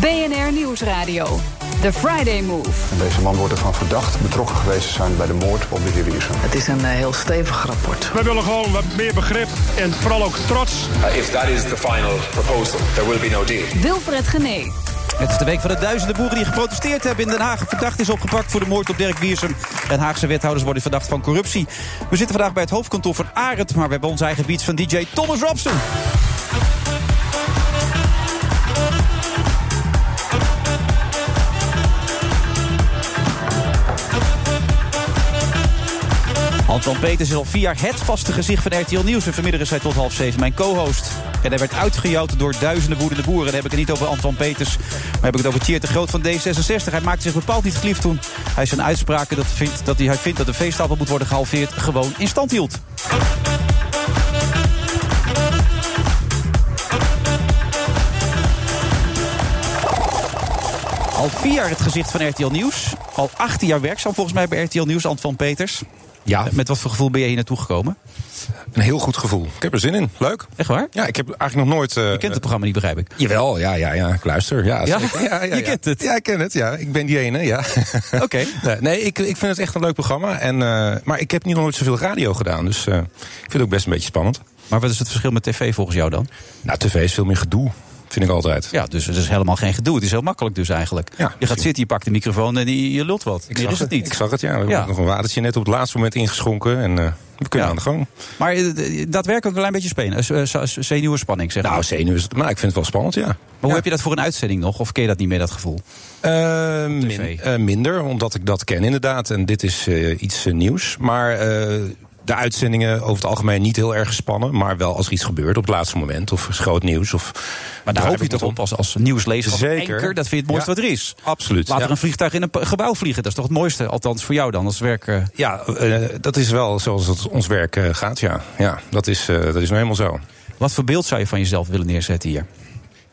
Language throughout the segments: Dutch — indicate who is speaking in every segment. Speaker 1: BNR Nieuwsradio. The Friday Move.
Speaker 2: En deze man wordt ervan verdacht betrokken geweest te zijn bij de moord op de heer Iersen.
Speaker 3: Het is een uh, heel stevig rapport.
Speaker 4: We willen gewoon wat meer begrip en vooral ook trots.
Speaker 5: Uh, if that is the final proposal, there will be no deal.
Speaker 1: Wilfred Genee.
Speaker 6: Het is de week van de duizenden boeren die geprotesteerd hebben in Den Haag. Verdacht is opgepakt voor de moord op Dirk Wiersum. Den Haagse wethouders worden verdacht van corruptie. We zitten vandaag bij het hoofdkantoor van Arend, maar we hebben ons eigen beats van DJ Thomas Robson. Anton Peters is al vier jaar het vaste gezicht van RTL Nieuws. En vanmiddag is hij tot half zeven mijn co-host. En hij werd uitgejouwd door duizenden woedende boeren. Dan heb ik het niet over Anton Peters, maar heb ik het over Tjeerd de Groot van D66. Hij maakte zich bepaald niet geliefd toen hij zijn uitspraken... Dat, vindt, dat hij, hij vindt dat de veestapel moet worden gehalveerd... gewoon in stand hield. Al vier jaar het gezicht van RTL Nieuws. Al 18 jaar werkzaam volgens mij bij RTL Nieuws, Anton Peters. Ja. Met wat voor gevoel ben je hier naartoe gekomen?
Speaker 7: Een heel goed gevoel. Ik heb er zin in. Leuk.
Speaker 6: Echt waar?
Speaker 7: Ja, ik heb eigenlijk nog nooit... Uh,
Speaker 6: je kent het programma niet, begrijp ik.
Speaker 7: Jawel, ja, ja, ja. Ik luister. Ja,
Speaker 6: ja?
Speaker 7: Zeker. ja, ja
Speaker 6: je kent het?
Speaker 7: Ja, ik ken het. Ja, ik ben die ene, ja.
Speaker 6: Oké. Okay.
Speaker 7: Nee, nee, ik, ik vind het echt een leuk programma. En, uh, maar ik heb niet nog nooit zoveel radio gedaan. Dus uh, ik vind het ook best een beetje spannend.
Speaker 6: Maar wat is het verschil met tv volgens jou dan?
Speaker 7: Nou, tv is veel meer gedoe vind ik altijd.
Speaker 6: Ja, dus het is helemaal geen gedoe. Het is heel makkelijk dus eigenlijk. Ja, je gaat misschien. zitten, je pakt de microfoon en je, je lult wat.
Speaker 7: Ik
Speaker 6: Meer
Speaker 7: zag
Speaker 6: is het niet.
Speaker 7: Ik zag het, ja. Er ja. nog een watertje net op het laatste moment ingeschonken. En uh, we kunnen ja. aan de gang.
Speaker 6: Maar uh, dat werkt ook een klein beetje spelen. Uh, zenuwenspanning, zeg
Speaker 7: nou, maar. Nou, zenuwen, maar ik vind het wel spannend, ja. Maar
Speaker 6: hoe heb je dat voor een uitzending nog? Of ken je dat niet meer, dat gevoel?
Speaker 7: Min, eh, minder, omdat ik dat ken inderdaad. En dit is eh, iets nieuws. Maar eh, de uitzendingen over het algemeen niet heel erg gespannen. Maar wel als er iets gebeurt op het laatste moment. Of is groot nieuws. Of
Speaker 6: maar daar hoop je toch op als, als nieuwslezer. Als
Speaker 7: Zeker.
Speaker 6: Anker, dat vind je het mooiste ja, wat er is.
Speaker 7: Absoluut.
Speaker 6: Laat ja. er een vliegtuig in een gebouw vliegen. Dat is toch het mooiste. Althans voor jou dan als werk. eh,
Speaker 7: Ja, uh, dat is wel zoals het ons werk uh, gaat. Ja, ja dat, is, uh, dat is nou helemaal zo.
Speaker 6: Wat voor beeld zou je van jezelf willen neerzetten hier?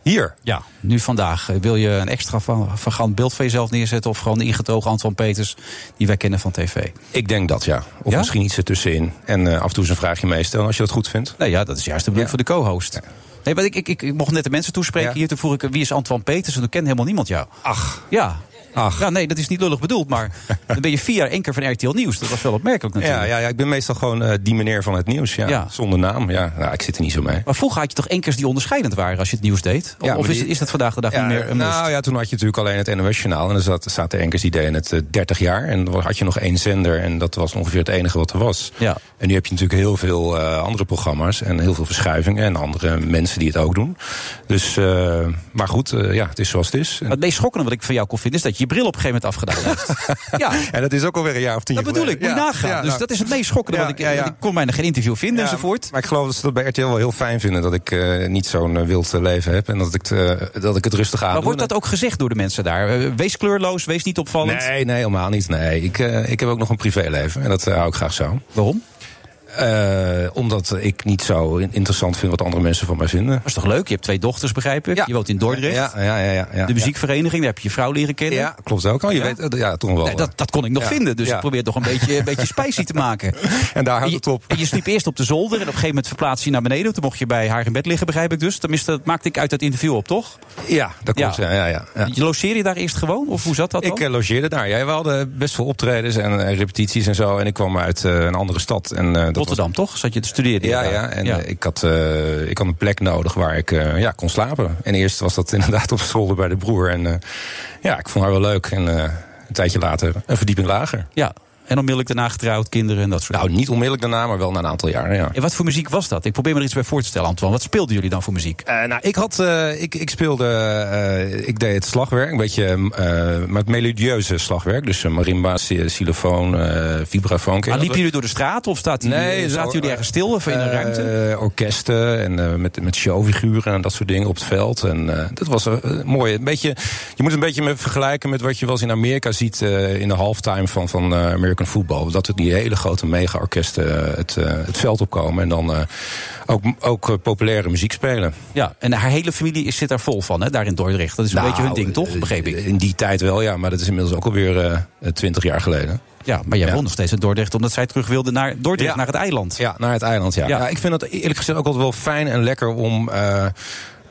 Speaker 7: Hier?
Speaker 6: Ja, nu vandaag. Eh, Wil je een extra vergant beeld van jezelf neerzetten... of gewoon de ingetogen Anton Peters die wij kennen van tv?
Speaker 7: Ik denk dat, ja. Of
Speaker 6: ja?
Speaker 7: misschien iets ertussenin. En uh, af en toe eens een vraagje meestellen als je dat goed vindt.
Speaker 6: Nou ja, dat is juist de bedoeling ja. voor de co-host. Ja. Nee, maar ik, ik, ik, ik, mocht net de mensen toespreken hier. Toen vroeg ik, wie is Anton Peters? En toen kent helemaal niemand jou.
Speaker 7: Ach.
Speaker 6: Ja,
Speaker 7: Ach.
Speaker 6: Ja, nee, dat is niet lullig bedoeld, maar dan ben je vier jaar één keer van RTL Nieuws. Dat was wel opmerkelijk natuurlijk.
Speaker 7: Ja, ja, ja ik ben meestal gewoon uh, die meneer van het nieuws, ja. ja. Zonder naam, ja. Nou, ik zit er niet zo mee.
Speaker 6: Maar vroeger had je toch enkers die onderscheidend waren als je het nieuws deed? Of, ja, of is, die, is dat vandaag de dag niet meer een
Speaker 7: Nou must? ja, toen had je natuurlijk alleen het NOS-journaal. En er zat, zaten de enkers die deden het uh, 30 jaar. En dan had je nog één zender en dat was ongeveer het enige wat er was.
Speaker 6: Ja.
Speaker 7: En nu heb je natuurlijk heel veel uh, andere programma's en heel veel verschuivingen. En andere mensen die het ook doen. Dus, maar goed, eh, ja, het is zoals het is.
Speaker 6: Het meest schokkende wat ik van jou kon vinden is dat je je bril op een gegeven moment afgedaan hebt.
Speaker 7: ja. En dat is ook alweer een jaar of tien
Speaker 6: Dat bedoel ik, moet
Speaker 7: eh, ja, nou-
Speaker 6: nagaan. Ja, dus dat is het meest schokkende. Ja, want ik, eh, ik, kon mij nog geen interview vinden enzovoort.
Speaker 7: Maar ik geloof dat ze dat bij RTL wel heel fijn vinden... dat ik uh, niet zo'n uh, wild leven heb en dat ik, uh, dat ik het rustig aan
Speaker 6: Maar wordt dat ook gezegd door de mensen daar? Eh, wees kleurloos, wees niet opvallend?
Speaker 7: Nee, nee helemaal niet. Nee. Ik, eh, ik heb ook nog een privéleven en dat eh, hou ik graag zo.
Speaker 6: Waarom?
Speaker 7: Uh, omdat ik niet zo interessant vind wat andere mensen van mij vinden.
Speaker 6: Dat is toch leuk? Je hebt twee dochters, begrijp ik.
Speaker 7: Ja.
Speaker 6: Je woont in Dordrecht.
Speaker 7: Ja, ja, ja,
Speaker 6: de muziekvereniging, daar heb je je vrouw leren kennen.
Speaker 7: Ja, klopt ook al. Je weet, eh, ja, toen wel.
Speaker 6: Nee, dat, dat, kon ik nog vinden. Dus ik probeer toch een beetje, een beetje spicy te maken.
Speaker 7: En daar houdt het op.
Speaker 6: En je, sliep eerst op de zolder en op een gegeven moment verplaatste je naar beneden. Toen mocht je bij haar in bed liggen, begrijp ik dus. Tenminste, dat maakte ik uit dat interview op, toch?
Speaker 7: Ja, dat klopt. Ja. Ja,
Speaker 6: Je logeerde je daar eerst gewoon? Of hoe zat dat
Speaker 7: Ik eh,
Speaker 6: dan?
Speaker 7: logeerde daar. Jij we hadden best veel optredens en eh, repetities en zo. En ik kwam uit uh, een andere stad. En, uh,
Speaker 6: Rotterdam, toch? Zat je te studeren?
Speaker 7: Ja, ja. En ja. Ik, had, uh, ik had een plek nodig waar ik uh, ja, kon slapen. En eerst was dat inderdaad op zolder bij de broer. En uh, ja, ik vond haar wel leuk. En eh, een tijdje later een verdieping lager.
Speaker 6: Ja. En onmiddellijk daarna getrouwd, kinderen en dat soort
Speaker 7: Nou, dingen. niet onmiddellijk daarna, maar wel na een aantal jaren, ja.
Speaker 6: En wat voor muziek was dat? Ik probeer me er iets bij voor te stellen, Antoine. Wat speelden jullie dan voor muziek?
Speaker 7: nou, ik, had, ik, ik speelde... eh, ik deed het slagwerk, een beetje... mm, eh, maar het melodieuze slagwerk. Dus marimba, xylofoon, eh, vibrafoon.
Speaker 6: Maar liepen jullie door de straat of staat die,
Speaker 7: nee,
Speaker 6: zaten jullie ergens stil of in een
Speaker 7: uh,
Speaker 6: ruimte?
Speaker 7: Orkesten en uh, met, met showfiguren en dat soort dingen op het veld. En uh, dat was mooi. Een beetje, je moet een beetje me vergelijken met wat je wel eens in Amerika ziet in de eh, halftime van, van American modern voetbal. Dat het die hele grote mega-orkesten het, eh, het veld opkomen. En dan eh, ook, ook eh, populaire muziek spelen.
Speaker 6: Ja, en haar hele familie is, zit daar vol van, hè, daar in Dordrecht. Dat is een
Speaker 7: Nou,
Speaker 6: beetje hun ding, toch? Begreep ik.
Speaker 7: In die tijd wel, ja. Maar dat is inmiddels ook alweer eh, twintig jaar geleden.
Speaker 6: Ja, maar jij
Speaker 7: Ja.
Speaker 6: won nog steeds in Dordrecht omdat zij terug wilde naar Dordrecht,
Speaker 7: Ja.
Speaker 6: naar het eiland.
Speaker 7: Ja, naar het eiland, ja.
Speaker 6: Ja.
Speaker 7: ja. ik vind dat eerlijk gezegd ook altijd wel fijn en lekker om... eh,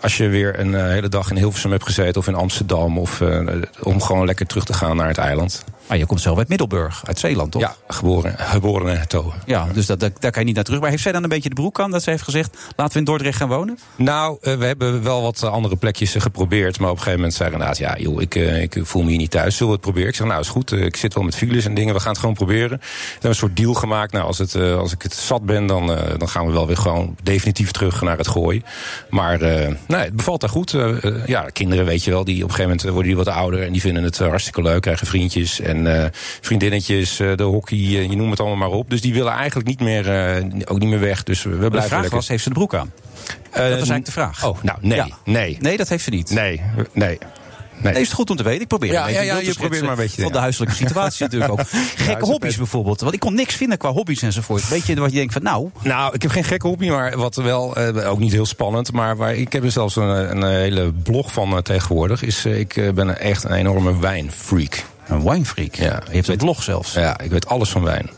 Speaker 7: als je weer een eh, hele dag in Hilversum hebt gezeten of in Amsterdam... Of, eh, om gewoon lekker terug te gaan naar het eiland.
Speaker 6: Maar je komt zelf uit Middelburg, uit Zeeland, toch?
Speaker 7: Ja, geboren, geboren en getogen.
Speaker 6: Ja, dus dat, dat- daar kan je niet naar terug. Maar heeft zij dan een beetje de broek aan dat zij heeft gezegd... laten we in Dordrecht gaan wonen?
Speaker 7: Nou, eh, we hebben wel wat eh, andere plekjes eh, geprobeerd. Maar op een gegeven moment zei Renaat... ja, joh, ik, eh, ik voel me hier niet thuis. Zullen we het proberen? Ik zeg, nou, is goed. eh, ik zit wel met files en dingen. We gaan het gewoon proberen. We hebben een soort deal gemaakt. Nou, als, het, eh, als ik het zat ben, dan, eh, dan gaan we wel weer gewoon definitief terug naar het gooi. Maar eh, nee, het bevalt daar goed. Eh, eh, ja, kinderen, weet je wel, die op een gegeven moment eh, worden die wat ouder... en die vinden het eh, hartstikke leuk. Krijgen vriendjes en eh, vriendinnetjes, eh, de hockey, eh, je noemt het allemaal maar op. Dus die willen eigenlijk niet meer, eh, ook niet meer weg. Dus we
Speaker 6: De
Speaker 7: blijven
Speaker 6: vraag
Speaker 7: lekker.
Speaker 6: was, heeft ze de broek aan?
Speaker 7: Eh,
Speaker 6: dat was eigenlijk de vraag.
Speaker 7: Oh, nou, nee,
Speaker 6: Ja.
Speaker 7: nee.
Speaker 6: Nee, dat heeft ze niet.
Speaker 7: Nee, nee.
Speaker 6: Nee,
Speaker 7: Nee.
Speaker 6: is het goed om te weten. Ik probeer
Speaker 7: Ja,
Speaker 6: een beetje
Speaker 7: ja, ja,
Speaker 6: een beeld
Speaker 7: je
Speaker 6: te
Speaker 7: probeert
Speaker 6: schetsen
Speaker 7: maar een beetje,
Speaker 6: Van de
Speaker 7: ja.
Speaker 6: huiselijke situatie natuurlijk ook. Gekke
Speaker 7: is
Speaker 6: hobby's
Speaker 7: best-
Speaker 6: bijvoorbeeld. Want ik kon niks vinden qua hobby's enzovoort. Weet je wat je denkt van, nou...
Speaker 7: Nou, ik heb geen gekke hobby, maar wat wel, eh, ook niet heel spannend. Maar waar, ik heb er zelfs een, een hele blog van eh, tegenwoordig. Is, eh, ik eh, ben echt een enorme wijnfreak.
Speaker 6: Een winefreak.
Speaker 7: Ja,
Speaker 6: je hebt een
Speaker 7: weet-
Speaker 6: blog zelfs.
Speaker 7: Ja, ik weet alles van wijn.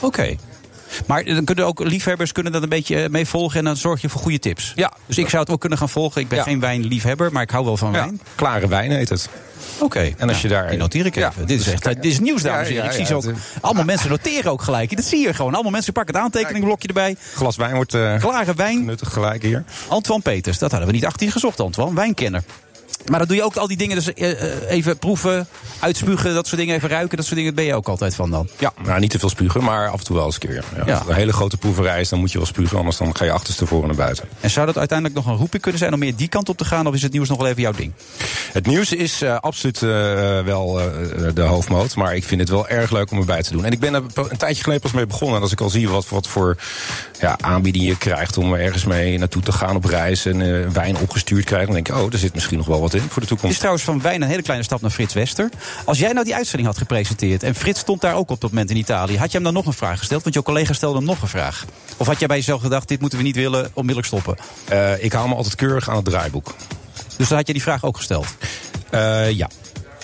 Speaker 6: Oké. Maar dan kunnen ook liefhebbers kunnen dat een beetje eh, mee volgen en dan zorg je voor goede tips.
Speaker 7: Ja.
Speaker 6: Dus ik zou het ook kunnen gaan volgen. Ik ben
Speaker 7: Ja.
Speaker 6: geen wijnliefhebber, maar ik hou wel van
Speaker 7: Ja,
Speaker 6: wijn.
Speaker 7: klare wijn heet het.
Speaker 6: Oké.
Speaker 7: En als je daar-
Speaker 6: Die noteer ik
Speaker 7: Ja.
Speaker 6: even. Dit, is echt, dit is nieuws, dames en
Speaker 7: Ja,
Speaker 6: heren.
Speaker 7: ja,
Speaker 6: Ik zie
Speaker 7: ja,
Speaker 6: ze ook.
Speaker 7: het eh,
Speaker 6: Allemaal mensen noteren ook gelijk. Dat zie je gewoon. Allemaal mensen pakken het aantekeningblokje erbij.
Speaker 7: Glas wijn wordt eh
Speaker 6: Klare wijn.
Speaker 7: nuttig gelijk hier.
Speaker 6: Antoine Peters, dat hadden we niet achter je gezocht, Antoine. Wijnkenner. Maar dan doe je ook al die dingen, dus eh, eh, even proeven, uitspugen, dat soort dingen, even ruiken, dat soort dingen, ben je ook altijd van dan.
Speaker 7: Ja, nou niet te veel spugen, maar af en toe wel eens een keer. Ja,
Speaker 6: Ja.
Speaker 7: Als het een hele grote proeverij is, dan moet je wel spugen. Anders dan ga je achterstevoren naar buiten.
Speaker 6: En zou dat uiteindelijk nog een roeping kunnen zijn om meer die kant op te gaan, of is het nieuws nog wel even jouw ding?
Speaker 7: Oh, Het nieuws is eh, absoluut eh, wel eh, de hoofdmoot. Maar ik vind het wel erg leuk om erbij te doen. En ik ben er een tijdje geleden pas mee begonnen. En als ik al zie wat, wat voor ja, aanbiedingen je krijgt om ergens mee naartoe te gaan op reis. En eh, wijn opgestuurd krijgen. Dan denk ik, oh, er zit misschien nog wel wat in voor de
Speaker 6: Het
Speaker 7: toekomst.
Speaker 6: is trouwens van wijn een hele kleine stap naar Frits Wester. Als jij nou die uitzending had gepresenteerd en Frits stond daar ook op dat moment in Italië, had jij hem dan nog een vraag gesteld? Want jouw collega stelde hem nog een vraag. Of had jij bij jezelf gedacht, dit moeten we niet willen, onmiddellijk stoppen?
Speaker 7: Eh, ik hou me altijd keurig aan het draaiboek.
Speaker 6: Dus dan had jij die vraag ook gesteld.
Speaker 7: Eh, ja.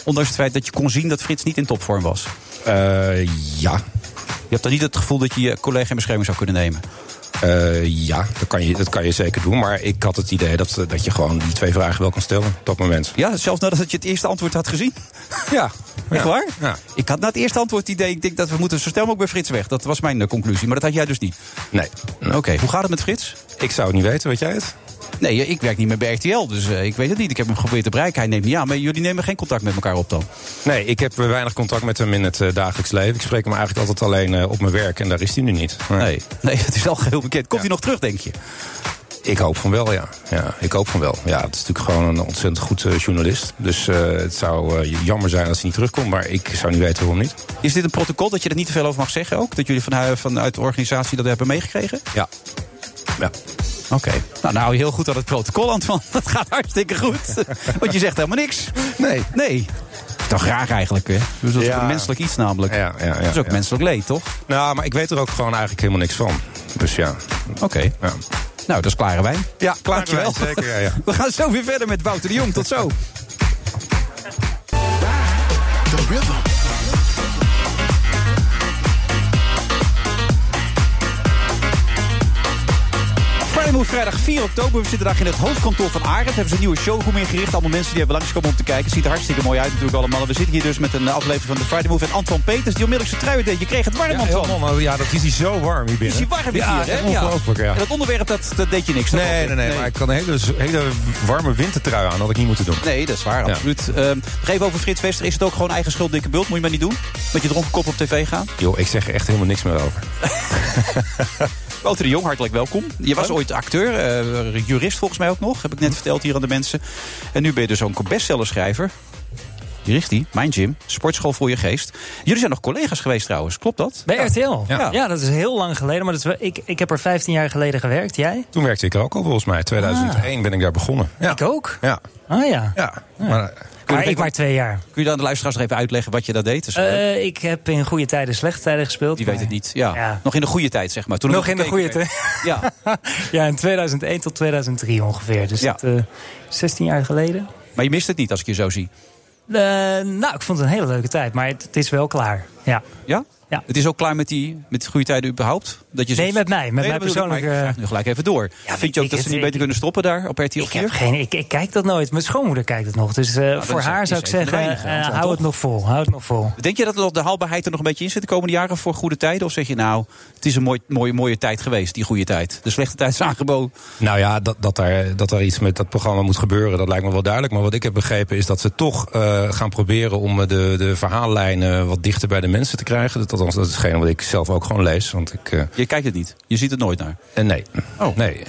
Speaker 6: Ondanks het feit dat je kon zien dat Frits niet in topvorm was.
Speaker 7: Eh, ja.
Speaker 6: Je hebt dan niet het gevoel dat je je collega in bescherming zou kunnen nemen.
Speaker 7: Eh, ja, dat kan, je, dat kan je zeker doen. Maar ik had het idee dat, eh, dat je gewoon die twee vragen wel kan stellen op dat moment.
Speaker 6: Ja, zelfs nadat je het eerste antwoord had gezien.
Speaker 7: Ja.
Speaker 6: Echt waar?
Speaker 7: Ja.
Speaker 6: Ik had na het eerste antwoord het idee, ik denk dat we moeten zo snel mogelijk bij Frits weg. Dat was mijn eh, conclusie, maar dat had jij dus niet.
Speaker 7: Nee.
Speaker 6: Oké, hoe gaat het met Frits?
Speaker 7: Ik zou het niet weten, weet jij het?
Speaker 6: Nee, eh, ik werk niet meer bij RTL, dus eh, ik weet het niet. Ik heb hem geprobeerd te bereiken, hij neemt niet aan. Maar jullie nemen geen contact met elkaar op dan?
Speaker 7: Nee, ik heb eh, weinig contact met hem in het eh, dagelijks leven. Ik spreek hem eigenlijk altijd alleen eh, op mijn werk en daar is hij nu niet. Maar
Speaker 6: Nee, nee het is al geheel bekend. Komt
Speaker 7: Ja.
Speaker 6: hij nog terug, denk je?
Speaker 7: Ik hoop van wel, ja. ja. Ik hoop van wel. Ja, het is natuurlijk gewoon een ontzettend goed eh, journalist. Dus eh, het zou eh, jammer zijn als hij niet terugkomt, maar ik zou niet weten waarom niet.
Speaker 6: Is dit een protocol dat je er niet te veel over mag zeggen ook? Dat jullie van, hu- vanuit de organisatie dat hebben meegekregen?
Speaker 7: Ja. Ja.
Speaker 6: Oké. Nou, nou, heel goed aan het protocol, Antoine. Dat gaat hartstikke goed. Want je zegt helemaal niks.
Speaker 7: Nee.
Speaker 6: Nee. Toch raar eigenlijk, hè? Dus dat is
Speaker 7: Ja.
Speaker 6: ook een menselijk iets namelijk.
Speaker 7: Ja, ja, ja,
Speaker 6: dat is ook
Speaker 7: ja.
Speaker 6: menselijk leed, toch?
Speaker 7: Nou, maar ik weet er ook gewoon eigenlijk helemaal niks van. Dus ja.
Speaker 6: Oké.
Speaker 7: Ja,
Speaker 6: Nou, dat is klare wijn.
Speaker 7: ja klaar.
Speaker 6: Dankjewel.
Speaker 7: Zeker, ja, ja.
Speaker 6: We gaan zo weer verder met Wouter de Jong. Tot zo. Friday Move vrijdag 4 oktober. We zitten daar in het hoofdkantoor van Arend. Hebben ze een nieuwe showroom ingericht. Allemaal mensen die hebben langskomen om te kijken. Ziet er hartstikke mooi uit natuurlijk allemaal. En we zitten hier dus met een eh, aflevering van de Friday Move. En Anton Peters, die onmiddellijk zijn trui weer deed. Je kreeg het warm,
Speaker 7: Ja,
Speaker 6: Anton.
Speaker 7: helemaal, Oh, ja, dat is hij zo warm hier
Speaker 6: Is
Speaker 7: binnen.
Speaker 6: hij warm
Speaker 7: ja,
Speaker 6: hier, hè?
Speaker 7: echt Ongelooflijk, ja.
Speaker 6: En dat onderwerp, dat, dat deed je niks. Dat
Speaker 7: Nee,
Speaker 6: klopt.
Speaker 7: nee, nee, Maar ik had een hele, hele warme wintertrui aan. Dat had ik niet moeten doen.
Speaker 6: Nee, dat is waar,
Speaker 7: Ja.
Speaker 6: absoluut. Ehm, nog even over Frits Wester. Is het ook gewoon eigen schuld, dikke bult? Moet je maar niet doen? Met je dronken kop op tv gaan?
Speaker 7: Joh, ik zeg er echt helemaal niks meer over.
Speaker 6: Wouter de Jong, hartelijk welkom. Je was ooit acteur, eh, Hm. jurist volgens mij ook nog. Heb ik net verteld hier aan de mensen. En nu ben je dus ook een bestsellerschrijver. Hier is die, mijn gym. Sportschool voor je geest. Jullie zijn nog collega's geweest trouwens, klopt dat?
Speaker 8: Bij RTL?
Speaker 7: Ja.
Speaker 8: Ja. dat is heel lang geleden. Maar dat is wel- ik, ik heb er 15 jaar geleden gewerkt. Jij?
Speaker 7: Toen werkte ik er ook al volgens mij. 2001
Speaker 6: Ah.
Speaker 7: ben ik daar begonnen. Ja.
Speaker 8: Ik ook.
Speaker 7: Ja.
Speaker 8: Ah ja.
Speaker 7: Ja. Maar,
Speaker 8: Maar ik maar twee jaar.
Speaker 6: Kun je dan de luisteraars nog even uitleggen wat je daar deed? Dat is wel leuk.
Speaker 8: Eh, ik heb in goede tijden, slechte tijden gespeeld.
Speaker 6: Die weet
Speaker 8: maar-
Speaker 6: het niet. Ja.
Speaker 8: Ja.
Speaker 6: Nog in de goede tijd, zeg maar. Toen
Speaker 8: Nog
Speaker 6: het
Speaker 8: in de goede
Speaker 6: gekeken
Speaker 8: tijd.
Speaker 6: werd. Ja.
Speaker 8: ja, in 2001 tot 2003 ongeveer. Dus
Speaker 6: Ja.
Speaker 8: dat, eh, 16 jaar geleden.
Speaker 6: Maar je mist het niet als ik je zo zie.
Speaker 8: Eh, nou, ik vond het een hele leuke tijd. Maar het, het is wel klaar. Ja.
Speaker 6: Ja?
Speaker 8: Ja.
Speaker 6: Het is ook klaar met die met de goede tijden überhaupt? Dat je
Speaker 8: Nee,
Speaker 6: zegt-
Speaker 8: met mij, met
Speaker 6: dat
Speaker 8: mijn
Speaker 6: bedoel ik, maar
Speaker 8: persoonlijke-
Speaker 6: Ik vraag nu gelijk even door.
Speaker 8: weet
Speaker 6: Vind je ook
Speaker 8: ik
Speaker 6: dat
Speaker 8: het,
Speaker 6: ze niet
Speaker 8: ik-
Speaker 6: beter kunnen stoppen daar op RTL 4?
Speaker 8: Ik, heb geen, ik, ik kijk dat nooit. Mijn schoonmoeder kijkt het nog. Dus eh,
Speaker 6: Nou, dat
Speaker 8: voor
Speaker 6: is-
Speaker 8: haar
Speaker 6: is
Speaker 8: zou ik
Speaker 6: een van de
Speaker 8: zeggen,
Speaker 6: weinigen,
Speaker 8: eh,
Speaker 6: want dan
Speaker 8: hou het
Speaker 6: toch?
Speaker 8: nog vol. Hou het nog vol.
Speaker 6: Denk je dat er nog de haalbaarheid er nog een beetje in zit de komende jaren voor goede tijden? Of zeg je nou, het is een mooi, mooie, mooie tijd geweest, die goede tijd. De slechte tijd is aangeboden.
Speaker 7: Nou ja, dat, dat, daar, dat daar iets met dat programma moet gebeuren, dat lijkt me wel duidelijk. Maar wat ik heb begrepen is dat ze toch eh, gaan proberen om eh, de, de verhaallijnen wat dichter bij de mensen te krijgen. Dat, althans, dat is hetgeen wat ik zelf ook gewoon lees. Want ik. eh,
Speaker 6: Je kijkt het niet. Je ziet het nooit naar.
Speaker 7: eh, nee.
Speaker 6: Oh.
Speaker 7: nee.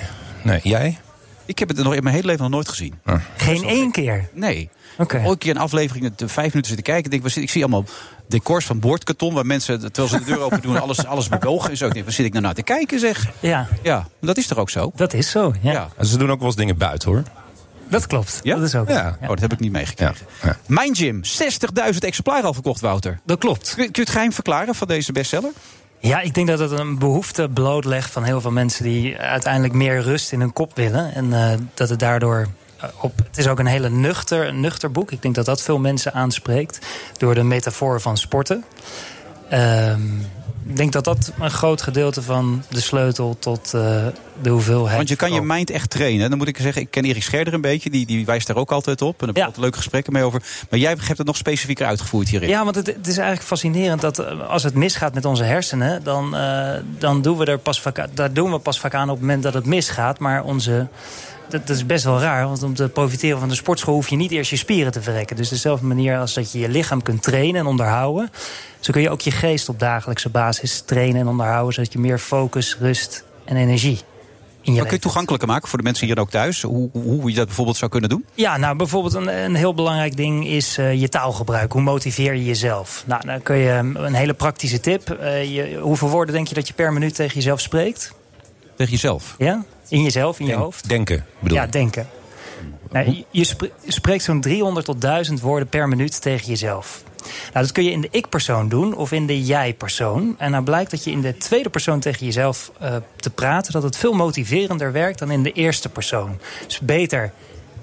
Speaker 7: Nee. Jij?
Speaker 6: Ik heb het er nog in mijn hele leven nog nooit gezien.
Speaker 8: Geen één keer.
Speaker 6: Nee.
Speaker 8: Oké.
Speaker 6: Ooit een keer een aflevering, het, eh, vijf minuten zitten kijken. Ik Denk, waar zit- ik zie allemaal decors van boordkarton. Waar mensen, terwijl ze de deur open doen, alles, alles bewogen en zo. Ik denk, waar zit ik nou naar te kijken zeg?
Speaker 8: Ja,
Speaker 6: Ja, dat is toch ook zo?
Speaker 8: dat is zo. Ja,
Speaker 6: Ja.
Speaker 7: Ze doen ook wel eens dingen buiten hoor.
Speaker 8: Dat klopt.
Speaker 6: Ja?
Speaker 8: Dat is ook.
Speaker 7: Ja.
Speaker 6: Oh, dat heb ik niet meegekregen.
Speaker 7: Ja, ja.
Speaker 6: Mijn Gym, 60.000 exemplaren al verkocht, Wouter.
Speaker 8: Dat klopt.
Speaker 6: Kun, kun je het geheim verklaren van deze bestseller?
Speaker 8: Ja, ik denk dat het een behoefte blootlegt van heel veel mensen die uiteindelijk meer rust in hun kop willen. En eh, dat het daardoor eh, op. Het is ook een hele nuchter, een nuchter boek. Ik denk dat dat veel mensen aanspreekt door de metafoor van sporten. Ehm, ik denk dat dat een groot gedeelte van de sleutel tot eh, de hoeveelheid.
Speaker 6: Want je kan je
Speaker 8: verkoop.
Speaker 6: mind echt trainen. Dan moet ik zeggen, ik ken Erik Scherder een beetje. Die, die wijst daar ook altijd op. En daar heb ik
Speaker 8: Ja.
Speaker 6: altijd leuke gesprekken mee over. Maar jij hebt het nog specifieker uitgevoerd hierin.
Speaker 8: Ja, want het, het is eigenlijk fascinerend dat eh, als het misgaat met onze hersenen, dan, eh, dan doen we er pas vaak, daar doen we pas vaak aan op het moment dat het misgaat. Maar onze. Dat, dat is best wel raar, want om te profiteren van de sportschool hoef je niet eerst je spieren te verrekken. Dus dezelfde manier als dat je je lichaam kunt trainen en onderhouden, zo kun je ook je geest op dagelijkse basis trainen en onderhouden, zodat je meer focus, rust en energie in je
Speaker 6: Maar kun je
Speaker 8: leven
Speaker 6: het toegankelijker maken voor de mensen hier en ook thuis? Hoe, hoe- hoe je dat bijvoorbeeld zou kunnen doen?
Speaker 8: Ja, nou bijvoorbeeld een, een heel belangrijk ding is eh, je taalgebruik. Hoe motiveer je jezelf? Nou, dan kun je ehm, een hele praktische tip. eh, je, hoeveel woorden denk je dat je per minuut tegen jezelf spreekt?
Speaker 6: Tegen jezelf.
Speaker 8: Ja? In jezelf, in je hoofd?
Speaker 7: Denken bedoel
Speaker 8: Ja,
Speaker 7: ik.
Speaker 8: denken. Nou, je- je spre- spreekt zo'n 300 tot 1000 woorden per minuut tegen jezelf. Nou, dat kun je in de ik-persoon doen of in de jij-persoon. En nou blijkt dat je in de tweede persoon tegen jezelf eh, te praten... dat het veel motiverender werkt dan in de eerste persoon. Dus beter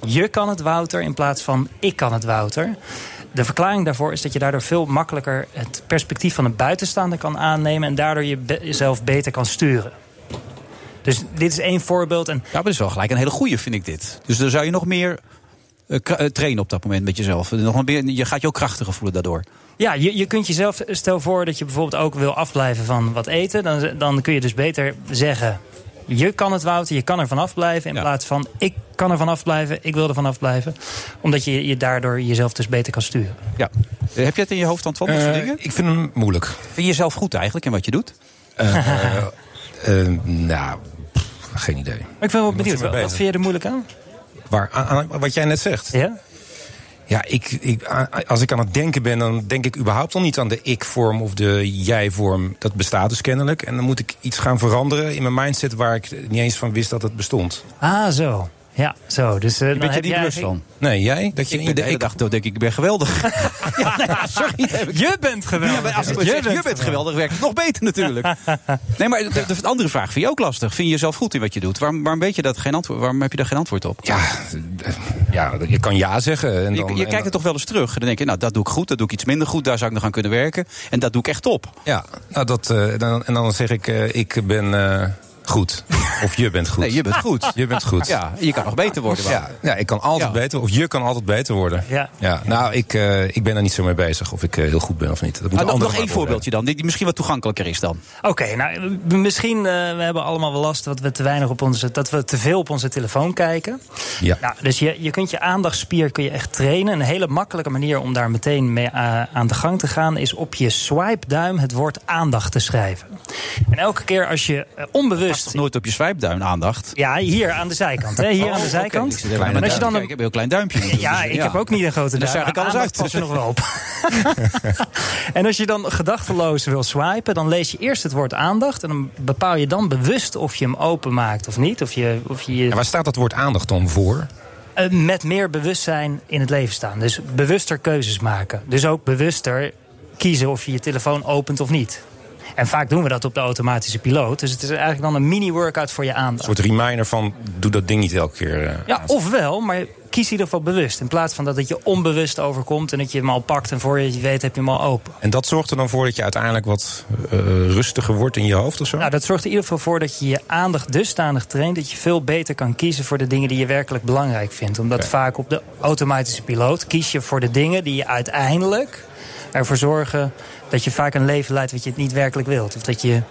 Speaker 8: je kan het Wouter in plaats van ik kan het Wouter. De verklaring daarvoor is dat je daardoor veel makkelijker... het perspectief van een buitenstaander kan aannemen... en daardoor je be- jezelf beter kan sturen. Dus dit is één voorbeeld. En
Speaker 6: Ja, maar dat is wel gelijk een hele goeie, vind ik dit. Dus dan zou je nog meer eh, kra- eh, trainen op dat moment met jezelf. Nog een beetje- je gaat je ook krachtiger voelen daardoor.
Speaker 8: Ja, je, je kunt jezelf, eh, stel voor dat je bijvoorbeeld ook wil afblijven van wat eten. Dan, dan kun je dus beter zeggen, je kan het Wouter, je kan er vanaf blijven. In
Speaker 6: Ja.
Speaker 8: plaats van, ik kan er vanaf blijven, ik wil er vanaf blijven. Omdat je, je daardoor jezelf dus beter kan sturen.
Speaker 6: Ja. Eh, Heb je het in je hoofd, Antoine, dat soort
Speaker 7: Eh,
Speaker 6: dingen?
Speaker 7: ik vind hem moeilijk.
Speaker 6: Vind je jezelf goed eigenlijk in wat je doet?
Speaker 7: Eh, eh, nou, pff, geen idee.
Speaker 8: Maar ik ben wel benieuwd,
Speaker 7: je mee
Speaker 8: wat,
Speaker 7: bezig.
Speaker 8: vind je er moeilijk aan?
Speaker 7: Waar, aan- aan- wat jij net zegt.
Speaker 8: Ja?
Speaker 7: Ja, ik, ik, a- als ik aan het denken ben, dan denk ik überhaupt al niet aan de ik-vorm of de jij-vorm. Dat bestaat dus kennelijk. En dan moet ik iets gaan veranderen in mijn mindset waar ik niet eens van wist dat het bestond.
Speaker 8: Ah, zo. Ja, zo. Dus, eh,
Speaker 6: Je
Speaker 8: dan
Speaker 6: bent je
Speaker 8: heb
Speaker 6: niet
Speaker 8: jij-
Speaker 6: bewust van.
Speaker 7: Nee, jij? Dat je
Speaker 6: Ik ben
Speaker 7: in de
Speaker 6: de hele
Speaker 7: ik.
Speaker 6: dag door, denk ik, ik ben geweldig. ja, nou ja, sorry. dat heb ik-
Speaker 8: Je bent
Speaker 6: Ja, maar
Speaker 8: geweldig.
Speaker 6: als ik zeg, je bent geweldig, werkt het nog beter natuurlijk. Nee, maar de, de andere vraag vind je ook lastig. Vind je jezelf goed in wat je doet? Waarom, waarom, weet je dat geen antwoord, waarom heb je daar geen antwoord op?
Speaker 7: Ja, eh, ja, je kan ja zeggen. En
Speaker 6: Je,
Speaker 7: dan,
Speaker 6: je
Speaker 7: en dan-
Speaker 6: kijkt het toch wel eens terug. En dan denk je, nou, dat doe ik goed, dat doe ik iets minder goed. Daar zou ik nog aan kunnen werken. En dat doe ik echt top.
Speaker 7: Ja, nou, dat, eh, dan, en dan zeg ik, eh, ik ben eh, goed. Of je bent goed.
Speaker 6: Nee, je bent goed.
Speaker 7: Je bent goed.
Speaker 6: Ja, je kan nog beter worden. Wouter.
Speaker 7: Ja, ja, ik kan altijd
Speaker 6: Ja.
Speaker 7: beter, of je kan altijd beter worden.
Speaker 8: Ja.
Speaker 7: nou, ik, eh, ik ben er niet zo mee bezig of ik eh, heel goed ben of niet. Dat moet
Speaker 6: Maar Ah, nog-
Speaker 7: anderen
Speaker 6: nog
Speaker 7: maar
Speaker 6: één voorbeeltje dan, die die misschien wat toegankelijker is dan.
Speaker 8: Oké, nou, m- misschien eh we hebben allemaal wel last dat we te weinig op onze, dat we te veel op onze telefoon kijken.
Speaker 7: Ja.
Speaker 8: Nou, dus je, je kunt je aandachtsspier kun je echt trainen. Een hele makkelijke manier om daar meteen mee eh, aan de gang te gaan is op je swipe duim het woord aandacht te schrijven. En elke keer als je eh, onbewust
Speaker 6: toch nooit op je swipeduim aandacht?
Speaker 8: Ja, hier aan de zijkant. Hè? Hier aan de zijkant.
Speaker 6: Maar
Speaker 8: en als je dan een...
Speaker 6: Ik heb een heel klein duimpje. natuurlijk.
Speaker 8: Ja, ik heb ook niet een grote
Speaker 6: En Dus Daar
Speaker 8: duim.
Speaker 6: zag ik alles
Speaker 8: Aandacht
Speaker 6: uit.
Speaker 8: past er nog wel op. en als je dan gedachteloos wil swipen, dan lees je eerst het woord aandacht. En dan bepaal je dan bewust of je hem openmaakt of niet. Of je, of je
Speaker 7: En waar staat dat woord aandacht dan voor?
Speaker 8: eh, met meer bewustzijn in het leven staan. Dus bewuster keuzes maken. Dus ook bewuster kiezen of je je telefoon opent of niet. En vaak doen we dat op de automatische piloot. Dus het is eigenlijk dan een mini-workout voor je aandacht.
Speaker 7: Een soort reminder van, doe dat ding niet elke keer. eh,
Speaker 8: Ja, ofwel, maar kies in ieder geval bewust. In plaats van dat het je onbewust overkomt en dat je hem al pakt en voor je het weet heb je hem al open.
Speaker 7: En dat zorgt er dan voor dat je uiteindelijk wat eh, rustiger wordt in je hoofd of zo?
Speaker 8: Nou, dat zorgt er in ieder geval voor dat je je aandacht dusdanig traint dat je veel beter kan kiezen voor de dingen die je werkelijk belangrijk vindt. Omdat vaak op de automatische piloot kies je voor de dingen die je uiteindelijk ervoor zorgen dat je vaak een leven leidt wat je het niet werkelijk wilt. Of dat je,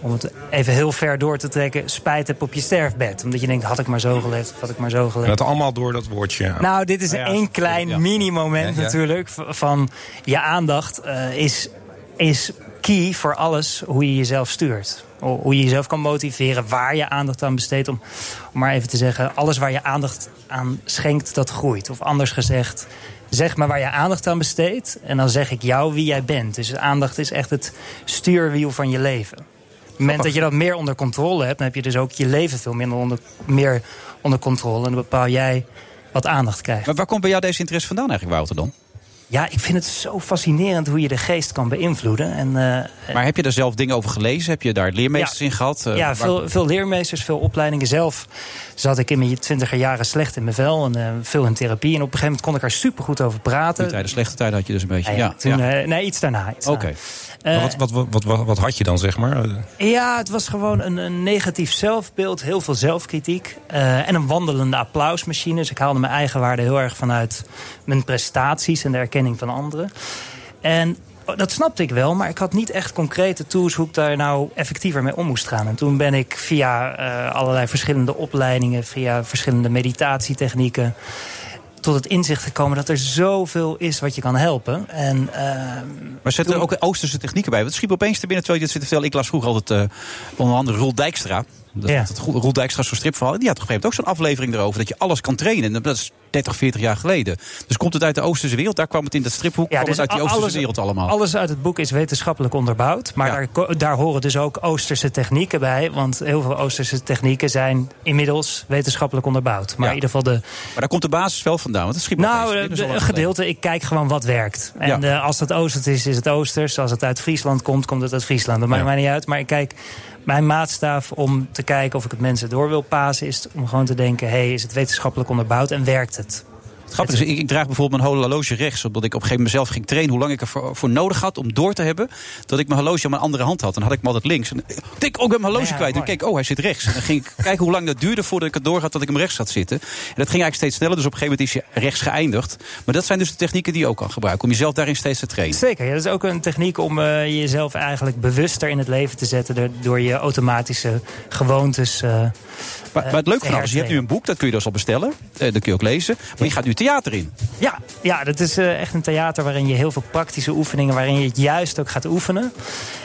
Speaker 8: om het even heel ver door te trekken, spijt hebt op je sterfbed. Omdat je denkt, had ik maar zo geleefd of had ik maar zo
Speaker 7: En
Speaker 8: geleefd.
Speaker 7: dat allemaal door dat woordje.
Speaker 8: Nou, dit is één klein mini-moment
Speaker 7: Oh Ja, ja.
Speaker 8: natuurlijk. v- Van je aandacht eh, is, is key voor alles hoe je jezelf stuurt. Ho- Hoe je jezelf kan motiveren, waar je aandacht aan besteedt. Om, om maar even te zeggen, alles waar je aandacht aan schenkt, dat groeit. Of anders gezegd, zeg maar waar je aandacht aan besteedt. En dan zeg ik jou wie jij bent. Dus aandacht is echt het stuurwiel van je leven. Op het moment dat je dat meer onder controle hebt, dan heb je dus ook je leven veel minder onder, meer onder controle. En dan bepaal jij wat aandacht krijgt.
Speaker 6: Maar waar komt bij jou deze interesse vandaan eigenlijk, Wouter, dan?
Speaker 8: Ja, ik vind het zo fascinerend hoe je de geest kan beïnvloeden. En, eh,
Speaker 6: Maar heb je daar zelf dingen over gelezen? Heb je daar leermeesters
Speaker 8: Ja.
Speaker 6: in gehad? Eh,
Speaker 8: ja,
Speaker 6: waar-
Speaker 8: veel, veel leermeesters, veel opleidingen. Zelf zat ik in mijn twintiger jaren slecht in mijn vel en eh, veel in therapie. En op een gegeven moment kon ik er supergoed over
Speaker 6: Goede
Speaker 8: praten.
Speaker 6: tijden, slechte tijden had je dus een beetje.
Speaker 8: Ja,
Speaker 6: Ja,
Speaker 8: ja, toen,
Speaker 6: ja.
Speaker 8: eh, nee, iets daarna. iets
Speaker 6: Oké.
Speaker 8: daarna.
Speaker 7: Maar
Speaker 8: Eh,
Speaker 7: wat, wat, wat, wat, wat had je dan, zeg maar?
Speaker 8: Ja, het was gewoon een, een negatief zelfbeeld, heel veel zelfkritiek. eh, en een wandelende applausmachine. Dus ik haalde mijn eigen waarde heel erg vanuit mijn prestaties en de erkenning van anderen. En oh, dat snapte ik wel, maar ik had niet echt concrete tools hoe ik daar nou effectiever mee om moest gaan. En toen ben ik via eh, allerlei verschillende opleidingen, via verschillende meditatietechnieken tot het inzicht gekomen dat er zoveel is wat je kan helpen. En eh,
Speaker 6: Maar zitten er ook Oosterse technieken bij? Want het schiep opeens te binnen terwijl je dit zit te vertellen. Ik las vroeger altijd eh, onder andere Roel Dijkstra. Dat,
Speaker 8: Ja.
Speaker 6: dat Roel Dijkstra zo'n stripverhaal. Die had op een gegeven moment ook zo'n aflevering erover. Dat je alles kan trainen. En dat is 30, 40 jaar geleden. Dus komt het uit de Oosterse wereld? Daar kwam het in dat striphoek. kwam
Speaker 8: dus
Speaker 6: het uit die
Speaker 8: al-
Speaker 6: Oosterse
Speaker 8: alles-
Speaker 6: wereld allemaal.
Speaker 8: Alles uit het boek is wetenschappelijk onderbouwd. Maar
Speaker 6: Ja.
Speaker 8: daar, ko- daar horen dus ook Oosterse technieken bij. Want heel veel Oosterse technieken zijn inmiddels wetenschappelijk onderbouwd. Maar
Speaker 6: Ja.
Speaker 8: in ieder geval de.
Speaker 6: Maar daar komt de basis wel vandaan. Want het schiep opeens
Speaker 8: Nou,
Speaker 6: te
Speaker 8: de-
Speaker 6: binnen, dat is al
Speaker 8: een
Speaker 6: lang geleden.
Speaker 8: gedeelte, ik kijk gewoon wat werkt. En
Speaker 6: Ja.
Speaker 8: eh, als het Oosters is, is het Oosters. Als het uit Friesland komt, komt het uit Friesland. Dat maakt mij niet uit. Maar ik kijk, mijn maatstaaf om te kijken of ik het mensen door wil pasen, is om gewoon te denken: hey, is het wetenschappelijk onderbouwd en werkt het?
Speaker 6: Het grappige is, ik, ik draag bijvoorbeeld mijn horloge rechts. Omdat ik op een gegeven moment zelf ging trainen hoe lang ik ervoor voor nodig had om door te hebben. Dat ik mijn horloge aan mijn andere hand had. Dan had ik hem altijd links. En ik denk, oh, ik ben mijn horloge
Speaker 8: Ja,
Speaker 6: kwijt. En
Speaker 8: mooi.
Speaker 6: keek, oh, hij zit rechts. En dan ging ik kijken hoe lang dat duurde voordat ik het door had dat ik hem rechts had zitten. En dat ging eigenlijk steeds sneller. Dus op een gegeven moment is je rechts geëindigd. Maar dat zijn dus de technieken die je ook kan gebruiken. Om jezelf daarin steeds te trainen.
Speaker 8: Zeker, ja, dat is ook een techniek om eh, jezelf eigenlijk bewuster in het leven te zetten. door- door je automatische gewoontes. eh,
Speaker 6: Maar, maar het leuke van alles, is, je hebt nu een boek. Dat kun je dus al bestellen. Eh, dat kun je ook lezen. Maar je gaat nu theater in.
Speaker 8: ja, ja, dat is eh, echt een theater waarin je heel veel praktische oefeningen. waarin je het juist ook gaat oefenen.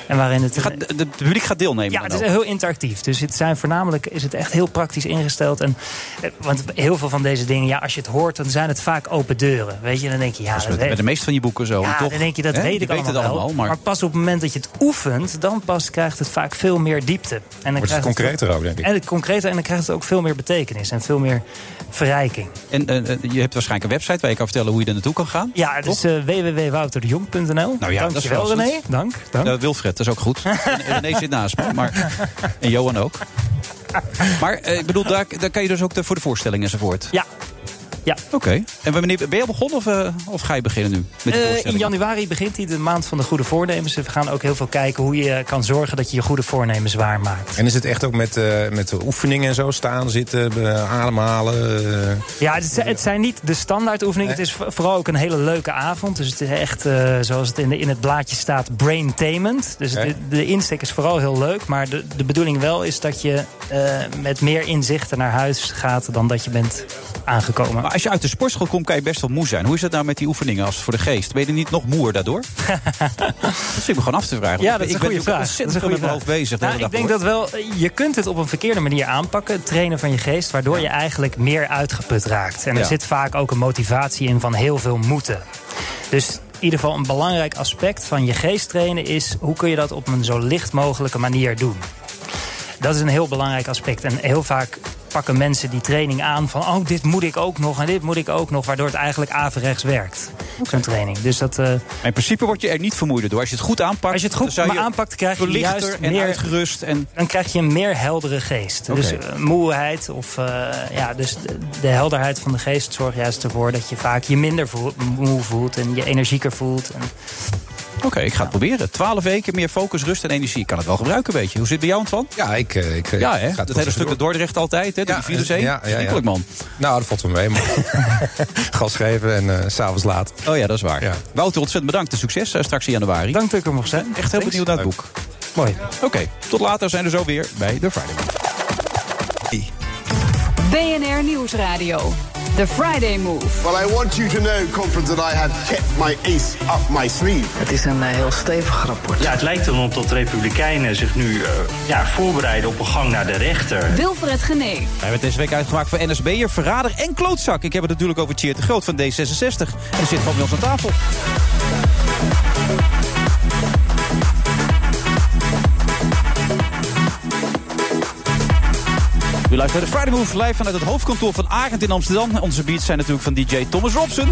Speaker 8: En waarin het.
Speaker 6: Je gaat, de, de- het publiek gaat deelnemen.
Speaker 8: ja,
Speaker 6: dan
Speaker 8: het is
Speaker 6: ook.
Speaker 8: heel interactief. Dus het zijn voornamelijk is het echt heel praktisch ingesteld. En, eh, want heel veel van deze dingen, ja, als je het hoort, dan zijn het vaak open deuren. Weet je, dan denk je, ja,
Speaker 6: Dat is
Speaker 8: dat
Speaker 6: met,
Speaker 8: weet-
Speaker 6: met de meeste van je boeken zo.
Speaker 8: Ja,
Speaker 6: En toch,
Speaker 8: dan denk je, dat
Speaker 6: hè,
Speaker 8: weet
Speaker 6: je
Speaker 8: ik allemaal,
Speaker 6: het allemaal.
Speaker 8: wel.
Speaker 6: maar-
Speaker 8: maar... pas op het moment dat je het oefent, dan pas krijgt het vaak veel meer diepte. En dan
Speaker 7: Wordt het
Speaker 8: krijgt
Speaker 7: concreter ook, denk ik.
Speaker 8: En het concreter, en dan krijgt het ook veel meer betekenis en veel meer verrijking.
Speaker 6: En eh, eh, je hebt waarschijnlijk een website waar je kan vertellen hoe je er naartoe kan gaan.
Speaker 8: Ja, het is eh www.wouterdejong.nl.
Speaker 6: Nou ja, dat is
Speaker 8: Dankjewel
Speaker 6: wel
Speaker 8: René.
Speaker 6: goed.
Speaker 8: Dank. dank.
Speaker 6: Eh, Wilfred, dat is ook goed. En René zit naast me. Maar, en Johan ook. Maar eh, ik bedoel, daar, daar kan je dus ook de, voor de voorstelling enzovoort.
Speaker 8: Ja. Ja.
Speaker 6: Oké. En wanneer ben je al begonnen of, eh, of ga je beginnen nu? Met die
Speaker 8: Eh, in
Speaker 6: voorstelling?
Speaker 8: januari begint hij de maand van de goede voornemens. We gaan ook heel veel kijken hoe je kan zorgen dat je je goede voornemens waarmaakt.
Speaker 7: En is het echt ook met, eh, met de oefeningen en zo? Staan, zitten, be- ademhalen? eh?
Speaker 8: Ja, het, zijn- het zijn niet de standaard oefeningen. Het is vo- vooral ook een hele leuke avond. Dus het is echt, eh, zoals het in, de, in het blaadje staat, braintainment. Dus het-
Speaker 7: Ja.
Speaker 8: de insteek is vooral heel leuk. Maar de, de bedoeling wel is dat je eh, met meer inzichten naar huis gaat dan dat je bent aangekomen.
Speaker 6: Maar als je uit de sportschool komt, kan je best wel moe zijn. Hoe is dat nou met die oefeningen als voor de geest? Ben je niet nog moeer daardoor? dat zit me gewoon af te vragen.
Speaker 8: Ja,
Speaker 6: want
Speaker 8: dat is
Speaker 6: ik
Speaker 8: een
Speaker 6: ben
Speaker 8: goede vraag.
Speaker 6: natuurlijk ontzettend
Speaker 8: Dat is
Speaker 6: veel
Speaker 8: een
Speaker 6: met
Speaker 8: goede
Speaker 6: mijn hoofd bezig. de
Speaker 8: Nou,
Speaker 6: hele
Speaker 8: ik
Speaker 6: dag
Speaker 8: denk
Speaker 6: door.
Speaker 8: dat wel, je kunt het op een verkeerde manier aanpakken, het trainen van je geest, waardoor je eigenlijk meer uitgeput raakt. En er
Speaker 6: Ja.
Speaker 8: zit vaak ook een motivatie in van heel veel moeten. Dus in ieder geval een belangrijk aspect van je geest trainen is hoe kun je dat op een zo licht mogelijke manier doen. Dat is een heel belangrijk aspect. En heel vaak pakken mensen die training aan van... oh, dit moet ik ook nog en dit moet ik ook nog... waardoor het eigenlijk averechts werkt, zo'n training. Dus dat, eh,
Speaker 6: Maar in principe word je er niet vermoeider door. Als je het goed aanpakt,
Speaker 8: Als je het goed
Speaker 6: dan zou
Speaker 8: maar aanpakt, krijg je
Speaker 6: verlichter
Speaker 8: juist
Speaker 6: en
Speaker 8: meer-
Speaker 6: uitgerust. En
Speaker 8: dan krijg je een meer heldere geest. Dus eh, moeheid of eh, ja, dus de, de helderheid van de geest zorgt juist ervoor dat je vaak je minder voelt, moe voelt en je energieker voelt. En
Speaker 6: Oké, ik ga het proberen. Twaalf weken, meer focus, rust en energie. Ik kan het wel gebruiken, een beetje. Hoe zit het bij jou, Antoine?
Speaker 7: Ja, ik, eh, ik, eh,
Speaker 6: Ja, hè?
Speaker 7: ik ga het
Speaker 6: Dat hele
Speaker 7: wel
Speaker 6: stuk
Speaker 7: door.
Speaker 6: naar Dordrecht altijd, hè?
Speaker 7: Ja, eh,
Speaker 6: Die vierde zee.
Speaker 7: ja, ja, ja.
Speaker 6: Verschrikkelijk, man.
Speaker 7: Nou, dat valt wel mee. maar- Gas geven en eh, s s'avonds laat.
Speaker 6: Oh ja, dat is waar.
Speaker 7: Ja.
Speaker 6: Wouter, ontzettend bedankt. En succes eh, straks in januari.
Speaker 8: dank dat ik er mocht zijn.
Speaker 6: Echt heel benieuwd naar het boek.
Speaker 8: Mooi.
Speaker 6: Oké, tot later zijn we zo weer bij de Friday. Move.
Speaker 1: BNR Nieuwsradio. The Friday Move.
Speaker 9: Well, I want you to know, conference, that I have kept my ace up my sleeve.
Speaker 3: Het is een eh, heel stevig rapport.
Speaker 10: Ja, het lijkt erop dat Republikeinen zich nu eh, ja, voorbereiden op een gang naar de rechter.
Speaker 1: Wilfred Gené.
Speaker 6: We hebben het deze week uitgemaakt voor NSB'er, verrader en klootzak. Ik heb het natuurlijk over Tjeerd de Groot van D66. En die zit gewoon bij ons aan tafel. U luistert naar de Friday Move live vanuit het hoofdkantoor van Arend in Amsterdam. Onze beats zijn natuurlijk van DJ Thomas Robson.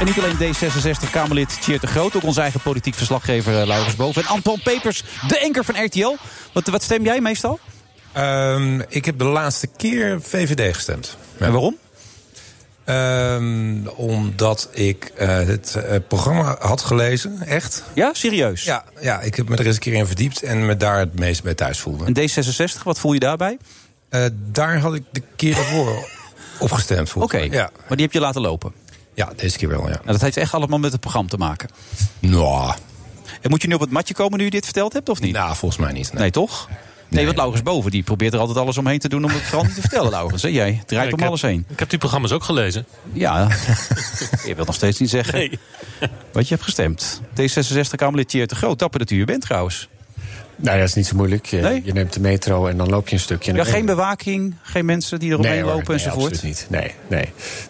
Speaker 6: En niet alleen D66-Kamerlid Tjeerd de Groot, ook onze eigen politiek verslaggever eh, Laurens Boven. En Anton Pepers, de enker van RTL. Wat, wat stem jij meestal?
Speaker 7: Ehm, ik heb de laatste keer VVD gestemd. Ja.
Speaker 6: En waarom?
Speaker 7: Ehm, omdat ik eh, het eh, programma had gelezen, echt.
Speaker 6: Ja, serieus.
Speaker 7: Ja, ja, ik heb me er eens een keer in verdiept en me daar het meest bij thuis voelde.
Speaker 6: En D66, wat voel je daarbij?
Speaker 7: Eh, daar had ik de keer daarvoor op gestemd.
Speaker 6: Oké,
Speaker 7: volgens mij. Ja.
Speaker 6: maar die heb je laten lopen.
Speaker 7: ja, deze keer wel, ja.
Speaker 6: Nou, dat heeft echt allemaal met het programma te maken.
Speaker 7: Nou,
Speaker 6: En moet je nu op het matje komen nu je dit verteld hebt, of niet?
Speaker 7: nou volgens mij niet.
Speaker 6: nee.
Speaker 7: Nee.
Speaker 6: toch? Nee, want Laurens Boven die probeert er altijd alles omheen te doen om het vooral niet te vertellen, Laurens. hè? Jij draait om alles heen.
Speaker 10: Ik heb die programma's ook gelezen.
Speaker 6: Ja, je wilt nog steeds niet zeggen wat je hebt gestemd. D66-Kamerlid Tjeerd de Groot, dapper dat u hier bent trouwens.
Speaker 10: Nou, dat is niet zo moeilijk. Je,
Speaker 6: Nee?
Speaker 10: je neemt de metro en dan loop je een stukje.
Speaker 6: Ja, geen bewaking, geen mensen die eromheen
Speaker 10: nee, hoor,
Speaker 6: lopen
Speaker 10: nee,
Speaker 6: enzovoort.
Speaker 10: absoluut niet. Nee, nee. nee,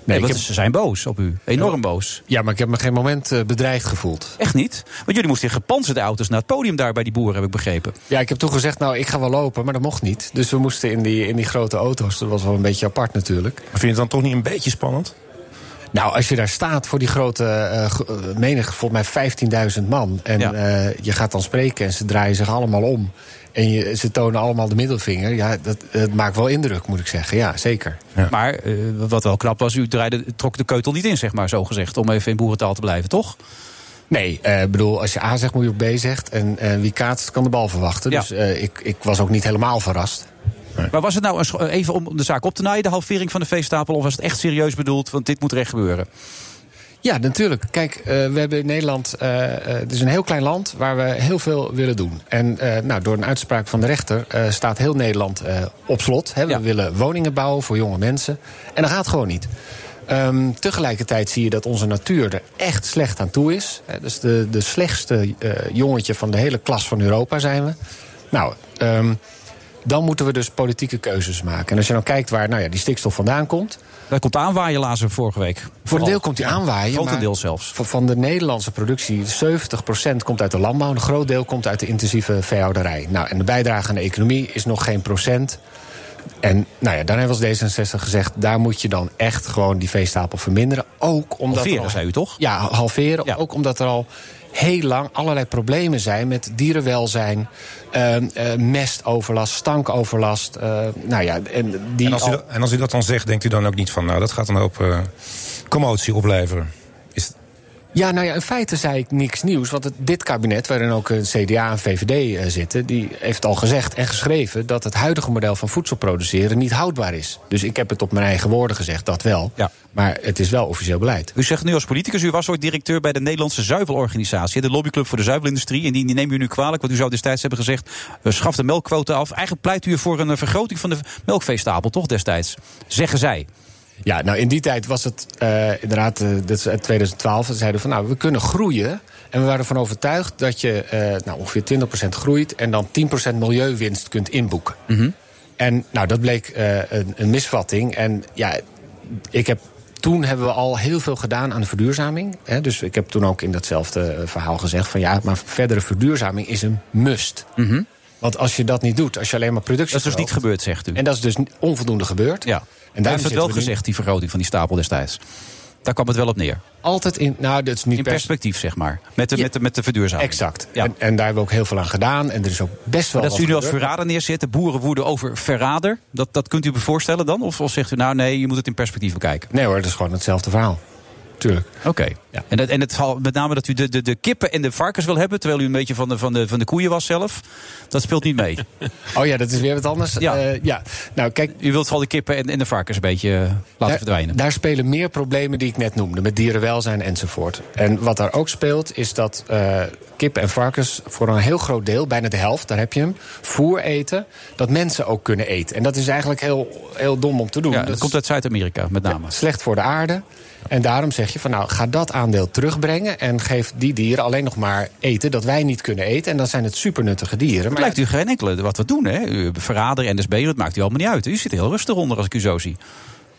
Speaker 6: Nee,
Speaker 10: ik
Speaker 6: want
Speaker 10: heb-
Speaker 6: ze zijn boos op u. Enorm boos.
Speaker 10: Ja, maar ik heb me geen moment eh, bedreigd gevoeld.
Speaker 6: Echt niet? Want jullie moesten in gepantserde auto's naar het podium daar bij die boeren, heb ik begrepen.
Speaker 10: Ja, ik heb toen gezegd, nou, ik ga wel lopen, maar dat mocht niet. Dus we moesten in die, in die grote auto's. Dat was wel een beetje apart natuurlijk.
Speaker 7: Vind je het dan toch niet een beetje spannend?
Speaker 10: Nou, als je daar staat voor die grote eh, gro- eh, menigte, volgens mij 15.000 man. En
Speaker 6: Ja.
Speaker 10: eh, je gaat dan spreken en ze draaien zich allemaal om. En je, ze tonen allemaal de middelvinger. Ja, dat, het maakt wel indruk, moet ik zeggen. Ja, zeker.
Speaker 6: Maar eh, wat wel knap was, u draaide, trok de keutel niet in, zeg maar, zo gezegd. Om even in boerentaal te blijven, toch?
Speaker 10: Nee, eh, ik bedoel, als je A zegt, moet je op B zegt. En eh, wie kaatst, kan de bal verwachten.
Speaker 6: Ja.
Speaker 10: Dus eh, ik, ik was ook niet helemaal verrast.
Speaker 6: Maar was het nou een scho- eh, even om de zaak op te naaien, de halvering van de veestapel? Of was het echt serieus bedoeld? Want dit moet er echt gebeuren.
Speaker 10: Ja, natuurlijk. Kijk, eh, we hebben in Nederland. eh, eh, het is een heel klein land waar we heel veel willen doen. En eh, nou, door een uitspraak van de rechter eh, staat heel Nederland eh, op slot. Hè. We
Speaker 6: Ja.
Speaker 10: willen woningen bouwen voor jonge mensen. En dat gaat gewoon niet. Ehm, tegelijkertijd zie je dat onze natuur er echt slecht aan toe is. Hè, dus de, de slechtste eh, jongetje van de hele klas van Europa zijn we. Nou, ehm, dan moeten we dus politieke keuzes maken. En als je dan kijkt waar nou ja, die stikstof vandaan komt.
Speaker 6: Daar komt de aanwaaien lazen vorige week.
Speaker 10: Voor een
Speaker 6: Vooral.
Speaker 10: deel komt die aanwaaien.
Speaker 6: Grotendeel
Speaker 10: maar
Speaker 6: zelfs.
Speaker 10: Van, van de Nederlandse productie, 70% komt uit de landbouw. Een groot deel komt uit de intensieve veehouderij. Nou, en de bijdrage aan de economie is nog geen procent. En nou ja, daar hebben we als D66 gezegd... daar moet je dan echt gewoon die veestapel verminderen. Ook omdat er
Speaker 6: Halveren,
Speaker 10: al-
Speaker 6: zei u toch?
Speaker 10: Ja, halveren.
Speaker 6: Ja.
Speaker 10: Ook omdat er al heel lang allerlei problemen zijn... met dierenwelzijn, eh, eh, mestoverlast, stankoverlast. eh, nou ja, en die
Speaker 7: En als, u,
Speaker 10: al-
Speaker 7: dat- en als u dat dan zegt, denkt u dan ook niet van... nou, dat gaat een hoop eh, commotie opleveren? Is,
Speaker 10: Ja, nou ja, in feite zei ik niks nieuws. Want het, dit kabinet, waarin ook eh, een CDA en VVD eh, zitten... die heeft al gezegd en geschreven dat het huidige model van voedsel produceren niet houdbaar is. Dus ik heb het op mijn eigen woorden gezegd, dat wel.
Speaker 6: Ja.
Speaker 10: Maar het is wel officieel beleid.
Speaker 6: U zegt nu als politicus, u was ooit directeur bij de Nederlandse Zuivelorganisatie, de lobbyclub voor de zuivelindustrie. En die, die neemt u nu kwalijk, want u zou destijds hebben gezegd: eh, schaf de melkquota af. Eigenlijk pleit u ervoor een eh, vergroting van de melkveestapel, toch destijds? Zeggen zij.
Speaker 10: Ja, nou in die tijd was het eh, inderdaad, eh, dit is uit 2012, zeiden we van nou, we kunnen groeien. En we waren ervan overtuigd dat je eh, nou, ongeveer 20% groeit en dan 10% milieuwinst kunt inboeken.
Speaker 6: Mhm.
Speaker 10: En nou, dat bleek eh, een, een misvatting. En ja, ik heb, toen hebben we al heel veel gedaan aan de verduurzaming. Hè, dus ik heb toen ook in datzelfde eh, verhaal gezegd van ja, maar verdere verduurzaming is een must. Want als je dat niet doet, als je alleen maar productie.
Speaker 6: Mhm. Dat is dus niet gebeurd, zegt u.
Speaker 10: En dat is dus onvoldoende gebeurd.
Speaker 6: Ja. En
Speaker 10: En
Speaker 6: daar
Speaker 10: daarom
Speaker 6: heeft het wel
Speaker 10: zitten we nu-
Speaker 6: gezegd, die vergroting van die stapel destijds. Daar kwam het wel op neer.
Speaker 10: Altijd in, nou, dat is niet
Speaker 6: In
Speaker 10: per
Speaker 6: perspectief, zeg maar. Met de, met de, met de verduurzaming.
Speaker 10: Exact.
Speaker 6: Ja.
Speaker 10: En, en daar hebben we ook heel veel aan gedaan. En er is ook best wel.
Speaker 6: Maar dat
Speaker 10: wat
Speaker 6: ze u nu als
Speaker 10: gebeurd.
Speaker 6: verrader neerzetten, boeren woeden over verrader. Dat, dat kunt u me voorstellen dan? Of, of zegt u nou nee, je moet het in perspectief bekijken?
Speaker 10: Nee hoor, dat is gewoon hetzelfde verhaal. Tuurlijk.
Speaker 6: Oké. En, dat, en het, verhaal- met name dat u de, de, de kippen en de varkens wil hebben, terwijl u een beetje van de, van de, van de koeien was zelf. Dat speelt niet mee.
Speaker 10: Oh ja, dat is weer wat anders.
Speaker 6: Ja.
Speaker 10: Eh, ja. Nou, kijk.
Speaker 6: u wilt vooral de kippen en, en de varkens een beetje eh, laten
Speaker 10: daar-
Speaker 6: verdwijnen.
Speaker 10: Daar spelen meer problemen die ik net noemde, met dierenwelzijn enzovoort. En wat daar ook speelt, is dat eh kip en varkens voor een heel groot deel, bijna de helft, daar heb je hem, voer eten, dat mensen ook kunnen eten. En dat is eigenlijk heel, heel dom om te doen.
Speaker 6: ja,
Speaker 10: Dat
Speaker 6: dat
Speaker 10: is-
Speaker 6: komt uit Zuid-Amerika met name.
Speaker 10: slecht voor de aarde. En daarom zeg je van nou, ga dat aandeel terugbrengen en geef die dieren alleen nog maar eten dat wij niet kunnen eten. En dan zijn het supernuttige dieren.
Speaker 6: Het
Speaker 10: Maar
Speaker 6: lijkt u geen enkele wat we doen, hè? U verrader, NSB, dat maakt u allemaal niet uit. U zit heel rustig onder als ik u zo zie.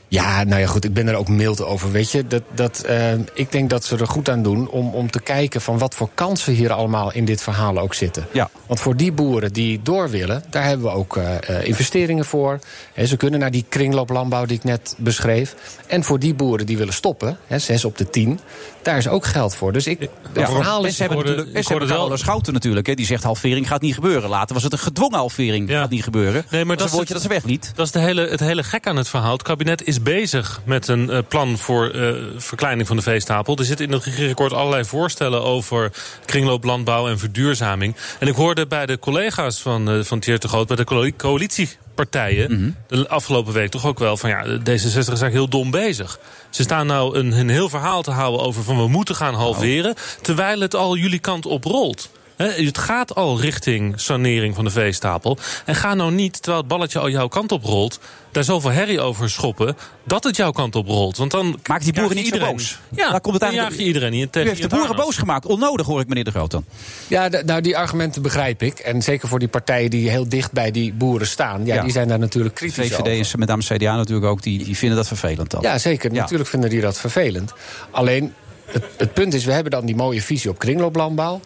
Speaker 10: ja, nou ja, goed, ik ben er ook mild over. Weet je, dat, dat, eh, ik denk dat ze er goed aan doen om, om te kijken van wat voor kansen hier allemaal in dit verhaal ook zitten.
Speaker 6: Ja.
Speaker 10: Want voor die boeren die door willen, daar hebben we ook eh, eh, investeringen voor. Hè, ze kunnen naar die kringlooplandbouw die ik net beschreef. En voor die boeren die willen stoppen, hè, zes op de tien, daar is ook geld voor. Dus ik, het
Speaker 6: Ja,
Speaker 10: verhaal
Speaker 6: en
Speaker 10: is
Speaker 6: ze hebben
Speaker 11: hoorde-
Speaker 6: natuurlijk en
Speaker 11: ik
Speaker 6: ze hebben
Speaker 11: hoorde wel-
Speaker 6: Carlo Schouten natuurlijk, hè, die zegt halvering gaat niet gebeuren. Later was het een gedwongen halvering,
Speaker 11: Ja.
Speaker 6: gaat niet gebeuren.
Speaker 11: Nee,
Speaker 6: dat
Speaker 11: maar dat
Speaker 6: is een woordje
Speaker 11: is
Speaker 6: dat ze wegliet.
Speaker 11: Dat is de hele, het hele gek aan het verhaal. Het kabinet is bezig met een eh, plan voor eh, verkleining van de veestapel. Er zitten in het regeerakkoord allerlei voorstellen over kringlooplandbouw en verduurzaming. En ik hoorde bij de collega's van, eh van Thier de Groot, bij de coali- coalitiepartijen,
Speaker 6: Mhm.
Speaker 11: de afgelopen week toch ook wel van ja, D66 is eigenlijk heel dom bezig. Ze staan nou een, een heel verhaal te houden over van we moeten
Speaker 6: Nou.
Speaker 11: gaan halveren, terwijl het al jullie kant op rolt. Hè, het gaat al richting sanering van de veestapel. En ga nou niet, terwijl het balletje al jouw kant op rolt... daar zoveel herrie over schoppen, dat het jouw kant op rolt. Want dan
Speaker 6: Maakt die boeren
Speaker 11: jaag je
Speaker 6: niet zo
Speaker 11: iedereen-
Speaker 6: boos.
Speaker 11: Ja,
Speaker 6: Daar komt het
Speaker 11: dan
Speaker 6: eigenlijk-
Speaker 11: jaag je iedereen niet.
Speaker 6: U heeft de boeren boos gemaakt, onnodig hoor ik meneer De Groot dan.
Speaker 10: Ja, d- nou, die argumenten begrijp ik. En zeker voor die partijen die heel dicht bij die boeren staan. Ja,
Speaker 6: Ja.
Speaker 10: die zijn daar natuurlijk kritisch over.
Speaker 6: VVD en met name CDA natuurlijk ook, die, die vinden dat vervelend dan.
Speaker 10: Ja, zeker.
Speaker 6: Ja.
Speaker 10: Natuurlijk vinden die dat vervelend. Alleen, het, het punt is, we hebben dan die mooie visie op kringlooplandbouw.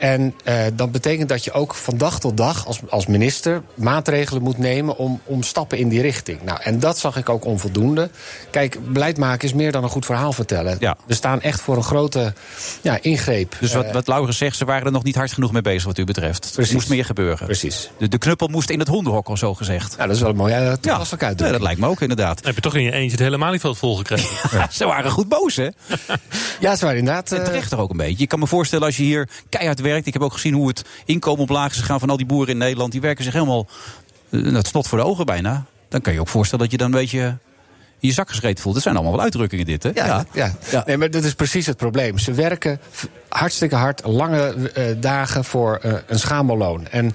Speaker 10: En eh, dat betekent dat je ook van dag tot dag als, als minister maatregelen moet nemen om, om stappen in die richting. Nou, en dat zag ik ook onvoldoende. Kijk, beleid maken is meer dan een goed verhaal vertellen.
Speaker 6: Ja.
Speaker 10: We staan echt voor een grote ja, ingreep. eh,
Speaker 6: Dus wat, wat Laurens zegt, ze waren er nog niet hard genoeg mee bezig wat u betreft. Er
Speaker 10: Precies.
Speaker 6: moest meer gebeuren.
Speaker 10: Precies.
Speaker 6: De, de knuppel moest in het hondenhok, al zo gezegd.
Speaker 10: Nou, dat is wel een mooie eh, toepasselijke
Speaker 6: nee,
Speaker 10: uitdrukking.
Speaker 6: dat lijkt me ook inderdaad.
Speaker 11: heb je toch in je eentje het hele Malieveld volgekregen.
Speaker 6: ze waren goed boos, hè?
Speaker 10: Ja, ze waren inderdaad.
Speaker 6: En
Speaker 10: eh,
Speaker 6: terecht toch ook een beetje. Je kan me voorstellen als je hier keihard werkt. Ik heb ook gezien hoe het inkomen omlaag is gegaan van al die boeren in Nederland. Die werken zich helemaal eh, dat snot voor de ogen bijna. Dan kan je ook voorstellen dat je dan een beetje in je zak geschreven voelt. Dat zijn allemaal wel uitdrukkingen dit, hè?
Speaker 10: Ja, ja.
Speaker 6: Ja.
Speaker 10: Nee, maar dat is precies het probleem. Ze werken v- hartstikke hard, lange eh, dagen voor eh, een schamelloon. En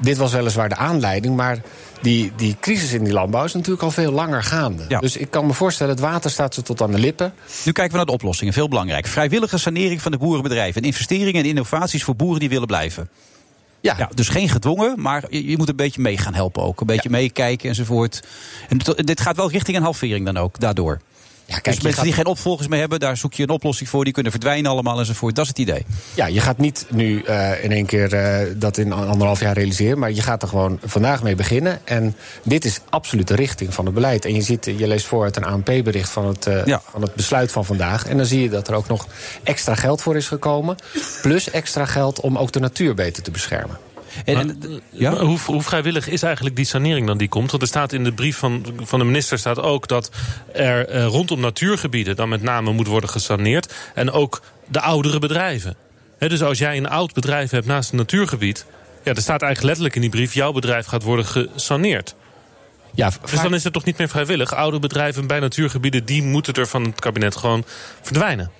Speaker 10: dit was weliswaar de aanleiding, maar die, die crisis in die landbouw is natuurlijk al veel langer gaande.
Speaker 6: Ja.
Speaker 10: Dus ik kan me voorstellen, het water staat ze tot aan de lippen.
Speaker 6: Nu kijken we naar de oplossingen. Veel belangrijk. Vrijwillige sanering van de boerenbedrijven. En investeringen en innovaties voor boeren die willen blijven.
Speaker 10: Ja,
Speaker 6: Ja, dus geen gedwongen, maar je, je moet een beetje mee gaan helpen ook. Een beetje meekijken enzovoort. En to- dit gaat wel richting een halvering dan ook, daardoor.
Speaker 10: ja
Speaker 6: dus
Speaker 10: je
Speaker 6: mensen
Speaker 10: gaat-
Speaker 6: die geen opvolgers meer hebben, daar zoek je een oplossing voor. Die kunnen verdwijnen allemaal enzovoort. Dat is het idee.
Speaker 10: Ja, je gaat niet nu eh, in één keer eh, dat in anderhalf jaar realiseren. Maar je gaat er gewoon vandaag mee beginnen. En dit is absoluut de richting van het beleid. En je, ziet, eh, je leest voor uit een ANP-bericht van, het, eh,
Speaker 6: Ja.
Speaker 10: van het besluit van vandaag. En dan zie je dat er ook nog extra geld voor is gekomen. Plus extra geld om ook de natuur beter te beschermen.
Speaker 6: En,
Speaker 11: Maar,
Speaker 6: en-
Speaker 11: eh,
Speaker 6: ja?
Speaker 11: maar hoe, hoe vrijwillig is eigenlijk die sanering dan die komt? Want er staat in de brief van, van de minister staat ook dat er eh, rondom natuurgebieden dan met name moet worden gesaneerd. En ook de oudere bedrijven. He, dus als jij een oud bedrijf hebt naast een natuurgebied... Ja, er staat eigenlijk letterlijk in die brief... jouw bedrijf gaat worden gesaneerd.
Speaker 10: Ja,
Speaker 11: Dus dan is het toch niet meer vrijwillig? Oude bedrijven bij natuurgebieden... die moeten er van het kabinet gewoon verdwijnen.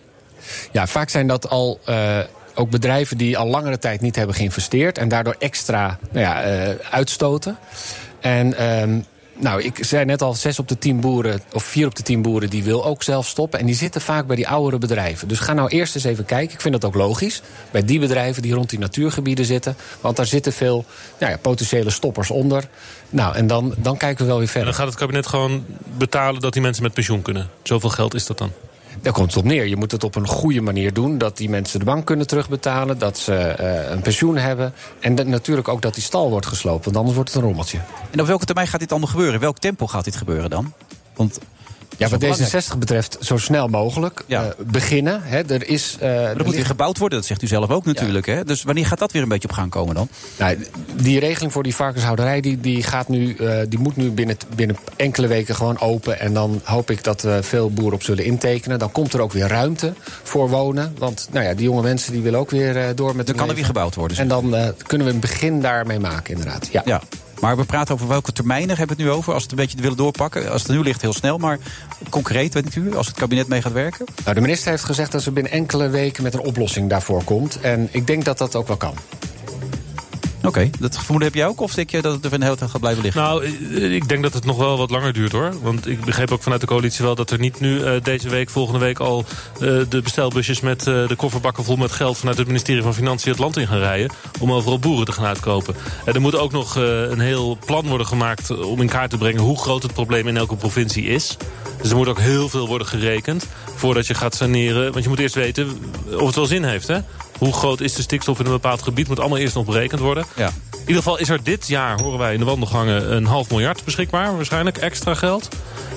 Speaker 10: Ja, vaak zijn dat al eh, ook bedrijven die al langere tijd niet hebben geïnvesteerd en daardoor extra nou ja, eh, uitstoten. En ehm, nou, ik zei net al, zes op de tien boeren of vier op de tien boeren die wil ook zelf stoppen. En die zitten vaak bij die oudere bedrijven. Dus ga nou eerst eens even kijken. Ik vind dat ook logisch. Bij die bedrijven die rond die natuurgebieden zitten. Want daar zitten veel nou ja, potentiële stoppers onder. Nou, en dan, dan kijken we wel weer
Speaker 11: En dan
Speaker 10: verder.
Speaker 11: gaat het kabinet gewoon betalen dat die mensen met pensioen kunnen. Zoveel geld is dat dan.
Speaker 10: Daar komt het op neer. Je moet het op een goede manier doen. Dat die mensen de bank kunnen terugbetalen. Dat ze eh, een pensioen hebben. En dat- natuurlijk ook dat die stal wordt gesloopt. Want anders wordt het een rommeltje.
Speaker 6: En op welke termijn gaat dit allemaal gebeuren? In welk tempo gaat dit gebeuren
Speaker 10: Eh,
Speaker 6: dan? Want
Speaker 10: Ja,
Speaker 6: wel
Speaker 10: wat
Speaker 6: belangrijk.
Speaker 10: D66 betreft, zo snel mogelijk
Speaker 6: Ja.
Speaker 10: eh, beginnen. Hè, er is, eh, er
Speaker 6: dat moet weer
Speaker 10: ligt-
Speaker 6: gebouwd worden, dat zegt u zelf ook natuurlijk. Hè? Dus wanneer gaat dat weer een beetje op gang komen dan?
Speaker 10: Nou, die regeling voor die varkenshouderij die, die gaat nu, eh, die moet nu binnen, binnen enkele weken gewoon open. En dan hoop ik dat eh, veel boeren op zullen intekenen. Dan komt er ook weer ruimte voor wonen. Want nou ja, die jonge mensen die willen ook weer eh, door met
Speaker 6: Dan kan er weer
Speaker 10: leven.
Speaker 6: gebouwd worden.
Speaker 10: En dan eh, kunnen we een begin daarmee maken, inderdaad. Ja.
Speaker 6: Ja. Maar we praten over welke termijnen hebben we het nu over? Als we het een beetje willen doorpakken. Als het er nu ligt, heel snel. Maar concreet, weet u, als het kabinet mee gaat werken.
Speaker 10: Nou, de minister heeft gezegd dat ze binnen enkele weken met een oplossing daarvoor komt. En ik denk dat dat ook wel kan.
Speaker 6: Oké, dat vermoeden heb jij ook? Of denk je dat het er een hele tijd gaat blijven liggen?
Speaker 11: Nou, eh, ik denk dat het nog wel wat langer duurt hoor. Want ik begreep ook vanuit de coalitie wel dat er niet nu eh, deze week, volgende week al eh, de bestelbusjes met eh, de kofferbakken vol met geld vanuit het ministerie van Financiën het land in gaan rijden. Om overal boeren te gaan uitkopen. En er moet ook nog eh, een heel plan worden gemaakt eh, om in kaart te brengen hoe groot het probleem in elke provincie is. Dus er moet ook heel veel worden gerekend voordat je gaat saneren. Want je moet eerst weten of het wel zin heeft. Hè? Hoe groot is de stikstof in een bepaald gebied? Moet allemaal eerst nog berekend worden.
Speaker 6: Ja.
Speaker 11: In ieder geval is er dit jaar, horen wij in de wandelgangen, een half miljard beschikbaar. Waarschijnlijk extra geld.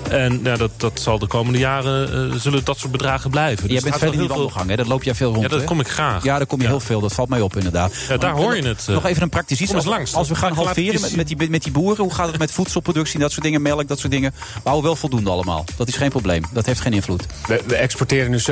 Speaker 11: En ja, dat, dat zal de komende jaren, eh, zullen dat soort bedragen blijven.
Speaker 6: jij
Speaker 11: Dus
Speaker 6: bent
Speaker 11: het gaat
Speaker 6: veel in die
Speaker 11: wel heel veel-
Speaker 6: wandelgang, hè? Dat loop jij veel rond.
Speaker 11: Ja, dat
Speaker 6: hè?
Speaker 11: kom ik graag.
Speaker 6: Ja, daar kom je heel veel. Dat valt mij op, inderdaad.
Speaker 11: Ja, daar
Speaker 6: Maar
Speaker 11: hoor je het, eh.
Speaker 6: Nog even een praktisch iets.
Speaker 11: Kom eens
Speaker 6: Als-
Speaker 11: langs.
Speaker 6: Als we gaan
Speaker 11: Laat ik
Speaker 6: halveren
Speaker 11: eens
Speaker 6: met,
Speaker 11: zien.
Speaker 6: met, die, met die boeren, hoe gaat het met voedselproductie en dat soort dingen, melk, dat soort dingen? We houden wel voldoende allemaal. Dat is geen probleem. Dat heeft geen invloed.
Speaker 10: We, we exporteren nu 70%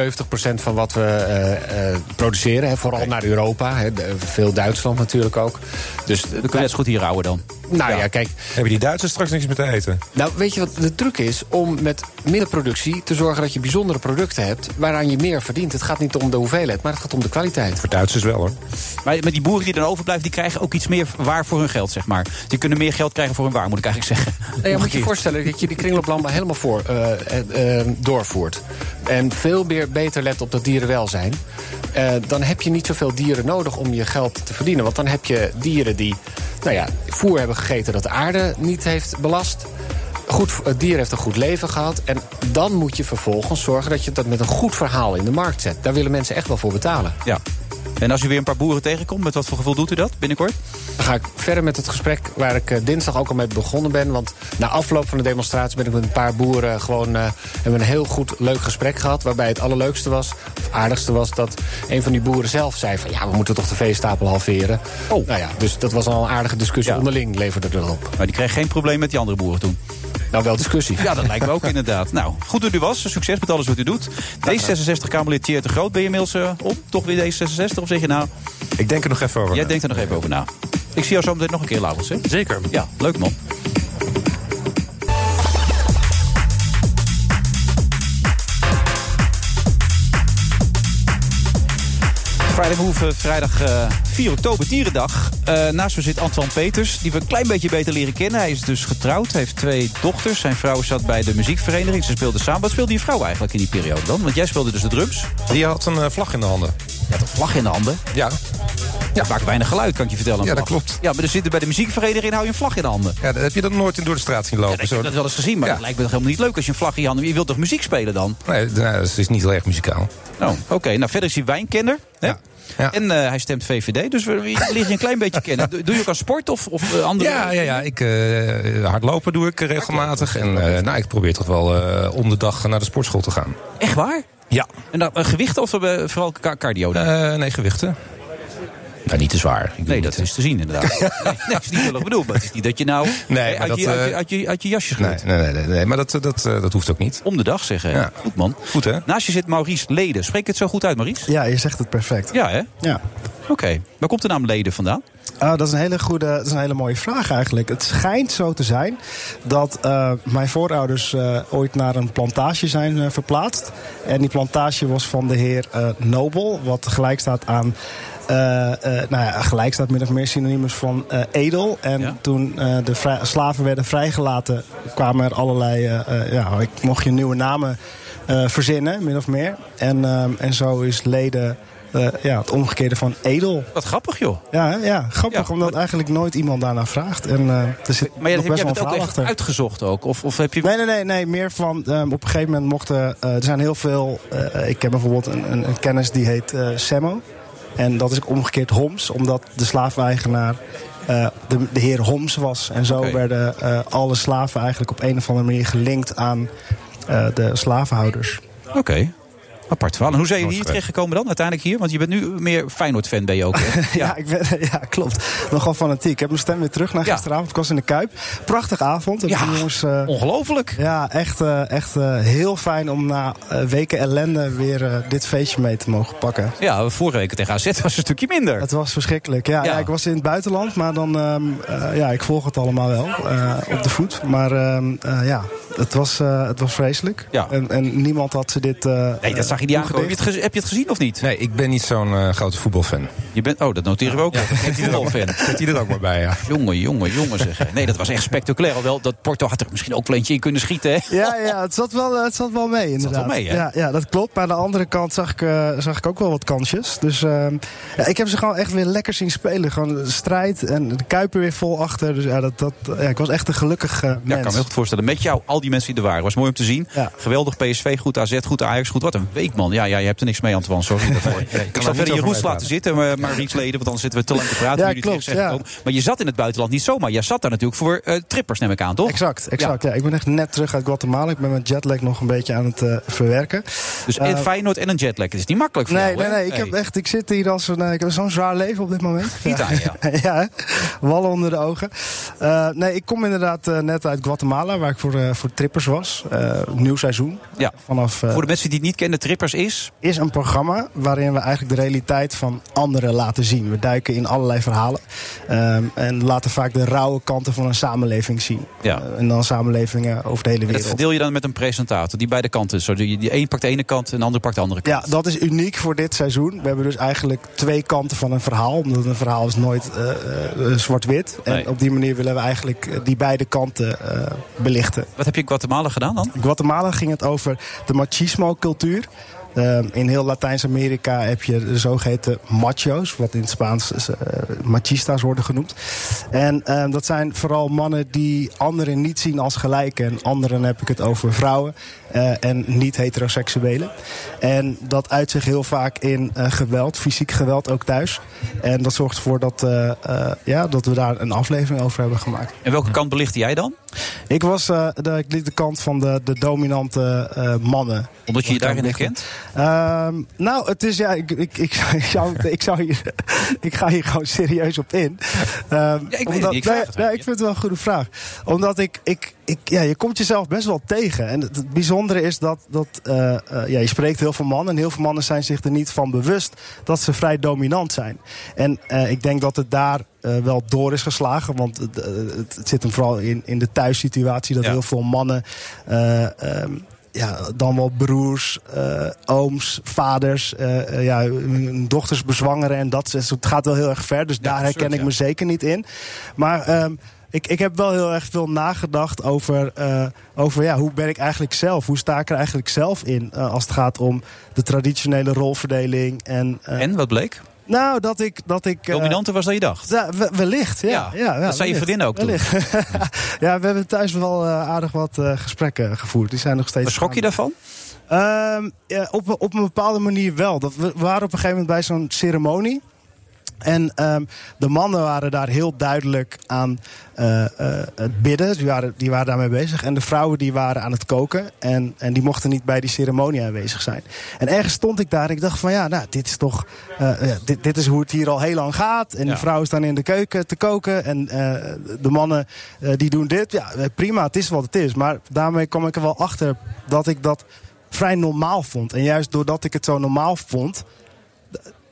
Speaker 10: van wat we eh, eh, produceren. Hè, vooral naar Europa. Hè, de- veel Duitsland natuurlijk ook. Dus,
Speaker 6: We kunnen net zo goed hier houden dan.
Speaker 10: nou ja, kijk.
Speaker 7: Hebben die Duitsers straks niks meer te eten?
Speaker 10: Nou, weet je wat de truc is? Om met minder productie te zorgen dat je bijzondere producten hebt... waaraan je meer verdient. Het gaat niet om de hoeveelheid, maar het gaat om de kwaliteit.
Speaker 7: Voor Duitsers wel hoor.
Speaker 6: Maar met die boeren die dan overblijven, die krijgen ook iets meer waar voor hun geld, zeg maar. Die kunnen meer geld krijgen voor hun waar, moet ik eigenlijk zeggen.
Speaker 10: Nee, je Oh Nou moet je
Speaker 6: Omgekeerd.
Speaker 10: voorstellen dat je die kringlooplandbouw helemaal voor, eh, eh, eh, doorvoert. En veel meer beter let op dat dierenwelzijn. Eh, dan heb je niet zoveel dieren nodig om je geld te verdienen. Want dan heb je dieren die nou ja, voer hebben gegeten dat de aarde niet heeft belast. Goed, het dier heeft een goed leven gehad. En dan moet je vervolgens zorgen dat je dat met een goed verhaal in de markt zet. Daar willen mensen echt wel voor betalen.
Speaker 6: Ja. En als u weer een paar boeren tegenkomt, met wat voor gevoel doet u dat binnenkort?
Speaker 10: Dan ga ik verder met het gesprek waar ik eh, dinsdag ook al mee begonnen ben. Want na afloop van de demonstratie ben ik met een paar boeren gewoon. eh, hebben we een heel goed, leuk gesprek gehad. Waarbij het allerleukste was, of aardigste was, dat een van die boeren zelf zei: van ja, we moeten toch de veestapel halveren. Oh. Nou ja, dus dat was al een aardige discussie.
Speaker 6: Ja.
Speaker 10: Onderling leverde dat op.
Speaker 6: Maar Nou, die kreeg geen probleem met die andere boeren toen.
Speaker 10: Nou, wel discussie.
Speaker 6: Ja, dat lijkt me ook inderdaad. Nou, goed dat u was. Succes met alles wat u doet. D66-Kamerlid Thierry de Groot, ben je inmiddels eh, op? Toch weer D66? Of zeg je nou,
Speaker 7: Ik denk er nog even over.
Speaker 6: jij
Speaker 7: na.
Speaker 6: denkt er nog even over na. Ik zie jou zo meteen nog een keer, Laurens, hè?
Speaker 11: Zeker.
Speaker 6: Ja, leuk man. Friday Move, eh, vrijdag eh, 4 oktober, Dierendag. Eh, naast me zit Antoine Peters, die we een klein beetje beter leren kennen. Hij is dus getrouwd, heeft twee dochters. Zijn vrouw zat bij de muziekvereniging, ze speelden samen. Wat speelde je vrouw eigenlijk in die periode dan? Want jij speelde dus de drums.
Speaker 7: Die had een eh, vlag in de handen.
Speaker 6: Je had een vlag in de handen.
Speaker 7: Ja.
Speaker 6: Ja, maakt weinig geluid, kan ik je vertellen.
Speaker 7: Ja,
Speaker 6: Vlag.
Speaker 7: dat klopt.
Speaker 6: Ja, maar er zitten bij de muziekvereniging, hou je een vlag in de handen.
Speaker 7: ja dat heb je dat nooit in door de straat zien
Speaker 6: Ja,
Speaker 7: lopen?
Speaker 6: ik
Speaker 7: Zo-
Speaker 6: heb dat wel eens gezien, maar
Speaker 7: Ja.
Speaker 6: het lijkt me toch helemaal niet leuk als je een vlag in je handen... Je wilt toch muziek spelen dan?
Speaker 7: Nee, nou, dat is niet heel erg muzikaal.
Speaker 6: Nou, oké. Nou, verder is hij wijnkenner. Hè?
Speaker 7: Ja. Ja.
Speaker 6: En eh, hij stemt VVD, dus we, we liggen je een klein beetje kennen. Doe, doe je ook aan sport of, of eh, andere...
Speaker 7: Ja, ja, ja. Ik, eh, hardlopen doe ik regelmatig. En eh, nou, ik probeer toch wel eh, om de dag naar de sportschool te gaan.
Speaker 6: Echt waar?
Speaker 7: Ja.
Speaker 6: En dan, eh, gewicht of eh, vooral ca- cardio dan?
Speaker 7: Eh, nee, gewichten. Ja, niet te zwaar.
Speaker 6: nee, dat is te zien inderdaad. nee, dat is niet lullig bedoeld. Maar het is niet dat je nou
Speaker 7: Nee,
Speaker 6: eh,
Speaker 7: maar
Speaker 6: uit,
Speaker 7: dat,
Speaker 6: je, uit,
Speaker 7: eh,
Speaker 6: je, uit, je, uit je jasje
Speaker 7: Nee,
Speaker 6: groeit.
Speaker 7: nee, nee, nee, nee, maar dat, dat, eh, dat hoeft ook niet.
Speaker 6: Om de dag zeggen.
Speaker 7: Ja.
Speaker 6: Goed man.
Speaker 7: Goed hè?
Speaker 6: Naast je zit Maurice Leden. Spreek ik het zo goed uit, Maurice?
Speaker 12: Ja, je zegt het perfect.
Speaker 6: Ja, hè?
Speaker 12: Ja.
Speaker 6: Oké. Waar komt de naam Leden vandaan?
Speaker 12: Ah, dat, is een hele goede, dat is een hele mooie vraag eigenlijk. Het schijnt zo te zijn dat eh, mijn voorouders eh, ooit naar een plantage zijn eh, verplaatst. En die plantage was van de heer eh, Nobel, wat gelijk staat aan. eh, eh, nou ja, gelijk staat min of meer synonymous van eh, edel. En toen eh, de vrij- slaven werden vrijgelaten, kwamen er allerlei. eh, eh, ja, ik mocht je nieuwe namen eh, verzinnen, min of meer. En, ehm, en zo is leden eh, ja, het omgekeerde van edel.
Speaker 6: Wat grappig, joh.
Speaker 12: Ja, hè? ja grappig, omdat eigenlijk nooit iemand daarna vraagt. En eh er zit
Speaker 6: Maar jij,
Speaker 12: nog
Speaker 6: jij
Speaker 12: best wel
Speaker 6: hebt
Speaker 12: een
Speaker 6: het ook
Speaker 12: verhaal
Speaker 6: echt
Speaker 12: achter.
Speaker 6: uitgezocht ook? Of, of heb je...
Speaker 12: Nee, nee, nee, nee. Meer van ehm, op een gegeven moment mochten. eh, er zijn heel veel. eh, ik heb bijvoorbeeld een, een, een kennis die heet eh Semmo. En dat is ook omgekeerd Homs, omdat de slaafeigenaar eh, de, de heer Homs was. En zo werden eh, alle slaven eigenlijk op een of andere manier gelinkt aan eh, de slavenhouders.
Speaker 6: Oké. Apart verhaal. En hoe zijn jullie hier
Speaker 12: Nooit
Speaker 6: terechtgekomen dan, uiteindelijk hier? Want je bent nu meer Feyenoord-fan, ben je ook, hè?
Speaker 12: Ja, ik ben, ja klopt. Nogal fanatiek. Ik heb mijn stem weer terug naar gisteravond. Ik was in de Kuip. Prachtige avond. Ja, jongens, eh,
Speaker 6: ongelooflijk.
Speaker 12: Ja, echt, eh, echt eh, heel fijn om na eh, weken ellende weer eh, dit feestje mee te mogen pakken.
Speaker 6: Ja, vorige week tegen AZ was het een stukje minder.
Speaker 12: Het was verschrikkelijk. Ja, ja. ik was in het buitenland, maar dan, ehm, eh, ja, ik volg het allemaal wel eh, op de voet. Maar ehm, eh, ja, het was, eh, het was vreselijk.
Speaker 6: Ja.
Speaker 12: En, en niemand had ze dit. eh,
Speaker 6: Nee, dat zag je niet
Speaker 12: eh,
Speaker 6: aankomen. Heb je, het
Speaker 12: toegedicht.
Speaker 6: gez- heb je het gezien of niet?
Speaker 7: Nee, ik ben niet zo'n eh, grote voetbalfan.
Speaker 6: Je bent, oh, dat noteren we ook. Ja. Heeft hij er ook fan?
Speaker 7: Zet hij er ook maar bij, ja.
Speaker 6: Jongen, jongen, jongen zeg. Nee, dat was echt spectaculair. Alhoewel, dat Porto had er misschien ook wel eentje in kunnen schieten. Hè?
Speaker 12: Ja, ja, het zat wel, eh, het zat wel mee inderdaad.
Speaker 6: wel mee, hè?
Speaker 12: ja, ja, dat klopt. Maar aan de andere kant zag ik, eh, zag ik ook wel wat kansjes. Dus ehm, ja, ik heb ze gewoon echt weer lekker zien spelen. Gewoon de strijd en de Kuiper weer vol achter. Dus ja, dat, dat, ja, ik was echt een gelukkig eh,
Speaker 6: Ja,
Speaker 12: mens.
Speaker 6: ik kan me heel goed voorstellen. Met jou, al die mensen die er waren. Was mooi om te zien. Geweldig PSV, goed AZ, goed Ajax, goed. Wat een week, man. Ja, ja je hebt er niks mee, Antoine. Sorry daarvoor. ik
Speaker 7: er
Speaker 6: zal
Speaker 7: niet
Speaker 6: verder je
Speaker 7: over
Speaker 6: roes laten
Speaker 7: meepraten.
Speaker 6: zitten, maar, maar replayen. Want anders zitten we te lang te praten.
Speaker 12: Ja,
Speaker 6: nu jullie
Speaker 12: klopt,
Speaker 6: terug zijn
Speaker 12: ja.
Speaker 6: gekomen. Maar je zat in het buitenland niet zomaar. Jij zat daar natuurlijk voor eh, trippers, neem ik aan, toch?
Speaker 12: Exact, exact. Ja. ik ben echt net terug uit Guatemala. Ik ben mijn jetlag nog een beetje aan het eh, verwerken.
Speaker 6: Dus
Speaker 12: Eh,
Speaker 6: en Feyenoord en een jetlag. Het is niet makkelijk voor
Speaker 12: Nee,
Speaker 6: jou,
Speaker 12: nee,
Speaker 6: hè?
Speaker 12: nee. Ik, heb echt, ik zit hier als een. eh, Ik heb zo'n zwaar leven op dit moment.
Speaker 6: Niet aan, ja.
Speaker 12: ja, hè? wallen onder de ogen. Eh, nee, ik kom inderdaad eh, net uit Guatemala, waar ik voor, eh, voor trippers was. Eh, nieuw seizoen.
Speaker 6: Ja.
Speaker 12: Vanaf, eh,
Speaker 6: Voor de mensen die het niet kennen, trippers is...
Speaker 12: is een programma waarin we eigenlijk de realiteit van anderen laten zien. We duiken in allerlei verhalen ehm, en laten vaak de rauwe kanten van een samenleving zien.
Speaker 6: Ja.
Speaker 12: Eh, en dan samenlevingen over de hele
Speaker 6: En dat
Speaker 12: wereld.
Speaker 6: verdeel je dan met een presentator die beide kanten is. Zo, die, die een pakt de ene kant en de andere pakt de andere kant.
Speaker 12: Ja, dat is uniek voor dit seizoen. We hebben dus eigenlijk twee kanten van een verhaal. Omdat een verhaal is nooit eh, eh, zwart-wit. En op die manier willen we eigenlijk eh, die beide kanten eh, belichten.
Speaker 6: Wat heb je in Guatemala gedaan dan?
Speaker 12: In Guatemala ging het over de machismo-cultuur. Ehm, in heel Latijns-Amerika heb je de zogeheten macho's, wat in het Spaans eh, machistas worden genoemd. En ehm, dat zijn vooral mannen die anderen niet zien als gelijken. En anderen heb ik het over vrouwen eh, en niet-heteroseksuelen. En dat uit zich heel vaak in eh, geweld, fysiek geweld ook thuis. En dat zorgt ervoor dat, eh, eh, ja, dat we daar een aflevering over hebben gemaakt.
Speaker 6: En welke kant belichtte jij dan?
Speaker 12: Ik was eh, de, ik liet de kant van de, de dominante eh, mannen.
Speaker 6: Omdat je je
Speaker 12: Wat kan
Speaker 6: daarin
Speaker 12: ik
Speaker 6: herkent?
Speaker 12: Ehm, nou, het is ja, ik, ik, ik, ik zou, ik, zou hier, ik ga hier gewoon serieus op in. Ehm,
Speaker 6: het
Speaker 12: omdat,
Speaker 6: niet, ik vraag
Speaker 12: nee,
Speaker 6: het
Speaker 12: nee, nou, ik vind het wel een goede vraag. Omdat ik, ik, ik ja, je komt jezelf best wel tegen. En het, het bijzondere is dat, dat eh, eh, ja, je spreekt heel veel mannen. En heel veel mannen zijn zich er niet van bewust dat ze vrij dominant zijn. En eh, ik denk dat het daar eh, wel door is geslagen. Want het, eh, het, het zit hem vooral in, in de thuissituatie. Dat heel veel mannen. eh, ehm, ja, dan wel broers, eh, ooms, vaders, eh, eh, ja, hun dochters bezwangeren. En dat is- het gaat wel heel erg ver. Dus daar herken ik me zeker niet in. Maar ehm, ik, ik heb wel heel erg veel nagedacht over, eh, over ja, hoe ben ik eigenlijk zelf? Hoe sta ik er eigenlijk zelf in eh, als het gaat om de traditionele rolverdeling? En, eh,
Speaker 6: En wat bleek?
Speaker 12: nou, dat ik... Dat ik eh,
Speaker 6: Dominanter was dan je dacht.
Speaker 12: ja, we- wellicht, ja. ja,
Speaker 6: dat zei je
Speaker 12: wellicht.
Speaker 6: vriendin ook toen.
Speaker 12: Wellicht. ja, we hebben thuis wel eh, aardig wat eh, gesprekken gevoerd. Die zijn nog steeds.
Speaker 6: Wat schrok je daarvan?
Speaker 12: Ehm, ja, op, op een bepaalde manier wel. Dat we we waren op een gegeven moment bij zo'n ceremonie. En ehm, de mannen waren daar heel duidelijk aan eh, eh, het bidden. Die waren, die waren daarmee bezig. En de vrouwen die waren aan het koken. En, en die mochten niet bij die ceremonie aanwezig zijn. En ergens stond ik daar. en Ik dacht van ja, nou, dit is toch. eh, ja, dit, dit is hoe het hier al heel lang gaat. En de vrouwen staan in de keuken te koken. En eh, de mannen eh, die doen dit. Ja, eh, prima, het is wat het is. Maar daarmee kwam ik er wel achter dat ik dat vrij normaal vond. En juist doordat ik het zo normaal vond.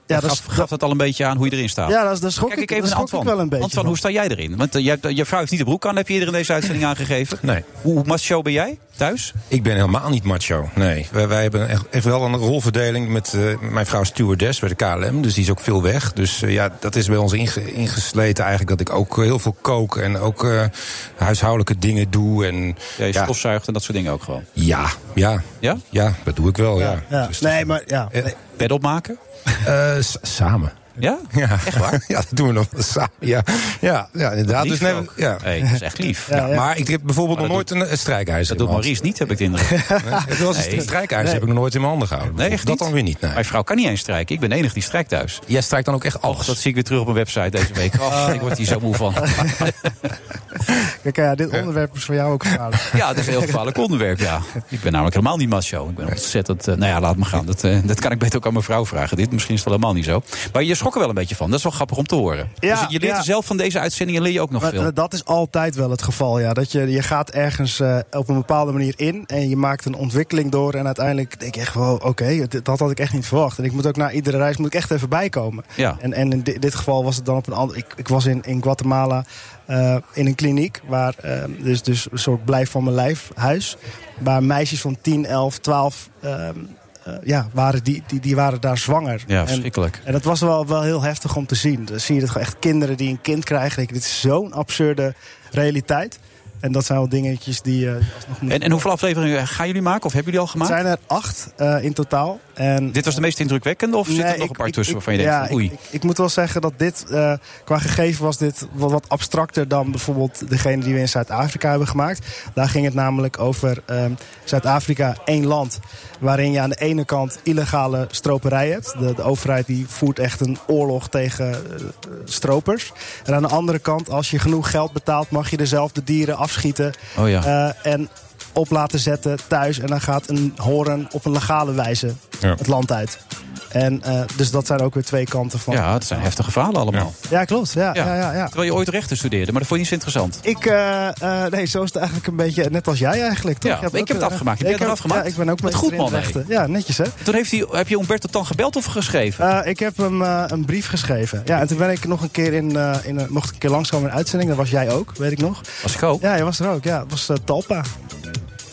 Speaker 6: Ja,
Speaker 12: dat
Speaker 6: dat
Speaker 12: is-
Speaker 6: gaf, gaf dat al een beetje aan hoe je erin staat.
Speaker 12: Ja, dat is- daar schrok
Speaker 6: Kijk,
Speaker 12: ik-
Speaker 6: even
Speaker 12: daar
Speaker 6: naar
Speaker 12: schrok ik
Speaker 6: Antoine.
Speaker 12: wel een beetje
Speaker 6: Antoine,
Speaker 12: van.
Speaker 6: hoe sta jij erin? Want eh, jij- je, vrouw heeft niet de broek aan, heb je eerder in deze uitzending aangegeven.
Speaker 7: Nee.
Speaker 6: Hoe macho ben jij thuis?
Speaker 7: Ik ben helemaal niet macho. Nee, wij, wij hebben echt, echt wel een rolverdeling met eh, mijn vrouw is stewardess bij de KLM. Dus die is ook veel weg. Dus eh, ja, dat is bij ons inge- ingesleten eigenlijk dat ik ook eh, heel veel kook en ook eh, huishoudelijke dingen doe. En,
Speaker 6: Ja, je stofzuigt en dat soort dingen ook gewoon.
Speaker 7: Ja, ja.
Speaker 6: Ja?
Speaker 7: Ja, dat doe ik wel, ja.
Speaker 12: Ja. nee, maar ja.
Speaker 6: Bed opmaken?
Speaker 7: Eh, samen.
Speaker 6: Ja? Echt waar?
Speaker 7: ja, dat doen we nog wel samen. Ja, ja, ja inderdaad.
Speaker 6: Lief
Speaker 7: dus nee,
Speaker 6: ook.
Speaker 7: ja.
Speaker 6: Hey, dat is echt lief.
Speaker 7: Ja,
Speaker 6: Ja, ja.
Speaker 7: Maar ik heb bijvoorbeeld
Speaker 6: Maar
Speaker 7: nog
Speaker 6: dat
Speaker 7: nooit een, een
Speaker 6: Dat
Speaker 7: strijkijzer.
Speaker 6: doet
Speaker 7: in mijn
Speaker 6: Maurice niet, heb ik de indruk.
Speaker 7: hand. Nee, dat was
Speaker 6: Nee.
Speaker 7: een strijkijzer
Speaker 6: Nee.
Speaker 7: heb ik nog nooit in mijn handen gehouden.
Speaker 6: Nee, echt
Speaker 7: dat
Speaker 6: niet?
Speaker 7: dan weer niet. Nee.
Speaker 6: Mijn vrouw kan niet eens strijken. Ik ben de enige die strijkt thuis.
Speaker 7: Jij strijkt dan ook echt alles?
Speaker 6: dat zie ik weer terug op mijn website deze week. Ach, ik word hier zo moe van.
Speaker 12: Kijk, ja, dit onderwerp is voor jou ook gevaarlijk.
Speaker 6: Ja, dat is een heel gevaarlijk onderwerp, ja. Ik ben namelijk helemaal niet macho. Ik ben ontzettend... eh, nou ja, laat me gaan. Dat, eh, dat kan ik beter ook aan mijn vrouw vragen. Dit misschien is het wel helemaal niet zo. Maar je schrok er wel een beetje van. Dat is wel grappig om te horen.
Speaker 12: Ja,
Speaker 6: dus je leert
Speaker 12: ja.
Speaker 6: er zelf van deze uitzendingen leer je ook nog
Speaker 12: Maar,
Speaker 6: veel.
Speaker 12: eh, dat is altijd wel het geval, ja. Dat je, je gaat ergens eh, op een bepaalde manier in en je maakt een ontwikkeling door. En uiteindelijk denk je echt wel, oké, dit- dat had ik echt niet verwacht. En ik moet ook na iedere reis moet ik echt even bijkomen.
Speaker 6: Ja.
Speaker 12: En, en in di- dit geval was het dan op een ander... Ik, ik was in, in Guatemala eh, in een kliniek, waar, eh, dus, dus een soort blijf van mijn lijf huis. Waar meisjes van 10, 11, 12... ehm, eh, ja, waren die, die, die waren daar zwanger.
Speaker 6: Ja,
Speaker 12: En-
Speaker 6: verschrikkelijk.
Speaker 12: en dat was wel, wel heel heftig om te zien. Dan zie je dat gewoon echt kinderen die een kind krijgen. Denk ik, dit is zo'n absurde realiteit. En dat zijn wel dingetjes die eh alsnog moeten-
Speaker 6: En, en hoeveel afleveringen gaan jullie maken? Of hebben jullie al
Speaker 12: Het
Speaker 6: gemaakt?
Speaker 12: zijn er acht eh, in totaal. En
Speaker 6: Dit was de meest indrukwekkende? Of zit er
Speaker 12: Nee,
Speaker 6: nog
Speaker 12: ik-
Speaker 6: een paar
Speaker 12: ik-
Speaker 6: tussen
Speaker 12: ik-
Speaker 6: waarvan je denkt,
Speaker 12: ja,
Speaker 6: van, oei.
Speaker 12: Ik, ik, ik moet wel zeggen dat dit, eh, qua gegeven was dit wat, wat abstracter dan bijvoorbeeld degene die we in Zuid-Afrika hebben gemaakt. Daar ging het namelijk over ehm, Zuid-Afrika, één land. Waarin je aan de ene kant illegale stroperij hebt. De, de overheid die voert echt een oorlog tegen eh, stropers. En aan de andere kant, als je genoeg geld betaalt, mag je dezelfde dieren afschieten.
Speaker 6: Oh ja.
Speaker 12: Eh, en op laten zetten thuis. En dan gaat een horen op een legale wijze
Speaker 6: Ja.
Speaker 12: het land uit. En eh, dus dat zijn ook weer twee kanten van.
Speaker 6: Ja, het zijn heftige verhalen allemaal.
Speaker 12: Ja, klopt. Ja, ja. Ja, ja,
Speaker 6: Terwijl je ooit rechten studeerde, maar dat vond je niet zo interessant.
Speaker 12: Ik, eh, eh, nee, zo is het eigenlijk een beetje net als jij eigenlijk. Toch?
Speaker 6: Ja, maar
Speaker 12: Je hebt
Speaker 6: ik
Speaker 12: ook,
Speaker 6: heb het
Speaker 12: eh,
Speaker 6: afgemaakt. Heb
Speaker 12: ik
Speaker 6: jij het
Speaker 12: heb-
Speaker 6: afgemaakt?
Speaker 12: Ja, ik ben ook
Speaker 6: Wat
Speaker 12: met
Speaker 6: goed, man,
Speaker 12: rechten. Ja, netjes hè.
Speaker 6: Toen heeft hij, heb je Umberto dan gebeld of geschreven?
Speaker 12: Eh, ik heb hem eh, een brief geschreven. Ja, en toen ben ik nog een keer in, eh, in een- mocht ik een keer langskomen in een uitzending. Dat was jij ook, weet ik nog.
Speaker 6: Was ik ook?
Speaker 12: Ja, je was er ook. Ja, het was eh, Talpa.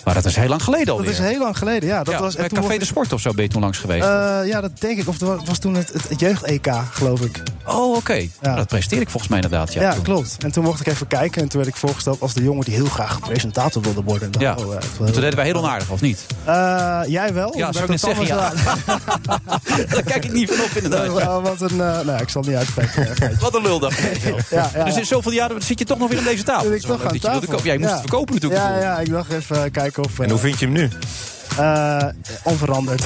Speaker 6: Maar dat is heel lang geleden alweer.
Speaker 12: Dat is heel lang geleden. Ja, dat
Speaker 6: Ja,
Speaker 12: was. en
Speaker 6: bij
Speaker 12: toen
Speaker 6: Café
Speaker 12: mocht
Speaker 6: de Sport of zo ben je toen langs
Speaker 12: ik-
Speaker 6: geweest.
Speaker 12: Eh, ja, dat denk ik. Of het was, het was toen het, het, het jeugd-EK, geloof ik.
Speaker 6: oh, oké. Nou, Dat presteer ik volgens mij inderdaad. Ja,
Speaker 12: Ja, klopt. En toen mocht ik even kijken en toen werd ik voorgesteld als de jongen die heel graag presentator wilde worden. En
Speaker 6: Ja.
Speaker 12: dacht, oh, eh, het
Speaker 6: Toen
Speaker 12: wel heel-
Speaker 6: deden wij heel onaardig, of niet?
Speaker 12: Eh, jij wel?
Speaker 6: Ja,
Speaker 12: Omdat
Speaker 6: zou ik net
Speaker 12: het
Speaker 6: zeggen, ja.
Speaker 12: allemaal zo-
Speaker 6: Daar kijk ik niet van op, inderdaad.
Speaker 12: Eh, wat een... eh, nou, ik zal niet uitspreken.
Speaker 6: Wat een luldag.
Speaker 12: Ja, ja.
Speaker 6: Dus in zoveel jaren zit je toch nog weer aan deze tafel.
Speaker 12: Toen
Speaker 6: Dat
Speaker 12: ik
Speaker 6: is
Speaker 12: toch
Speaker 6: wel leuk
Speaker 12: aan
Speaker 6: dat je wilde kopen.
Speaker 12: tafel.
Speaker 6: Ja, je moest
Speaker 12: Ja.
Speaker 6: het verkopen natuurlijk.
Speaker 12: Ja, ja, ik dacht even eh, kijken of...
Speaker 7: En hoe vind je hem nu?
Speaker 12: eh, onveranderd.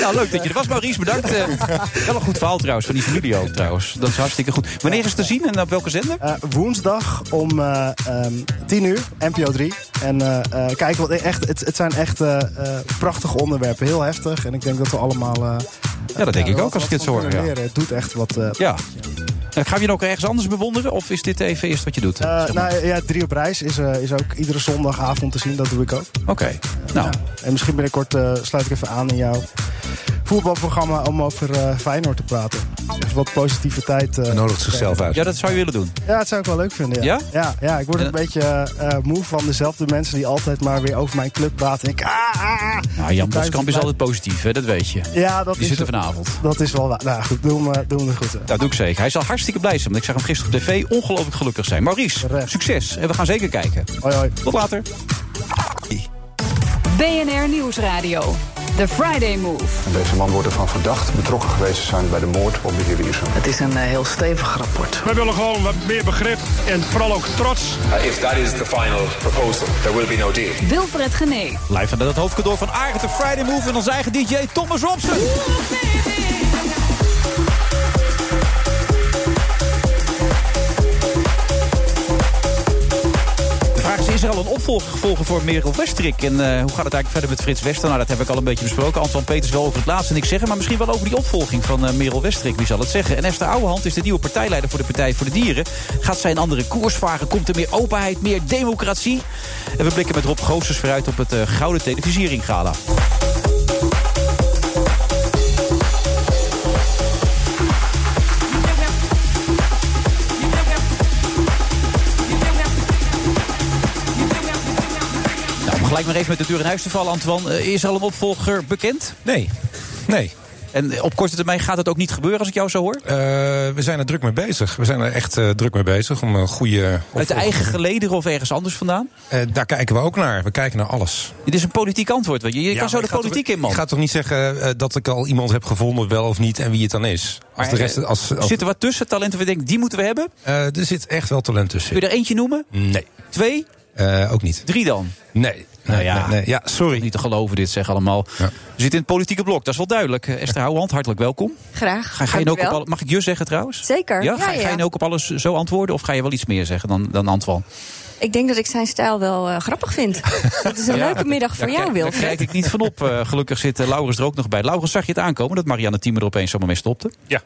Speaker 6: Nou, leuk dat je er was, Maurice. Bedankt. Eh, Wel een goed verhaal trouwens, van die familie ook trouwens. Dat is hartstikke goed. Wanneer is het te zien en op welke zender?
Speaker 12: Eh, woensdag om eh ehm 10 uur, NPO 3. En eh, eh, kijk, wat echt, het, het zijn echt eh, eh, prachtige onderwerpen. Heel heftig. En ik denk dat we allemaal... eh,
Speaker 6: Ja, dat denk
Speaker 12: eh,
Speaker 6: ik ook
Speaker 12: wat-
Speaker 6: als ik dit
Speaker 12: wat van
Speaker 6: zo hoor.
Speaker 12: kunnen
Speaker 6: Ja.
Speaker 12: leren. Het doet echt wat... eh,
Speaker 6: ja. Eh, Gaan we je dan ook ergens anders bewonderen? Of is dit even eerst wat je doet?
Speaker 12: Eh, nou ja, drie op reis is, eh, is ook iedere zondagavond te zien. Dat doe ik ook.
Speaker 6: Oké, nou.
Speaker 12: En misschien binnenkort eh, sluit ik even aan in jouw voetbalprogramma om over eh, Feyenoord te praten. Dus wat positiviteit. eh,
Speaker 7: Nodigt zichzelf uit.
Speaker 6: Ja, dat zou je willen doen.
Speaker 12: Ja, dat zou ik wel leuk vinden. Ja?
Speaker 6: Ja?
Speaker 12: Ja, ja, ik word
Speaker 6: En-
Speaker 12: een beetje eh, eh, moe van dezelfde mensen die altijd maar weer over mijn club praten. Ik, ah,
Speaker 6: Nou, Jan Boskamp is altijd positief, hè? dat weet je.
Speaker 12: Ja, dat
Speaker 6: Die
Speaker 12: is-
Speaker 6: zit er vanavond.
Speaker 12: dat is wel waar. Nou goed, doe hem, eh, doe hem er goed. eh.
Speaker 6: Dat doe ik zeker. Hij zal hartstikke blij zijn, want ik zag hem gisteren op tv ongelooflijk gelukkig zijn. Maurice, succes. En we gaan zeker kijken.
Speaker 12: Hoi, hoi.
Speaker 6: Tot later.
Speaker 1: BNR Nieuwsradio. The Friday Move.
Speaker 2: En deze man wordt ervan verdacht betrokken geweest te zijn bij de moord op de heer Wiersum.
Speaker 3: Het is een eh, heel stevig rapport.
Speaker 4: We willen gewoon wat meer begrip en vooral ook trots.
Speaker 5: Uh, if that is the final proposal, there will be no deal.
Speaker 1: Wilfred Genee.
Speaker 6: Live vanuit het hoofdkantoor van Arendt, de Friday Move... en onze eigen DJ Thomas Robson. er al een opvolger volgen voor Merel Westrik? En eh, hoe gaat het eigenlijk verder met Frits Wester? Nou, dat heb ik al een beetje besproken. Anton Peters wel over het laatste niks zeggen... maar misschien wel over die opvolging van eh, Merel Westrik. Wie zal het zeggen? En Esther Ouwehand is de nieuwe partijleider voor de Partij voor de Dieren. Gaat zij een andere koers varen? Komt er meer openheid, meer democratie? En we blikken met Rob Goossens vooruit op het eh, Gouden Televisiering Gala. Nou, om gelijk maar even met de deur in huis te vallen, Antoine. eh, Is er al een opvolger bekend?
Speaker 7: Nee. Nee.
Speaker 6: En eh, op korte termijn gaat het ook niet gebeuren als ik jou zo hoor?
Speaker 7: Eh, we zijn er druk mee bezig. We zijn er echt eh, druk mee bezig om een goede.
Speaker 6: Uit de eigen gelederen of ergens anders vandaan?
Speaker 7: Eh, daar kijken we ook naar. We kijken naar alles.
Speaker 6: Dit is een politiek antwoord. weet Je, je
Speaker 7: Ja,
Speaker 6: kan zo
Speaker 7: maar
Speaker 6: de
Speaker 7: ik ga
Speaker 6: politiek
Speaker 7: toch-
Speaker 6: in, man.
Speaker 7: Ik ga toch niet zeggen eh, dat ik al iemand heb gevonden, wel of niet, en wie het dan is. Als
Speaker 6: Maar,
Speaker 7: de rest,
Speaker 6: eh,
Speaker 7: als, als,
Speaker 6: Zit er wat tussen talenten waar je denkt, die moeten we hebben?
Speaker 7: eh, er zit echt wel talent tussen.
Speaker 6: Kun je er eentje noemen?
Speaker 7: Nee.
Speaker 6: Twee?
Speaker 7: Eh, ook niet.
Speaker 6: Drie dan?
Speaker 7: Nee.
Speaker 6: Nou ja,
Speaker 7: nee, nee. Ja, sorry.
Speaker 6: Niet te geloven dit zeg allemaal. We zitten in het politieke blok, dat is wel duidelijk. Eh, Esther Houwand, hartelijk welkom.
Speaker 13: Graag.
Speaker 6: Ga, ga je nou ook op
Speaker 13: Dankjewel.
Speaker 6: alle- mag ik je zeggen trouwens?
Speaker 13: Zeker.
Speaker 6: Ja?
Speaker 13: Ja,
Speaker 6: Ga, ga
Speaker 13: ja.
Speaker 6: je nou ook op alles zo antwoorden of ga je wel iets meer zeggen dan, dan Antoine?
Speaker 13: Ik denk dat ik zijn stijl wel eh, grappig vind. Het is een
Speaker 6: Ja,
Speaker 13: leuke
Speaker 6: dat-
Speaker 13: middag voor
Speaker 6: daar
Speaker 13: jou,
Speaker 6: kijk- Daar
Speaker 13: Wilfred.
Speaker 6: kijk ik niet van op. Eh, gelukkig zit eh, Laurens er ook nog bij. Laurens, zag je het aankomen dat Marianne Thieme er opeens zomaar mee stopte?
Speaker 11: Ja.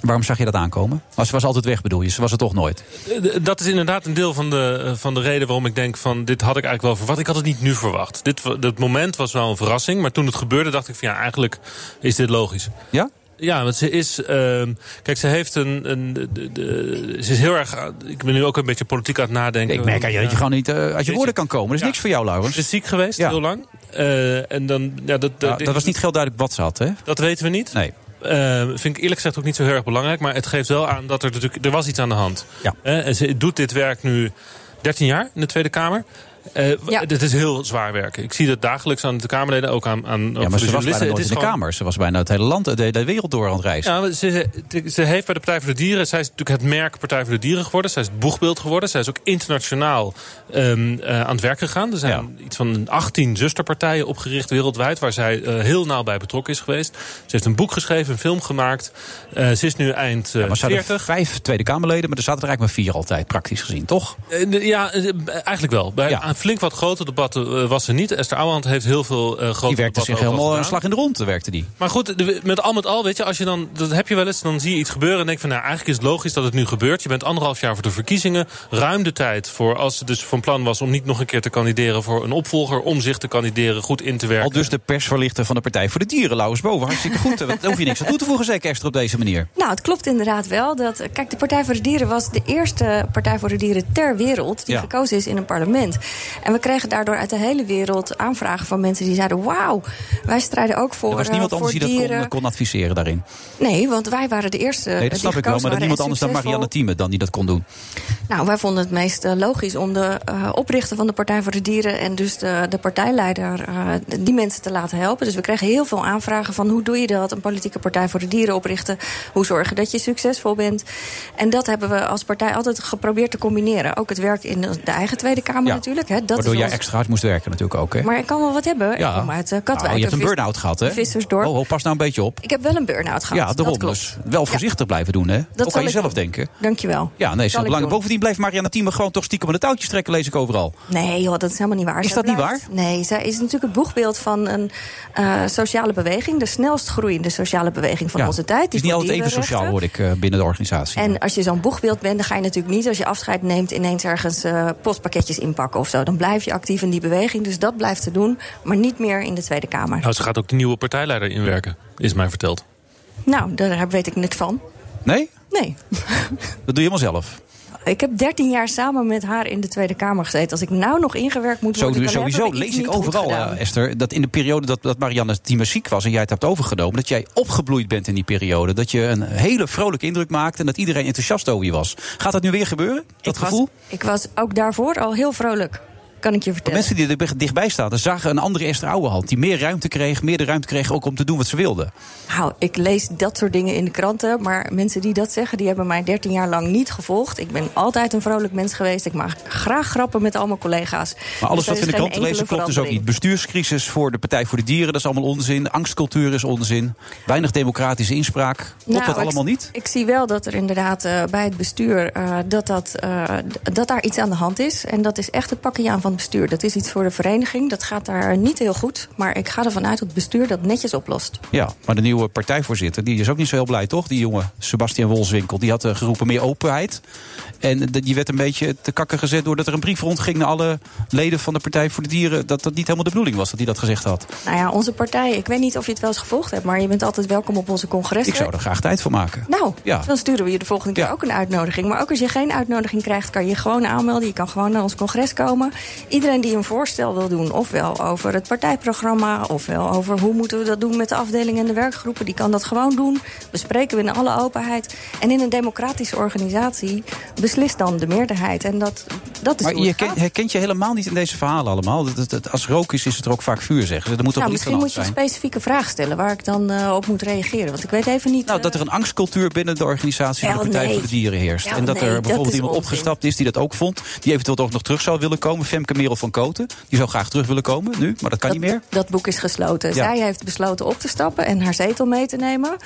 Speaker 6: Waarom zag je dat aankomen? Maar ze was altijd weg bedoel je, ze was er toch nooit.
Speaker 11: Eh, d- Dat is inderdaad een deel van de, eh, van de reden waarom ik denk van dit had ik eigenlijk wel verwacht. Ik had het niet nu verwacht. Dit, wa- dat moment was wel een verrassing, maar toen het gebeurde dacht ik van ja, eigenlijk is dit logisch.
Speaker 6: Ja?
Speaker 11: Ja, want ze is. ehm, kijk, ze heeft een. een de- de- de- ze is heel erg. aan- Ik ben nu ook een beetje politiek aan het nadenken.
Speaker 6: Ik merk aan je dat je gewoon niet eh, uit je woorden kan komen. Dat is niks voor jou, Laurens.
Speaker 11: Ze is ziek geweest, heel lang. Eh, en dan, ja, dat,
Speaker 6: Ja, dat was niet heel duidelijk wat ze had, hè?
Speaker 11: Dat weten we niet.
Speaker 6: Nee.
Speaker 11: Eh, vind ik eerlijk gezegd ook niet zo heel erg belangrijk. Maar het geeft wel aan dat er natuurlijk. Er was iets aan de hand. Eh,
Speaker 6: Ja.
Speaker 11: en ze doet dit werk nu 13 jaar in de Tweede Kamer. Eh w- Dit is heel zwaar werken. Ik zie dat dagelijks aan de Kamerleden, ook aan, aan ook
Speaker 6: Ja,
Speaker 11: voor
Speaker 6: maar ze was bijna
Speaker 11: journalisten.
Speaker 6: nooit in
Speaker 11: Het
Speaker 6: de
Speaker 11: is gewoon-
Speaker 6: Kamer. Ze was bijna het hele land, de hele wereld door aan het reizen.
Speaker 11: ja, maar ze, ze heeft bij de Partij voor de Dieren. Zij is natuurlijk het merk Partij voor de Dieren geworden. Zij is het boegbeeld geworden. Zij is ook internationaal ehm, eh, aan het werk gegaan. Er zijn iets van 18 zusterpartijen opgericht wereldwijd. Waar zij eh, heel nauw bij betrokken is geweest. Ze heeft een boek geschreven, een film gemaakt. Eh, ze is nu eind eh
Speaker 6: maar ze hadden
Speaker 11: 40.
Speaker 6: vijf Tweede Kamerleden, maar er zaten er eigenlijk maar vier altijd, praktisch gezien, toch?
Speaker 11: Eh, de- Ja, eh, b- eigenlijk wel. Bij aan flink wat grote debatten eh, was ze niet. Esther Ouwehand heeft heel veel eh, grote debatten
Speaker 6: Die werkte zich
Speaker 11: ook al
Speaker 6: helemaal een
Speaker 11: gedaan.
Speaker 6: slag in de ronde, werkte die.
Speaker 11: Maar goed, de- met al met al, weet je, als je dan, dat heb je wel eens, dan zie je iets gebeuren en denk van, nou, eigenlijk is het logisch dat het nu gebeurt. Je bent anderhalf jaar voor de verkiezingen, ruim de tijd voor, als ze dus van plan was om niet nog een keer te kandideren voor een opvolger, om zich te kandideren, goed in te werken.
Speaker 6: Al dus de persverlichter van de Partij voor de Dieren, Laurens Boven. Hartstikke goed. hè, want Daar hoef je niks aan toe te voegen, zeker extra op deze manier.
Speaker 13: Nou, het klopt inderdaad wel. Dat, eh, kijk, de Partij voor de Dieren was de eerste Partij voor de Dieren ter wereld die
Speaker 6: Ja.
Speaker 13: gekozen is in een parlement. En we kregen daardoor uit de hele wereld aanvragen van mensen die zeiden: Wauw, wij strijden ook voor.
Speaker 6: Er was niemand
Speaker 13: eh,
Speaker 6: anders die
Speaker 13: voor
Speaker 6: dat kon,
Speaker 13: dieren.
Speaker 6: kon adviseren daarin.
Speaker 13: Nee, want wij waren de eerste.
Speaker 6: Nee,
Speaker 13: eh,
Speaker 6: dat
Speaker 13: die
Speaker 6: snap ik wel.
Speaker 13: gekozen
Speaker 6: Maar dat
Speaker 13: waren
Speaker 6: niemand
Speaker 13: en
Speaker 6: anders dan
Speaker 13: succesvol.
Speaker 6: Marianne Thieme dan die dat kon doen.
Speaker 13: Nou, wij vonden het meest eh, logisch om de eh, oprichter van de Partij voor de Dieren en dus de, de partijleider eh, die mensen te laten helpen. Dus we kregen heel veel aanvragen van hoe doe je dat? Een politieke partij voor de dieren oprichten. Hoe zorgen dat je succesvol bent? En dat hebben we als partij altijd geprobeerd te combineren. Ook het werk in de de eigen Tweede Kamer
Speaker 6: Ja.
Speaker 13: natuurlijk. Hè, dat
Speaker 6: Waardoor
Speaker 13: is
Speaker 6: jij
Speaker 13: ons-
Speaker 6: extra hard moest werken natuurlijk ook. Hè?
Speaker 13: Maar ik kan wel wat hebben.
Speaker 6: Ja.
Speaker 13: Ik kom uit eh, Katwijk.
Speaker 6: Nou, je hebt een
Speaker 13: een vis-
Speaker 6: burn-out gehad, hè?
Speaker 13: Vissersdorp.
Speaker 6: Oh, oh, pas nou een beetje op.
Speaker 13: Ik heb wel een burn-out gehad.
Speaker 6: Ja, daarom.
Speaker 13: dat klopt.
Speaker 6: Dus wel voorzichtig blijven doen, hè?
Speaker 13: zal
Speaker 6: ook aan
Speaker 13: ik
Speaker 6: jezelf
Speaker 13: doen.
Speaker 6: denken.
Speaker 13: Dankjewel.
Speaker 6: Ja, nee, is heel
Speaker 13: Zal ik
Speaker 6: belangrijk.
Speaker 13: doen.
Speaker 6: Bovendien blijft Marianne Thieme gewoon toch stiekem aan de touwtjes trekken, lees ik overal.
Speaker 13: Nee, joh, dat is helemaal niet waar.
Speaker 6: Is
Speaker 13: Zij
Speaker 6: dat niet
Speaker 13: blijft- Nee, zij is natuurlijk het boegbeeld van een eh, sociale beweging. De snelst groeiende sociale beweging van
Speaker 6: Ja.
Speaker 13: onze tijd.
Speaker 6: Het is niet altijd even
Speaker 13: dierenrechten-
Speaker 6: sociaal, hoor ik, eh, binnen de organisatie.
Speaker 13: En als je zo'n boegbeeld bent, dan ga je natuurlijk niet als je afscheid neemt ineens ergens eh, postpakketjes inpakken of zo. Dan blijf je actief in die beweging. Dus dat blijft te doen, maar niet meer in de Tweede Kamer.
Speaker 11: Nou, ze gaat ook de nieuwe partijleider inwerken, is mij verteld.
Speaker 13: Nou, daar weet ik niks van.
Speaker 6: Nee?
Speaker 13: Nee.
Speaker 6: Dat doe je helemaal zelf.
Speaker 13: Ik heb 13 jaar samen met haar in de Tweede Kamer gezeten. Als ik nou nog ingewerkt moet
Speaker 6: Zo, dus
Speaker 13: worden, dan
Speaker 6: sowieso
Speaker 13: hebben we iets
Speaker 6: lees ik
Speaker 13: niet goed
Speaker 6: overal,
Speaker 13: gedaan.
Speaker 6: eh, Esther, dat in de periode dat, dat Marianne Thieme ziek was en jij het hebt overgenomen, dat jij opgebloeid bent in die periode. Dat je een hele vrolijke indruk maakte en dat iedereen enthousiast over je was. Gaat dat nu weer gebeuren? Dat gevoel?
Speaker 13: Ik was ook daarvoor al heel vrolijk, kan ik je vertellen.
Speaker 6: Mensen die er dichtbij zaten zagen een andere Esther Ouwehand. Die meer ruimte kreeg, meer de ruimte kreeg ook om te doen wat ze wilde.
Speaker 13: Nou, ik lees dat soort dingen in de kranten. Maar mensen die dat zeggen, die hebben mij 13 jaar lang niet gevolgd. Ik ben altijd een vrolijk mens geweest. Ik maak graag grappen met al mijn collega's.
Speaker 6: Maar alles
Speaker 13: Dus er
Speaker 6: wat we in
Speaker 13: is
Speaker 6: de krant
Speaker 13: geen enkele
Speaker 6: lezen klopt dus ook
Speaker 13: verandering.
Speaker 6: niet. Bestuurscrisis voor de Partij voor de Dieren, dat is allemaal onzin. Angstcultuur is onzin. Weinig democratische inspraak. Klopt dat
Speaker 13: Nou, ik-
Speaker 6: allemaal niet?
Speaker 13: Ik zie wel dat er inderdaad eh, bij het bestuur eh, dat, dat, eh, d- dat daar iets aan de hand is. En dat is echt het pakje aan van van het bestuur. Dat is iets voor de vereniging. Dat gaat daar niet heel goed. Maar ik ga ervan uit dat het bestuur dat netjes oplost.
Speaker 6: Ja, maar de nieuwe partijvoorzitter, die is ook niet zo heel blij, toch? Die jongen, Sebastian Wolswinkel, die had eh, geroepen meer openheid. En de- die werd een beetje te kakken gezet doordat er een brief rondging naar alle leden van de Partij voor de Dieren. Dat dat niet helemaal de bedoeling was dat hij dat gezegd had.
Speaker 13: Nou ja, onze partij, ik weet niet of je het wel eens gevolgd hebt... maar je bent altijd welkom op onze congressen.
Speaker 6: Ik zou er graag tijd voor maken.
Speaker 13: Nou,
Speaker 6: Ja.
Speaker 13: dan sturen we je de volgende keer ook een uitnodiging. Maar ook als je geen uitnodiging krijgt, kan je je gewoon aanmelden. Je kan gewoon naar ons congres komen. Iedereen die een voorstel wil doen, ofwel over het partijprogramma... ofwel over hoe moeten we dat doen met de afdelingen en de werkgroepen... die kan dat gewoon doen. Bespreken we in alle openheid. En in een democratische organisatie beslist dan de meerderheid. En dat, dat is
Speaker 6: Maar
Speaker 13: hoe
Speaker 6: je
Speaker 13: het
Speaker 6: ken-
Speaker 13: gaat.
Speaker 6: herkent je helemaal niet in deze verhalen allemaal. Dat, dat- dat- als rook is, is het er ook vaak vuur, zeggen ze. Er moet toch wel
Speaker 13: Nou,
Speaker 6: iets
Speaker 13: misschien
Speaker 6: van
Speaker 13: moet
Speaker 6: hand
Speaker 13: je een
Speaker 6: zijn.
Speaker 13: specifieke vraag stellen... waar ik dan eh, op moet reageren. Want ik weet even niet...
Speaker 6: Nou, dat er een angstcultuur binnen de organisatie van de
Speaker 13: Ja,
Speaker 6: Partij
Speaker 13: nee.
Speaker 6: voor de Dieren heerst.
Speaker 13: Ja,
Speaker 6: en dat
Speaker 13: nee,
Speaker 6: er
Speaker 13: dat
Speaker 6: bijvoorbeeld
Speaker 13: is
Speaker 6: iemand
Speaker 13: onzin.
Speaker 6: opgestapt is die dat ook vond. Die eventueel ook nog terug zou willen komen. Femke Merel van Koten. Die zou graag terug willen komen nu, maar dat kan niet meer.
Speaker 13: Dat boek is gesloten.
Speaker 6: Ja.
Speaker 13: Zij heeft besloten op te stappen en haar zetel mee te nemen.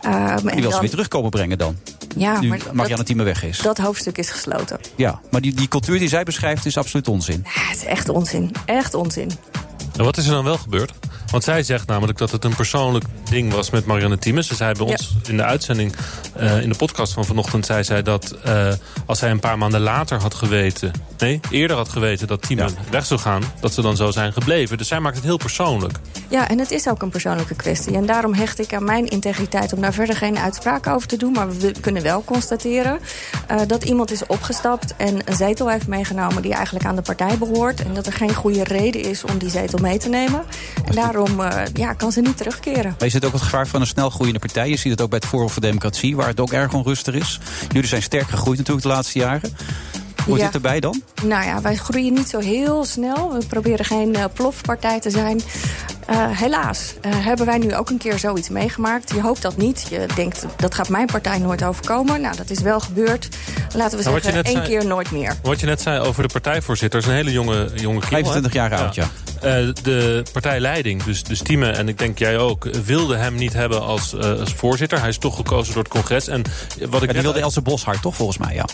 Speaker 13: Ehm, en
Speaker 6: Die wil ze
Speaker 13: dan-
Speaker 6: weer terugkomen brengen dan.
Speaker 13: Ja,
Speaker 6: nu
Speaker 13: maar
Speaker 6: Marianne Thieme weg is.
Speaker 13: dat hoofdstuk is gesloten.
Speaker 6: Ja, maar die, die cultuur die zij beschrijft is absoluut onzin.
Speaker 13: Ah, het is echt onzin. Echt onzin.
Speaker 11: En wat is er dan wel gebeurd? Want zij zegt namelijk dat het een persoonlijk ding was met Marianne Thiemens. Ze zei bij
Speaker 13: Ja.
Speaker 11: ons in de uitzending, eh, in de podcast van vanochtend... zei zij dat eh, als zij een paar maanden later had geweten... nee, eerder had geweten dat Thieme weg zou gaan... dat ze dan zo zijn gebleven. Dus zij maakt het heel persoonlijk.
Speaker 13: Ja, en het is ook een persoonlijke kwestie. En daarom hecht ik aan mijn integriteit om daar verder geen uitspraak over te doen. Maar we kunnen wel constateren eh, dat iemand is opgestapt en een zetel heeft meegenomen die eigenlijk aan de partij behoort. En dat er geen goede reden is om die zetel mee te nemen. En daarom eh, ja, kan ze niet terugkeren.
Speaker 6: Maar je zit ook het gevaar van een snel groeiende partij. Je ziet het ook bij het Forum voor Democratie, waar het ook erg onrustig is. Jullie zijn sterk gegroeid natuurlijk de laatste jaren. Hoort
Speaker 13: Ja.
Speaker 6: dit erbij dan?
Speaker 13: Nou ja, wij groeien niet zo heel snel. We proberen geen eh, plofpartij te zijn. Eh, helaas eh, hebben wij nu ook een keer zoiets meegemaakt. Je hoopt dat niet. Je denkt, dat gaat mijn partij nooit overkomen. Nou, dat is wel gebeurd. Laten we
Speaker 11: Nou, wat je
Speaker 13: zeggen,
Speaker 11: net
Speaker 13: één
Speaker 11: zei-
Speaker 13: keer nooit meer.
Speaker 11: Wat je net zei over de partijvoorzitter, is een hele jonge, jonge kerel.
Speaker 6: 25 jaar oud, ja.
Speaker 11: Eh, de partijleiding, dus, dus Tieme en ik denk jij ook, wilde hem niet hebben als, eh, als voorzitter. Hij is toch gekozen door het congres. En eh, wat ik
Speaker 6: Maar die
Speaker 11: net-
Speaker 6: wilde Else Boshart toch volgens mij, ja.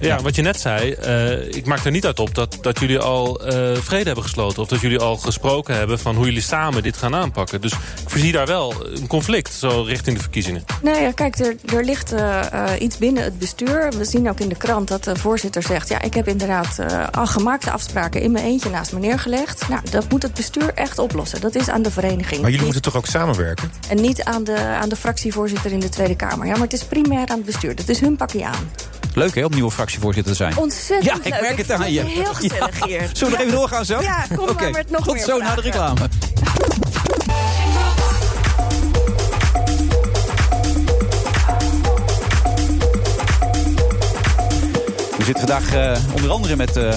Speaker 11: ja, wat je net zei, eh, ik maak er niet uit op dat, dat jullie al eh, vrede hebben gesloten. Of dat jullie al gesproken hebben van hoe jullie samen dit gaan aanpakken. Dus ik voorzie daar wel een conflict, zo richting de verkiezingen.
Speaker 13: Nee, ja, kijk, er, er ligt eh, eh, iets binnen het bestuur. We zien ook in de krant dat de voorzitter zegt... ja, ik heb inderdaad eh, al gemaakte afspraken in mijn eentje naast me neergelegd. Nou, dat moet het bestuur echt oplossen. Dat is aan de vereniging.
Speaker 14: Maar jullie
Speaker 13: Niet-
Speaker 14: moeten toch ook samenwerken?
Speaker 13: En niet aan de, aan de fractievoorzitter in de Tweede Kamer. Ja, maar het is primair aan het bestuur. Dat is hun pakje aan.
Speaker 6: Leuk hè, om nieuwe fractievoorzitter te zijn.
Speaker 13: Ontzettend
Speaker 6: Ja, ik
Speaker 13: leuk.
Speaker 6: merk het aan
Speaker 13: vind
Speaker 6: je.
Speaker 13: Heel gezellig
Speaker 6: Ja.
Speaker 13: hier.
Speaker 6: Zullen we nog
Speaker 13: Ja.
Speaker 6: even doorgaan zo?
Speaker 13: Ja, kom
Speaker 6: Oké,
Speaker 13: maar met nog
Speaker 6: Tot
Speaker 13: meer
Speaker 6: zo na de
Speaker 13: vragen.
Speaker 6: reclame. We zitten vandaag eh, onder andere met eh,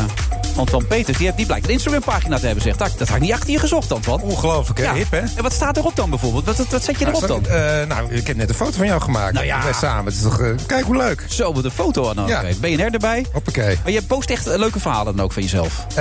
Speaker 6: Antoine Peters. Die, heeft, die blijkt een Instagram-pagina te hebben, zegt. Dat, dat had ik niet achter je gezocht, Antoine.
Speaker 14: Ongelooflijk, hè? Hip, hè?
Speaker 6: En wat staat erop dan bijvoorbeeld? Wat, wat, wat zet je erop
Speaker 7: Ah,
Speaker 6: dan?
Speaker 14: Eh, nou, ik heb net een foto van jou gemaakt.
Speaker 6: Nou ja.
Speaker 14: Wij samen. Het is toch, eh, kijk hoe leuk.
Speaker 6: Zo, wat een foto aan
Speaker 14: Ja.
Speaker 6: Ben BNR erbij.
Speaker 14: Hoppakee.
Speaker 6: Maar je post echt eh, leuke verhalen dan ook van jezelf.
Speaker 7: Eh,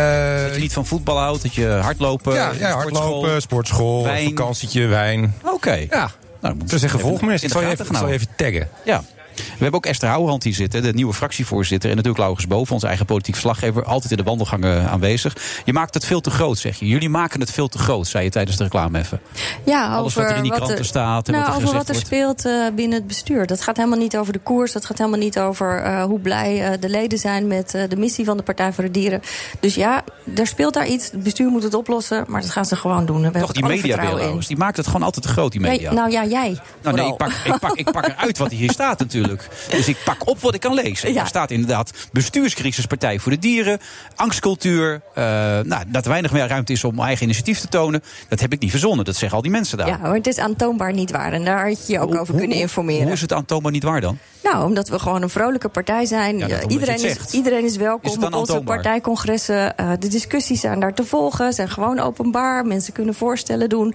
Speaker 6: dat je niet van voetbal houdt, dat je hardlopen...
Speaker 14: ja, ja,
Speaker 6: sportschool.
Speaker 14: hardlopen, sportschool,
Speaker 6: wijn.
Speaker 14: vakantietje, wijn.
Speaker 6: Oké.
Speaker 14: Ja.
Speaker 6: Nou, moet
Speaker 14: Dus zeggen,
Speaker 6: even
Speaker 14: volg me eens.
Speaker 6: in
Speaker 14: Ik
Speaker 6: de
Speaker 14: zal je
Speaker 6: gaten
Speaker 14: even, ik zal je even taggen.
Speaker 6: Ja. We hebben ook Esther Houwehand hier zitten, de nieuwe fractievoorzitter. En natuurlijk Laurens Boven, onze eigen politiek verslaggever. Altijd in de wandelgangen aanwezig. Je maakt het veel te groot, zeg je. Jullie maken het veel te groot, zei je tijdens de reclame even.
Speaker 13: Ja,
Speaker 6: Alles
Speaker 13: over
Speaker 6: wat er in die kranten staat en
Speaker 13: nou,
Speaker 6: wat er
Speaker 13: over
Speaker 6: gezegd
Speaker 13: wat er
Speaker 6: wordt.
Speaker 13: speelt eh, binnen het bestuur. Dat gaat helemaal niet over de koers. Dat gaat helemaal niet over eh, hoe blij eh, de leden zijn met eh, de missie van de Partij voor de Dieren. Dus ja, er speelt daar iets. Het bestuur moet het oplossen, maar dat gaan ze gewoon doen. Daar heb
Speaker 6: Toch
Speaker 13: ik
Speaker 6: die
Speaker 13: alle
Speaker 6: media
Speaker 13: vertrouwen in.
Speaker 6: Laurens, die maakt het gewoon altijd te groot, die media.
Speaker 13: Jij- nou ja, jij.
Speaker 6: Nou nee,
Speaker 13: vooral.
Speaker 6: ik pak, ik, pak, ik pak eruit wat hier staat natuurlijk. Dus ik pak op wat ik kan lezen. En
Speaker 13: Ja.
Speaker 6: Daar staat inderdaad bestuurscrisis, Partij voor de Dieren, angstcultuur. eh, nou, dat er weinig meer ruimte is om eigen initiatief te tonen. Dat heb ik niet verzonnen, dat zeggen al die mensen daar.
Speaker 13: Ja, maar het is aantoonbaar niet waar. En daar had je je ook over kunnen informeren.
Speaker 6: Hoe is het aantoonbaar niet waar dan?
Speaker 13: Nou, omdat we gewoon een vrolijke partij zijn. Eh,
Speaker 6: Ja, dat omdat je
Speaker 13: iedereen,
Speaker 6: het
Speaker 13: is,
Speaker 6: zegt.
Speaker 13: iedereen is welkom
Speaker 6: Is het dan
Speaker 13: op onze
Speaker 6: aantoonbaar?
Speaker 13: partijcongressen. Eh, de discussies zijn daar te volgen, zijn gewoon openbaar. Mensen kunnen voorstellen doen.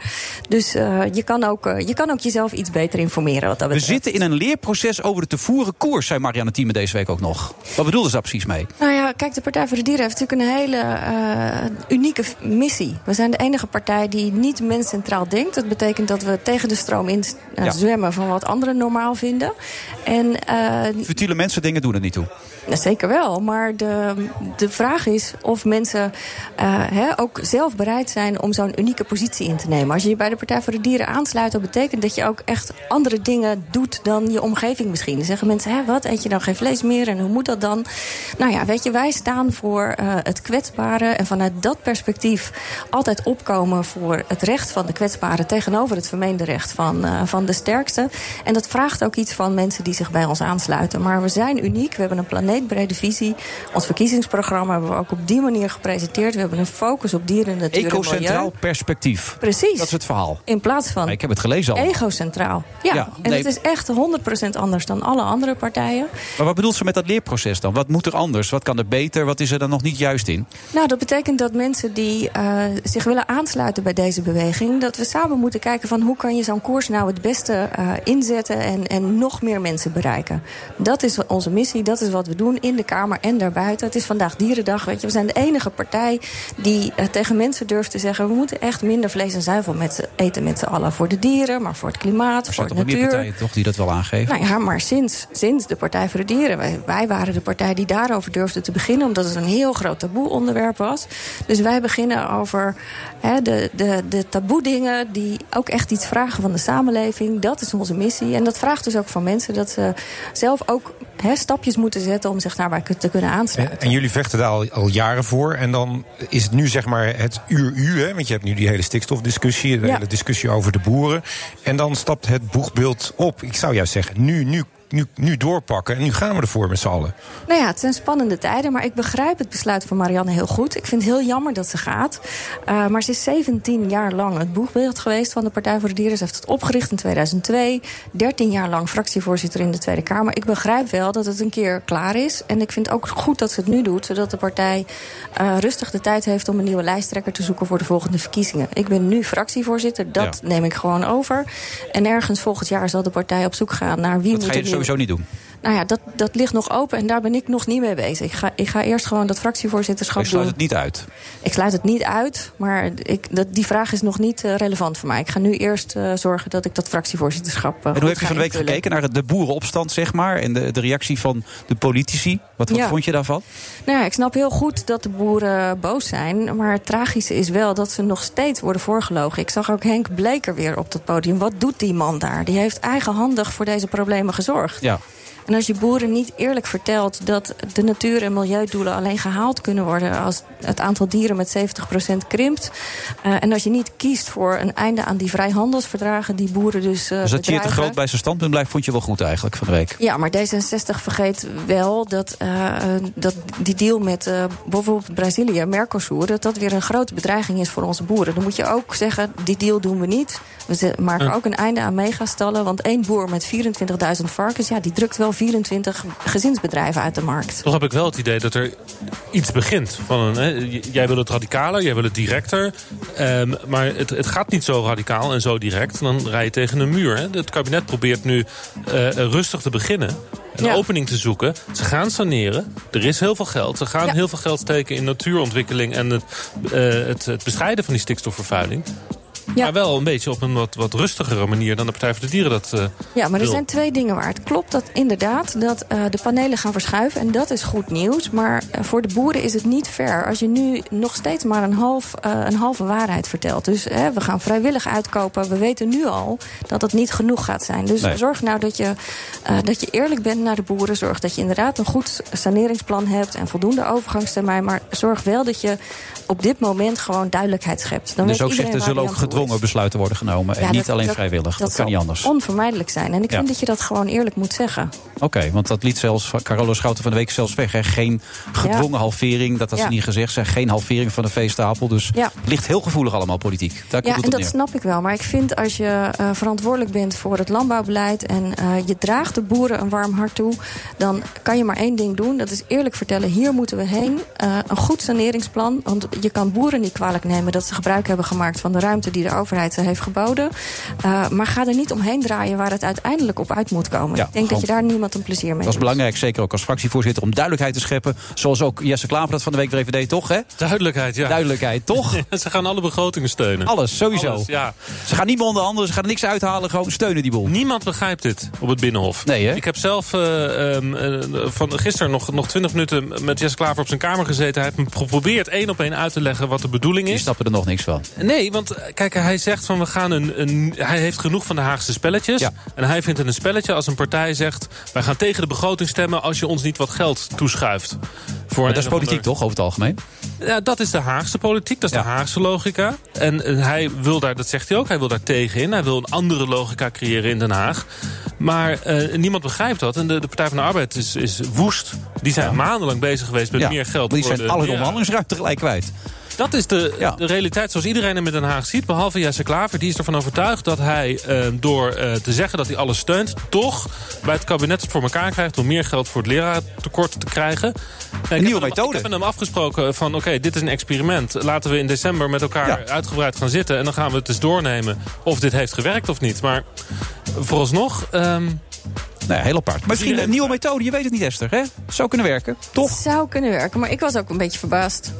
Speaker 13: Dus eh, je, kan ook, eh, je kan ook jezelf iets beter informeren wat dat
Speaker 6: We
Speaker 13: betreft.
Speaker 6: zitten in een leerproces over de te voeren koers, zei Marianne Thieme deze week ook nog. Wat bedoelde ze daar precies mee?
Speaker 13: Nou ja, kijk, de Partij voor de Dieren heeft natuurlijk een hele eh, unieke f- missie. We zijn de enige partij die niet menscentraal denkt. Dat betekent dat we tegen de stroom in eh,
Speaker 6: Ja.
Speaker 13: zwemmen van wat anderen normaal vinden. En eh,
Speaker 6: Futiele mensen dingen doen er niet toe.
Speaker 13: Zeker wel, maar de, de vraag is of mensen eh, hè, ook zelf bereid zijn om zo'n unieke positie in te nemen. Als je je bij de Partij voor de Dieren aansluit, dat betekent dat je ook echt andere dingen doet dan je omgeving misschien. Dan zeggen mensen, hè, wat, eet je dan geen vlees meer en hoe moet dat dan? Nou ja, weet je, wij staan voor eh, het kwetsbare en vanuit dat perspectief altijd opkomen voor het recht van de kwetsbare tegenover het vermeende recht van, eh, van de sterkste. En dat vraagt ook iets van mensen die zich bij ons aansluiten. Maar we zijn uniek, we hebben een planeetbrede visie. Ons verkiezingsprogramma hebben we ook op die manier gepresenteerd. We hebben een focus op dieren, natuur en
Speaker 6: Ecocentraal
Speaker 13: milieu.
Speaker 6: perspectief.
Speaker 13: Precies.
Speaker 6: Dat is het verhaal.
Speaker 13: In plaats van
Speaker 6: Maar ik heb het gelezen al.
Speaker 13: egocentraal. Ja,
Speaker 6: Ja,
Speaker 13: en
Speaker 6: nee.
Speaker 13: het is echt 100% anders dan alle andere partijen.
Speaker 6: Maar wat bedoelt ze met dat leerproces dan? Wat moet er anders? Wat kan er beter? Wat is er dan nog niet juist in?
Speaker 13: Nou, dat betekent dat mensen die eh, zich willen aansluiten bij deze beweging, dat we samen moeten kijken van hoe kan je zo'n koers nou het beste eh, inzetten en, en nog meer mensen bereiken. Dat is onze missie, dat is wat we doen in de Kamer en daarbuiten. Het is vandaag Dierendag, weet je. We zijn de enige partij die eh, tegen mensen durft te zeggen: we moeten echt minder vlees en zuivel met z'n- eten met z'n allen. Voor de dieren, maar voor het klimaat, voor
Speaker 6: Er
Speaker 13: de
Speaker 6: zijn toch wel meer
Speaker 13: natuur.
Speaker 6: partijen toch, die dat wel aangeven?
Speaker 13: Nou ja, maar sinds, sinds de Partij voor de Dieren. Wij, wij waren de partij die daarover durfde te beginnen, omdat het een heel groot taboe-onderwerp was. Dus wij beginnen over hè, de, de, de taboe-dingen die ook echt iets vragen van de samenleving. Dat is onze missie. En dat vraagt dus ook van mensen dat ze zelf ook hè, stapjes moeten zetten om zich daarbij te kunnen aansluiten.
Speaker 7: En jullie vechten daar al, al jaren voor. En dan is het nu zeg maar het uur-u. hè? Want je hebt nu die hele stikstofdiscussie. De
Speaker 13: Ja.
Speaker 7: hele discussie over de boeren. En dan stapt het boegbeeld op. Ik zou juist zeggen, nu, nu, nu, nu doorpakken. En nu gaan we ervoor met z'n allen.
Speaker 13: Nou ja, het zijn spannende tijden, maar ik begrijp het besluit van Marianne heel goed. Ik vind het heel jammer dat ze gaat. Eh, maar ze is 17 jaar lang het boegbeeld geweest van de Partij voor de Dieren. Ze heeft het opgericht in 2002. 13 jaar lang fractievoorzitter in de Tweede Kamer. Ik begrijp wel dat het een keer klaar is. En ik vind ook goed dat ze het nu doet, zodat de partij eh, rustig de tijd heeft om een nieuwe lijsttrekker te zoeken voor de volgende verkiezingen. Ik ben nu fractievoorzitter, dat
Speaker 6: Ja.
Speaker 13: neem ik gewoon over. En ergens volgend jaar zal de partij op zoek gaan naar wie
Speaker 6: Dat
Speaker 13: moet
Speaker 6: ga je dus
Speaker 13: er nieuw-
Speaker 6: sowieso niet doen.
Speaker 13: nou ja, dat, dat ligt nog open en daar ben ik nog niet mee bezig. Ik ga, ik ga eerst gewoon dat
Speaker 6: Maar
Speaker 13: fractievoorzitterschap
Speaker 6: je sluit
Speaker 13: doen.
Speaker 6: het niet uit.
Speaker 13: Ik sluit het niet uit, maar ik, dat, die vraag is nog niet eh, relevant voor mij. Ik ga nu eerst eh, zorgen dat ik dat fractievoorzitterschap. eh,
Speaker 6: En
Speaker 13: goed
Speaker 6: hoe heb je
Speaker 13: ga
Speaker 6: van de week
Speaker 13: invullen.
Speaker 6: gekeken naar de boerenopstand, zeg maar? En de, de reactie van de politici? Wat, wat
Speaker 13: Ja.
Speaker 6: vond je daarvan?
Speaker 13: Nou ja, ik snap heel goed dat de boeren boos zijn. Maar het tragische is wel dat ze nog steeds worden voorgelogen. Ik zag ook Henk Bleker weer op dat podium. Wat doet die man daar? Die heeft eigenhandig voor deze problemen gezorgd.
Speaker 6: Ja.
Speaker 13: En als je boeren niet eerlijk vertelt dat de natuur- en milieudoelen alleen gehaald kunnen worden als het aantal dieren met 70% krimpt. eh, en als je niet kiest voor een einde aan die vrijhandelsverdragen die boeren dus. eh
Speaker 6: Dus dat je te
Speaker 13: bedrijven.
Speaker 6: groot bij zijn standpunt blijft, vond je wel goed eigenlijk van de week.
Speaker 13: Ja, maar D66 vergeet wel dat, eh, dat die deal met eh, bijvoorbeeld Brazilië, Mercosur, dat dat weer een grote bedreiging is voor onze boeren. Dan moet je ook zeggen: die deal doen we niet. We ze- maken
Speaker 15: Ja.
Speaker 13: ook een einde aan megastallen. Want één boer met 24.000 varkens, ja, die drukt wel 24 gezinsbedrijven uit de markt.
Speaker 11: Toch heb ik wel het idee dat er iets begint. Van een, hè, j- jij wil het radicaler, jij wil het directer. ehm, maar het, het gaat niet zo radicaal en zo direct. Dan rij je tegen een muur. Hè. Het kabinet probeert nu eh, eh, rustig te beginnen. Een opening te zoeken. Ze gaan saneren. Er is heel veel geld. Ze gaan
Speaker 13: Ja.
Speaker 11: heel veel geld steken in natuurontwikkeling... en het, eh, het, het bestrijden van die stikstofvervuiling. Maar wel een beetje op een wat, wat rustigere manier... dan de Partij voor de Dieren dat eh,
Speaker 13: Ja, maar er
Speaker 11: wil.
Speaker 13: zijn twee dingen waar. Het klopt dat inderdaad dat eh, de panelen gaan verschuiven. En dat is goed nieuws. Maar eh, voor de boeren is het niet fair als je nu nog steeds maar een, half, eh, een halve waarheid vertelt. Dus hè, we gaan vrijwillig uitkopen. We weten nu al dat het niet genoeg gaat zijn. Dus
Speaker 15: Nee.
Speaker 13: zorg nou dat je, eh, dat je eerlijk bent naar de boeren. Zorg dat je inderdaad een goed saneringsplan hebt en voldoende overgangstermijn. Maar zorg wel dat je op dit moment gewoon duidelijkheid schept. Dan
Speaker 6: dus
Speaker 13: weet
Speaker 6: ook
Speaker 13: iedereen
Speaker 6: zegt, er
Speaker 13: waar
Speaker 6: zullen
Speaker 13: die
Speaker 6: ook
Speaker 13: aan toe is.
Speaker 6: gedwongen besluiten worden genomen. en
Speaker 13: Ja,
Speaker 6: niet
Speaker 13: dat-
Speaker 6: alleen vrijwillig. Dat, kan
Speaker 13: zal
Speaker 6: niet anders.
Speaker 13: Onvermijdelijk zijn. En ik
Speaker 6: Ja.
Speaker 13: vind dat je dat gewoon eerlijk moet zeggen.
Speaker 6: Oké, want dat liet zelfs van- Carola Schouten van de week zelfs weg. Hè. Geen gedwongen
Speaker 13: Ja.
Speaker 6: halvering, dat had ze
Speaker 13: Ja.
Speaker 6: niet gezegd. Ze geen halvering van de veestapel. Dus
Speaker 13: Ja.
Speaker 6: het ligt heel gevoelig allemaal politiek. Daar komt
Speaker 13: Ja,
Speaker 6: het
Speaker 13: en
Speaker 6: op
Speaker 13: dat
Speaker 6: neer.
Speaker 13: snap ik wel. Maar ik vind als je eh, verantwoordelijk bent voor het landbouwbeleid en eh, je draagt de boeren een warm hart toe, dan kan je maar één ding doen. Dat is eerlijk vertellen, hier moeten we heen. Eh, een goed saneringsplan, want je kan boeren niet kwalijk nemen dat ze gebruik hebben gemaakt van de ruimte die er overheid heeft geboden. Uh, maar ga er niet omheen draaien waar het uiteindelijk op uit moet komen.
Speaker 6: Ja,
Speaker 13: ik denk dat
Speaker 6: want-
Speaker 13: je daar niemand een plezier mee
Speaker 6: Dat is
Speaker 13: doet.
Speaker 6: belangrijk, zeker ook als fractievoorzitter, om duidelijkheid te scheppen. Zoals ook Jesse Klaver dat van de week weer even deed, toch? Hè?
Speaker 11: Duidelijkheid, ja.
Speaker 6: Duidelijkheid, toch?
Speaker 11: Ze gaan alle begrotingen steunen.
Speaker 6: Alles, sowieso.
Speaker 11: Alles, ja.
Speaker 6: Ze gaan niet meer onderhandelen, ze gaan er niks uithalen, gewoon steunen die boel.
Speaker 11: Niemand begrijpt dit op het Binnenhof.
Speaker 6: Nee, hè?
Speaker 11: Ik heb zelf eh, ehm, eh, van gisteren nog, nog 20 minuten met Jesse Klaver op zijn kamer gezeten. Hij heeft me geprobeerd één op één uit te leggen wat de bedoeling
Speaker 6: Die
Speaker 11: is.
Speaker 6: snappen er nog niks van.
Speaker 11: Nee, want eh, kijk, hij zegt van we gaan een, een. Hij heeft genoeg van de Haagse spelletjes. En hij vindt het een spelletje als een partij zegt. Wij gaan tegen de begroting stemmen als je ons niet wat geld toeschuift. Voor
Speaker 6: Maar dat is politiek, toch, over het algemeen?
Speaker 11: Ja, dat is de Haagse politiek, dat is de Haagse logica. En eh, hij wil daar, dat zegt hij ook, hij wil daar tegenin. Hij wil een andere logica creëren in Den Haag. Maar eh, niemand begrijpt dat. En de, de Partij van de Arbeid is, is woest. Die zijn maandenlang bezig geweest met
Speaker 6: Ja,
Speaker 11: meer geld.
Speaker 6: want die
Speaker 11: voor
Speaker 6: zijn
Speaker 11: de-
Speaker 6: alle
Speaker 11: Ja.
Speaker 6: onderhandelingsruimte gelijk kwijt.
Speaker 11: Dat is de, de realiteit zoals iedereen hem in Den Haag ziet. Behalve Jesse Klaver. Die is ervan overtuigd dat hij eh, door eh, te zeggen dat hij alles steunt... toch bij het kabinet het voor elkaar krijgt... om meer geld voor het leraartekort te krijgen. Een nieuwe methode. Ik heb met hem afgesproken van... oké, dit is een experiment. Laten we in december met elkaar uitgebreid gaan zitten... en dan gaan we het eens doornemen of dit heeft gewerkt of niet. Maar vooralsnog... ehm
Speaker 6: Nee, heel apart. Maar misschien een nieuwe methode, je weet het niet, Esther. Hè? Zou kunnen werken.
Speaker 13: Het zou kunnen werken, maar ik was ook een beetje verbaasd.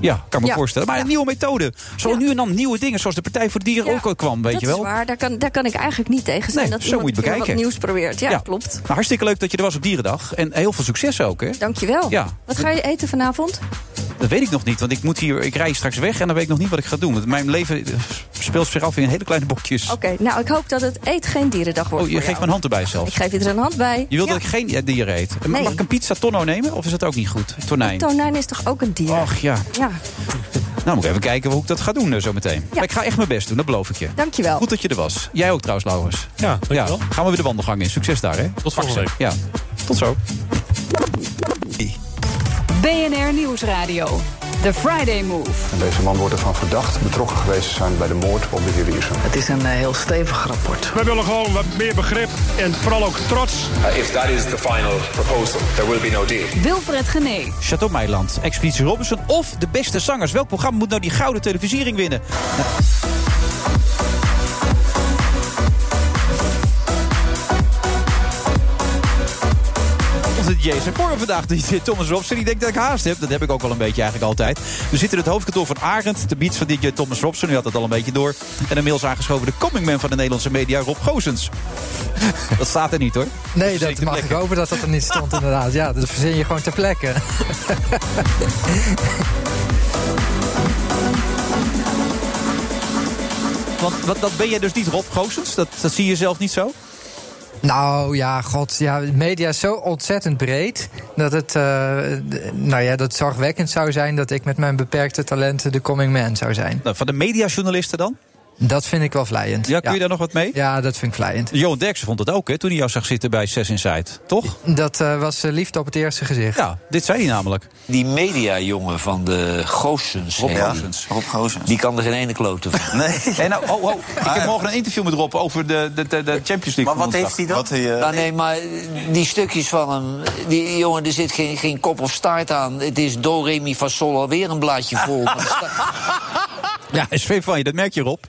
Speaker 6: Ja, kan me
Speaker 13: Ja.
Speaker 6: voorstellen. Maar een nieuwe methode. Zo nu en dan nieuwe dingen, zoals de Partij voor de Dieren ook al kwam, weet
Speaker 13: dat
Speaker 6: je wel.
Speaker 13: is waar, daar kan, daar kan ik eigenlijk niet tegen zijn. dat
Speaker 6: zo
Speaker 13: iemand
Speaker 6: moet je het
Speaker 13: een keer
Speaker 6: bekijken.
Speaker 13: wat nieuws probeert. Ja,
Speaker 6: Ja.
Speaker 13: klopt.
Speaker 6: Nou, hartstikke leuk dat je er was op Dierendag. En heel veel succes ook, hè?
Speaker 13: Dankjewel.
Speaker 6: Ja.
Speaker 13: Wat ga je eten vanavond?
Speaker 6: Dat weet ik nog niet, want ik, moet hier, ik rij straks weg en dan weet ik nog niet wat ik ga doen. Want mijn leven eh, speelt zich af in hele kleine bokjes.
Speaker 13: Oké, nou ik hoop dat het eet geen dierendag wordt
Speaker 6: oh, je
Speaker 13: voor
Speaker 6: geeft
Speaker 13: jou.
Speaker 6: mijn hand erbij
Speaker 13: Ik
Speaker 6: zelfs.
Speaker 13: geef je er een hand bij.
Speaker 6: Je wilt dat ik geen eh, dieren eet. En ma-
Speaker 13: Nee.
Speaker 6: Mag ik een pizza tonno nemen of is dat ook niet goed? Tonijn.
Speaker 13: Tonijn is toch ook een dier?
Speaker 6: Ach ja.
Speaker 13: Ja,
Speaker 6: Nou, moet ik even kijken hoe ik dat ga doen eh, zo meteen. Maar ik ga echt mijn best doen, dat beloof ik je.
Speaker 13: dankjewel.
Speaker 6: Goed dat je er was. Jij ook trouwens, Laurens.
Speaker 11: Ja,
Speaker 6: ja. Gaan we weer de wandelgang in. Succes daar, hè?
Speaker 11: Tot volgende
Speaker 6: Pak ze. Ja, tot zo.
Speaker 1: BNR Nieuwsradio. The Friday Move.
Speaker 2: En deze man wordt ervan verdacht betrokken geweest te zijn bij de moord op de heer Wiersum.
Speaker 3: Het is een eh, heel stevig rapport.
Speaker 4: We willen gewoon wat meer begrip en vooral ook trots.
Speaker 5: Uh, if that is the final proposal, there will be no deal.
Speaker 1: Wilfred Genee.
Speaker 6: Chateau Meiland, Expeditie Robinson of De Beste Zangers. Welk programma moet nou die gouden televisiering winnen? Nou, Onze DJ zijn voor vandaag, DJ Thomas Robson. Die denkt dat ik haast heb. Dat heb ik ook wel een beetje eigenlijk altijd. We zitten in het hoofdkantoor van Arend, de beats van DJ Thomas Robson. U had dat al een beetje door. En inmiddels aangeschoven de coming man van de Nederlandse media, Rob Goosens. Dat staat er niet hoor.
Speaker 15: Nee, dat mag ik hopen dat dat er niet stond inderdaad. Ja, dat verzin je gewoon ter plekke.
Speaker 6: Want wat, dat ben jij dus niet, Rob Goosens. Dat, dat zie je zelf niet zo.
Speaker 15: Nou ja, god, ja, media is zo ontzettend breed dat het, eh, d- nou ja, dat zorgwekkend zou zijn dat ik met mijn beperkte talenten de coming man zou zijn.
Speaker 6: Nou, van de mediajournalisten dan?
Speaker 15: Dat vind ik wel vlijend.
Speaker 6: Ja, kun je daar nog wat mee?
Speaker 15: Ja, dat vind ik vlijend.
Speaker 6: Johan Derksen vond het ook, hè, toen hij jou zag zitten bij Zes Inside. Toch?
Speaker 15: Dat eh, was eh, liefde op het eerste gezicht.
Speaker 6: Ja, dit zei hij namelijk.
Speaker 16: Die mediajongen van de Goossens.
Speaker 6: Rob
Speaker 16: hè, die-
Speaker 6: Goossens.
Speaker 16: Die kan er geen ene klote van. Nee.
Speaker 6: En nou, oh, oh, ik heb morgen een interview met Rob over de, de, de, de Champions League. van woensdag. eh,
Speaker 16: Nou, nee, maar die stukjes van hem... Die jongen, er zit geen, geen kop of staart aan. Het is do, re, mi, fa, sol, alweer een blaadje vol.
Speaker 6: Ja, is veel van je, dat merk je Rob.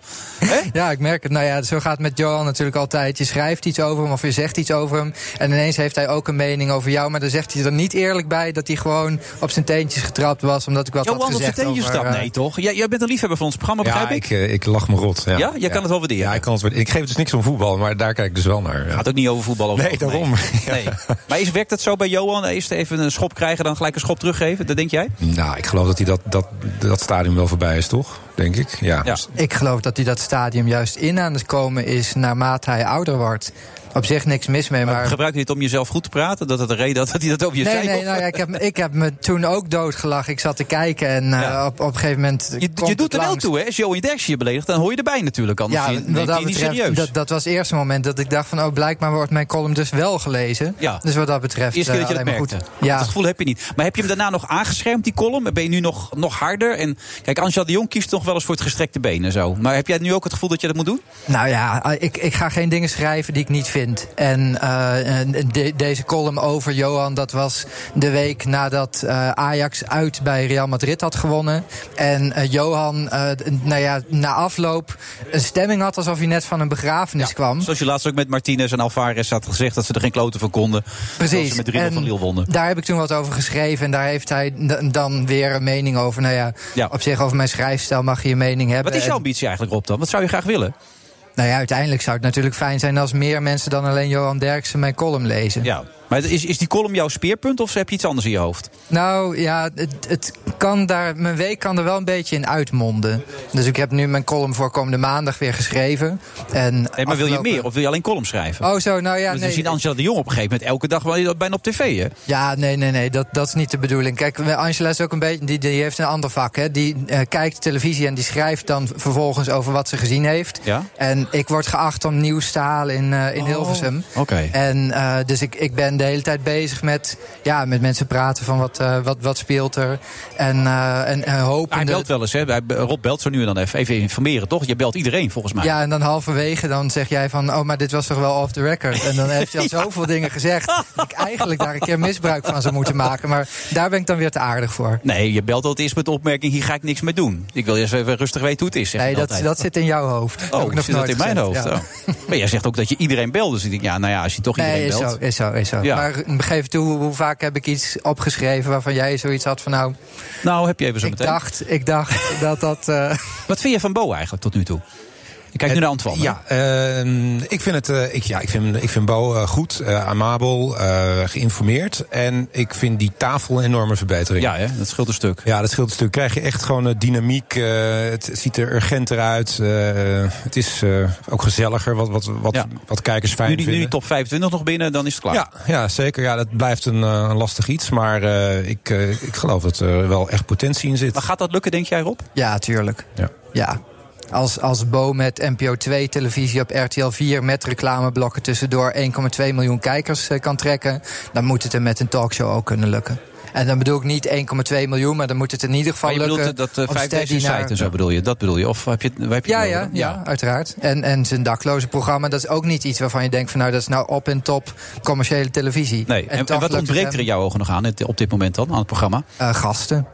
Speaker 15: Ja, ik merk het. Nou ja, zo gaat het met Johan natuurlijk altijd. Je schrijft iets over hem of je zegt iets over hem. En ineens heeft hij ook een mening over jou. Maar dan zegt hij er niet eerlijk bij dat hij gewoon op zijn teentjes getrapt was. Omdat ik wat
Speaker 6: Johan
Speaker 15: had
Speaker 6: op zijn
Speaker 15: gezegd
Speaker 6: teentjes
Speaker 15: over,
Speaker 6: stapt.
Speaker 15: eh,
Speaker 6: Nee, toch? Jij, jij bent een liefhebber van ons programma, begrijp
Speaker 7: ja,
Speaker 6: ik?
Speaker 7: ik, eh, ik lach me rot. Ja,
Speaker 6: Ja? Jij kan het wel waarderen?
Speaker 7: Ja, ik kan het waarderen. Ik geef dus niks om voetbal, maar daar kijk ik dus wel naar. Het
Speaker 6: gaat ook niet over voetbal. Over
Speaker 7: nee,
Speaker 6: het algemeen.
Speaker 7: daarom.
Speaker 6: Nee. Maar is, werkt dat zo bij Johan? Eerst even een schop krijgen, dan gelijk een schop teruggeven? Dat denk jij?
Speaker 7: Nou, ik geloof dat hij dat, dat, dat stadium wel voorbij is, toch? Denk ik. Ja.
Speaker 15: Ik geloof dat hij dat stadium juist in aan het komen is naarmate hij ouder wordt. Op zich niks mis mee, maar...
Speaker 6: Gebruik je het om jezelf goed te praten? Dat het de reden had dat hij dat over je
Speaker 15: Nee,
Speaker 6: zei?
Speaker 15: nee,
Speaker 6: Of-
Speaker 15: nou ja, ik, heb, ik heb me toen ook doodgelachen. Ik zat te kijken en eh, op, op een gegeven moment.
Speaker 6: Je, je doet er wel toe, hè? Als Joey Derksen je beledigt, dan hoor je erbij natuurlijk. Anders
Speaker 15: Ja,
Speaker 6: je- neemt
Speaker 15: wat
Speaker 6: hij
Speaker 15: dat
Speaker 6: je niet
Speaker 15: betreft,
Speaker 6: serieus.
Speaker 15: dat, dat was het eerste moment dat ik dacht van... oh, blijkbaar wordt mijn column dus wel gelezen.
Speaker 6: Ja.
Speaker 15: Dus wat dat betreft,
Speaker 6: Eerste keer dat je
Speaker 15: eh,
Speaker 6: dat
Speaker 15: alleen maar
Speaker 6: merkte.
Speaker 15: goed. Ja.
Speaker 6: Dat gevoel heb je niet. Maar heb je hem daarna nog aangeschermd, die column? Ben je nu nog, nog harder? En kijk, Angela de Jong kiest nog wel eens voor het gestrekte been en zo. Maar heb jij nu ook het gevoel dat je dat moet doen?
Speaker 15: eh, Nou ja, ik, ik ga geen dingen schrijven die ik niet vindt. En eh, de- deze column over Johan, dat was de week nadat eh, Ajax uit bij Real Madrid had gewonnen. En eh, Johan, eh, d- nou ja, na afloop een stemming had alsof hij net van een begrafenis kwam.
Speaker 6: Zoals je laatst ook met Martinez en Alvarez had gezegd dat ze er geen kloten van konden. Dat
Speaker 15: Precies.
Speaker 6: ze met 3
Speaker 15: En
Speaker 6: van Lille wonnen.
Speaker 15: Daar heb ik toen wat over geschreven. En daar heeft hij d- dan weer een mening over. Nou ja,
Speaker 6: Ja.
Speaker 15: op zich over mijn schrijfstijl mag je een mening hebben.
Speaker 6: Wat is jouw
Speaker 15: En-
Speaker 6: ambitie eigenlijk, Rob, dan? Wat zou je graag willen?
Speaker 15: nou ja, uiteindelijk zou het natuurlijk fijn zijn als meer mensen dan alleen Johan Derksen mijn column lezen.
Speaker 6: Ja. Maar is, is die column jouw speerpunt of heb je iets anders in je hoofd?
Speaker 15: Nou ja, het, het kan daar, mijn week kan er wel een beetje in uitmonden. Dus ik heb nu mijn column voor komende maandag weer geschreven. En
Speaker 6: Nee, maar wil je
Speaker 15: afgelopen-
Speaker 6: meer of wil je alleen columns schrijven?
Speaker 15: Oh zo, nou ja,
Speaker 6: Want We
Speaker 15: nee.
Speaker 6: zien Angela de Jong op een gegeven moment elke dag wel bijna op tv, hè?
Speaker 15: Ja, nee, nee, nee, dat, dat is niet de bedoeling. Kijk, Angela is ook een beetje, die, die heeft een ander vak. Hè. Die eh, kijkt televisie en die schrijft dan vervolgens over wat ze gezien heeft.
Speaker 6: Ja?
Speaker 15: En ik word geacht om nieuws te halen in, eh, in Hilversum.
Speaker 6: Oh, Oké.
Speaker 15: En eh, dus ik, ik ben de hele tijd bezig met, ja, met mensen praten van wat, eh, wat, wat speelt er. En, eh en, en hopen.
Speaker 6: Hij belt wel eens, hè? Hij- Rob belt zo nu en dan even. Even informeren, toch? Je belt iedereen, volgens mij.
Speaker 15: Ja, en dan halverwege dan zeg jij van... oh, maar dit was toch wel off the record? En dan heeft hij al zoveel dingen gezegd... dat ik eigenlijk daar een keer misbruik van zou moeten maken. Maar daar ben ik dan weer te aardig voor.
Speaker 6: Nee, je belt altijd eerst met de opmerking, hier ga ik niks mee doen. Ik wil eerst even rustig weten hoe het is. zeg
Speaker 15: Nee,
Speaker 6: je
Speaker 15: dat,
Speaker 6: altijd.
Speaker 15: dat zit in jouw hoofd. Dat
Speaker 6: Oh,
Speaker 15: heb ik nog
Speaker 6: zit dat
Speaker 15: nooit
Speaker 6: in mijn
Speaker 15: gezegd,
Speaker 6: hoofd?
Speaker 15: ja.
Speaker 6: Oh. Maar jij zegt ook dat je iedereen belt. Dus ik denk, ja, nou ja, als je toch iedereen
Speaker 15: Nee, is
Speaker 6: belt...
Speaker 15: zo, is zo, is zo.
Speaker 6: Ja.
Speaker 15: Maar geef toe, hoe, hoe vaak heb ik iets opgeschreven... waarvan jij zoiets had van nou...
Speaker 6: Nou, heb je even zo
Speaker 15: Ik
Speaker 6: meteen.
Speaker 15: dacht, ik dacht dat dat... eh,
Speaker 6: Wat vind je van Bo eigenlijk tot nu toe? Ik kijk nu naar Antoine. hè?
Speaker 7: Ja, ehm, ik vind het. eh, ik, ja, ik vind, ik vind Bo eh, goed, eh, amabel, eh, geïnformeerd. En ik vind die tafel een enorme verbetering.
Speaker 6: Ja, hè, dat scheelt een stuk.
Speaker 7: Ja, dat scheelt een stuk. Krijg je echt gewoon eh, dynamiek. eh, het ziet er urgenter uit. eh, het is eh, ook gezelliger. Wat, wat, wat, wat kijkers fijn
Speaker 6: Nu die, nu
Speaker 7: vinden.
Speaker 6: die top 25 nog binnen, dan is het klaar.
Speaker 7: Ja, ja, zeker. Ja, dat blijft een eh, lastig iets. Maar eh, ik, eh, ik geloof dat er wel echt potentie in zit. Maar
Speaker 6: gaat dat lukken, denk jij, Rob?
Speaker 15: Ja, tuurlijk.
Speaker 7: Ja.
Speaker 15: Als, als Bo met NPO 2 televisie op RTL 4 met reclameblokken tussendoor 1,2 miljoen kijkers eh, kan trekken, dan moet het hem met een talkshow ook kunnen lukken. En dan bedoel ik niet 1,2 miljoen, maar dan moet het in ieder geval
Speaker 6: Maar je bedoelt
Speaker 15: lukken.
Speaker 6: eh, dat eh
Speaker 15: om
Speaker 6: vijf
Speaker 15: steady
Speaker 6: deze site
Speaker 15: naar-
Speaker 6: en zo bedoel je? Dat bedoel je? Of heb je, waar heb je
Speaker 15: Ja,
Speaker 6: het
Speaker 15: ja,
Speaker 6: over?
Speaker 15: ja, uiteraard. En, en zijn dakloze programma, dat is ook niet iets waarvan je denkt van nou, dat is nou op en top commerciële televisie.
Speaker 6: Nee. En, en
Speaker 15: toch
Speaker 6: wat
Speaker 15: lukt het
Speaker 6: ontbreekt er
Speaker 15: hem.
Speaker 6: in jouw ogen nog aan het- op dit moment dan, aan het programma?
Speaker 15: Eh, gasten.